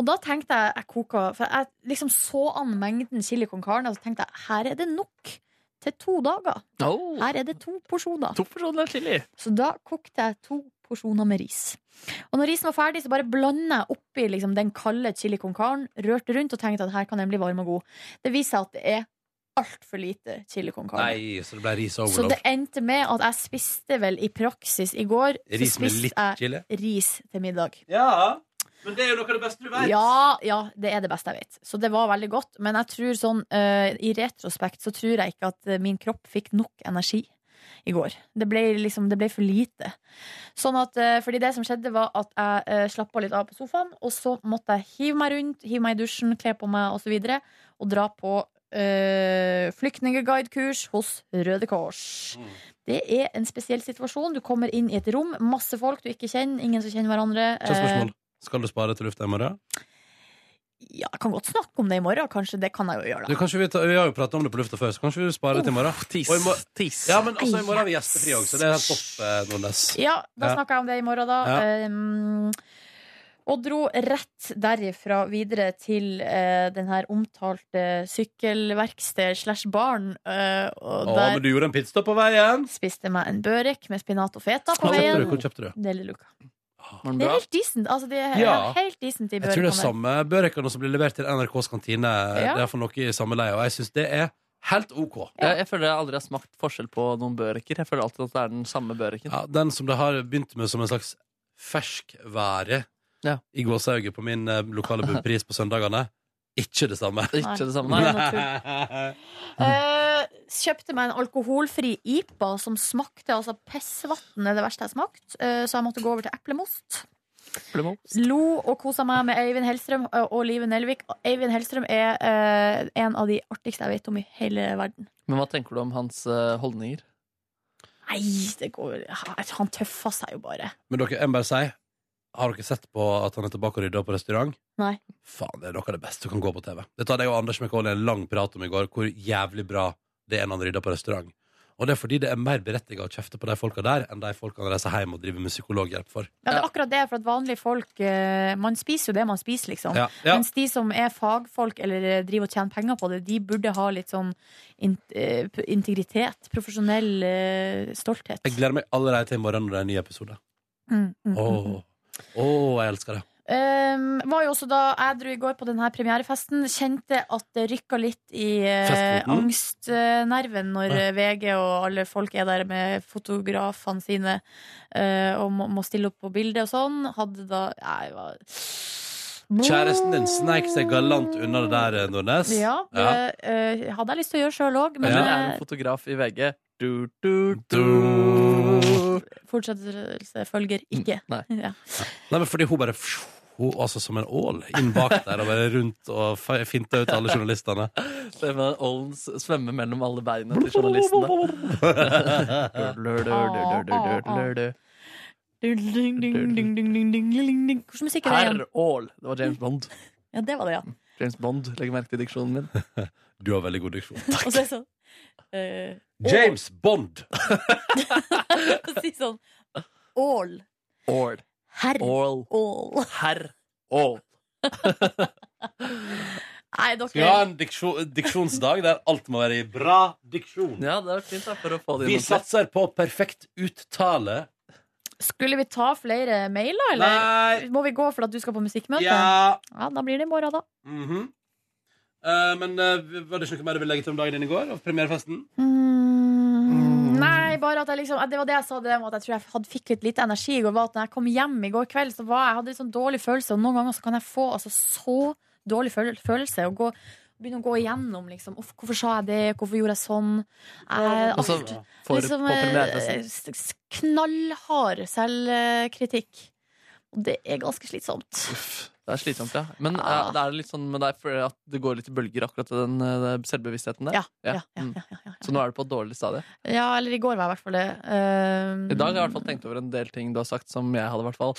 D: Og da tenkte jeg, jeg koka, For jeg liksom så an mengden chili con carne, og så tenkte jeg her er det nok til to dager.
C: Oh.
D: Her er det to porsjoner.
C: To porsjoner chili.
D: Så da kokte jeg to porsjoner med ris. Og når risen var ferdig, så bare blanda jeg oppi liksom, den kalde chili con carne, rørte rundt og tenkte at her kan den bli varm og god. Det viser seg at det er altfor lite chili con carne.
B: Nei, så det ble ris
D: Så
B: overload.
D: det endte med at jeg spiste vel i praksis i går så
B: Ris med
D: spiste
B: litt
D: jeg
B: chili?
D: Ris til middag.
B: Ja, men det er jo noe av det beste du vet.
D: Ja, ja, det er det beste jeg vet. Så det var veldig godt. Men jeg tror sånn, eh, i retrospekt så tror jeg ikke at eh, min kropp fikk nok energi i går. Det ble, liksom, det ble for lite. Sånn at, eh, fordi det som skjedde, var at jeg eh, slappa litt av på sofaen, og så måtte jeg hive meg rundt, hive meg i dusjen, kle på meg osv., og, så videre, og dra på eh, flyktningeguidekurs hos Røde Kors.
B: Mm.
D: Det er en spesiell situasjon. Du kommer inn i et rom, masse folk du ikke kjenner, ingen som kjenner hverandre.
B: Kjapt
D: Eh,
B: spørsmål. Skal du spare til lufta i morgen?
D: ja, jeg kan godt snakke om det i morgen, kanskje. Det kan jeg jo gjøre,
B: Du,
D: da.
B: kanskje vi, tar, vi har jo pratet om det på lufta før, så kanskje vi sparer det til i morgen?
C: Tis.
B: Og i mor-
C: Tis.
B: Ja, men altså, i morgen har vi gjestefri òg, så det er helt topp, eh, Nordnes.
D: Ja, da
B: Ja.
D: snakker jeg om det i morgen, da. Ehm, og dro rett derifra videre til eh, den her omtalte sykkelverksted slash barn. eh, og
B: Å,
D: der
B: men du gjorde en pitstop på veien.
D: spiste jeg meg en børek med spinat og feta på
B: Hvor kjøpte du?
D: veien.
B: Hvor kjøpte du?
D: Det er Lille Luka.
C: Var den
D: Det er
C: bra?
D: helt decent. Altså, det er
B: Ja.
D: helt decent i
B: Jeg tror det er
D: børekene.
B: samme børekene som blir levert til NRKs kantine.
D: Ja.
B: Det er for noe i samme leie, og jeg syns det er helt OK.
C: Jeg, jeg føler jeg aldri har smakt forskjell på noen børeker. Jeg føler alltid at det er den samme børeken.
B: Ja, den som det har begynt med som en slags ferskvære
C: Ja.
B: i gåsehauget på min eh, lokale bunnpris på søndagene, ikke det samme.
C: Det er Ikke det samme.
D: Nei,
C: Nei.
D: det er noe
B: Mhm.
D: Eh, kjøpte meg en alkoholfri IPA som smakte altså pissvann, er det verste jeg har smakt. Eh, så jeg måtte gå over til eplemost.
C: Eplemost.
D: Lo og kosa meg med Eivind Hellstrøm eh, og Live Nelvik. Eivind Hellstrøm er eh, en av de artigste jeg vet om i hele verden.
C: Men hva tenker du om hans eh, holdninger?
D: Nei, det går Han tøffa seg jo bare.
B: Men dere, jeg må bare si, har dere sett på at han er tilbake og rydder opp på restaurant?
D: Nei.
B: Faen, det er noe av det beste du kan gå på TV. Dette hadde jeg og Anders McCauley en lang prat om i går, hvor jævlig bra det er når han rydder på restaurant. Og det er fordi det er mer berettiget å kjefte på de folka der, enn de folka han reiser hjem og driver med psykologhjelp for.
D: Ja, det er akkurat det, for at vanlige folk eh, Man spiser jo det man spiser, liksom.
B: Ja, ja.
D: Mens de som er fagfolk eller eh, driver og tjener penger på det, de burde ha litt sånn in eh, integritet. Profesjonell eh, stolthet.
B: Jeg gleder meg allerede til i morgen når det er en ny episode.
D: Mm, mm,
B: Åh,
D: mm.
B: åh, jeg elsker det.
D: Um, var jo også da jeg dro i går på denne premierefesten, kjente at det rykka litt i eh,
B: Festfoten?
D: angstnerven når eh, VG og alle folk er der med fotografene sine eh, og må, må stille opp på bildet og sånn. Hadde da jeg var
B: Kjæresten din sneik seg galant unna det der, eh, Nordnes.
D: Ja, det eh, hadde jeg lyst til å gjøre sjøl òg, men
C: Du
B: Ja.
C: er
D: eh,
C: en fotograf i VG. Du, du, du.
D: fortsettelse følger ikke.
C: Nei.
D: Ja.
B: Nei, men fordi hun bare hun, altså, Som en ål inn bak der og bare rundt og fe- finta ut alle journalistene.
C: Se med Olden s- svømme mellom alle beina til
D: Ah,
C: journalistene.
D: Ding, ding, ding, ding, ding, ding, ding, ding, ding. Hvordan musikk er det igjen?
C: Herr Aall. Det var James Bond.
D: Ja, det var det, ja.
C: James Bond, Legg merke til diksjonen min.
B: Du har veldig god diksjon.
D: Og så er det sånn eh,
B: James Bond!
D: Og si sånn Ål.
C: Aall.
D: Herr
C: Aall.
D: Ål.
C: Herr Aall.
D: Nei,
B: Skal vi ha
D: dere
B: en diksjon, diksjonsdag der alt må være i bra diksjon?
C: Ja, det har vært fint da, for å få det
B: Vi
C: inn. ordentlig.
B: satser på perfekt uttale.
D: Skulle vi ta flere mailer, eller?
B: Nei
D: Må vi gå for at du skal på musikkmøte?
B: Ja.
D: Ja, da blir det i morgen, da.
B: Mhm. Eh, men eh, var det ikke noe mer du ville legge til om dagen din i går? Av premierefesten?
D: Mm, nei, bare at jeg liksom Det var det jeg sa, det med at jeg tror jeg hadde, fikk litt lite energi i går. Var at når jeg kom hjem i går kveld, så var jeg, hadde jeg litt sånn dårlig følelse. Og noen ganger så kan jeg få altså, så dårlig føl følelse og gå begynne å gå igjennom, liksom. Uff, hvorfor sa jeg det? Hvorfor gjorde jeg sånn? Jeg,
C: Og
B: Altså,
C: så
D: alt.
C: får du
D: liksom,
C: på premierefesten.
D: eh, s- s- knallhard selvkritikk. Og det er ganske slitsomt.
C: Det er slitsomt, ja. Men
D: Ah.
C: eh, det er litt sånn med deg fordi at det går litt i bølger, akkurat den eh, selvbevisstheten der?
D: Ja, ja,
C: Mm. Så nå er du på et dårlig stadie?
D: Ja, eller i går var jeg i hvert fall det. Eh,
C: I dag har jeg i hvert fall tenkt over en del ting du har sagt som jeg hadde i hvert fall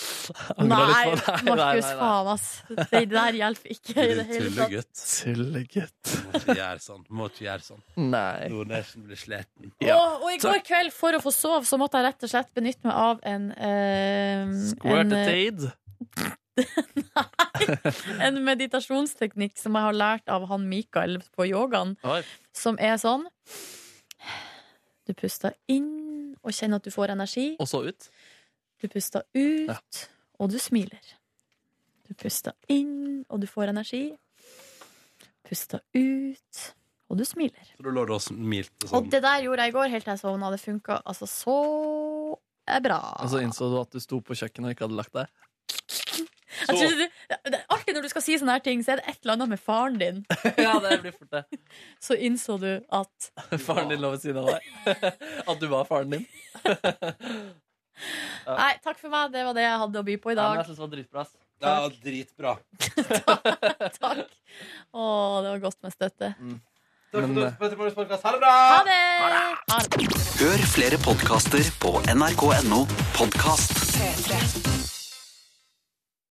C: angret
D: Ehm, Nei,
C: litt på. Nei, nei, nei,
D: Markus,
C: nei.
D: faen, ass. Det der hjelper ikke i det hele tatt.
B: Tullegutt.
C: Tullegutt.
B: Må ikke gjøre sånn. Må ikke gjøre sånn.
D: Mm,
C: Nei.
B: Nordnesen blir sliten.
D: Og, og i går kveld, for å få sove, så måtte jeg rett og slett benytte meg av en eh, en, eh,
C: Squirtetade.
D: en meditasjonsteknikk som jeg har lært av han Mikael på yogaen,
C: Oi.
D: som er sånn Du puster inn og kjenner at du får energi.
C: Og så ut.
D: Du puster ut, og du smiler. Du puster inn, og du får energi. Puster ut, og du smiler.
B: Så da lå du og smilte
D: Og
B: sånn.
D: det der gjorde jeg i går helt til jeg sovna. Det funka altså så eh, bra.
C: Og Altså, så innså du at du sto på kjøkkenet og ikke hadde lagt deg.
D: Jeg tror det, det er alltid når du skal si sånne her ting, så er det et eller annet med faren din.
C: ja, det blir fort det.
D: Så innså du at
C: Faren din lå ved siden av deg. At du var faren din. Ja.
D: Nei, takk for meg, det var det jeg hadde å by på
C: Ja,
D: i
C: men
D: dag.
C: jeg synes det var dritbra. ass.
B: Ja, dritbra.
D: Takk. Å, det var godt med støtte.
J: Takk for at du hørte på Petter Morgens podcast. Ha det
D: Ha
J: bra!
D: det! Ha det.
F: Hør flere podkaster på nrk.no podkast.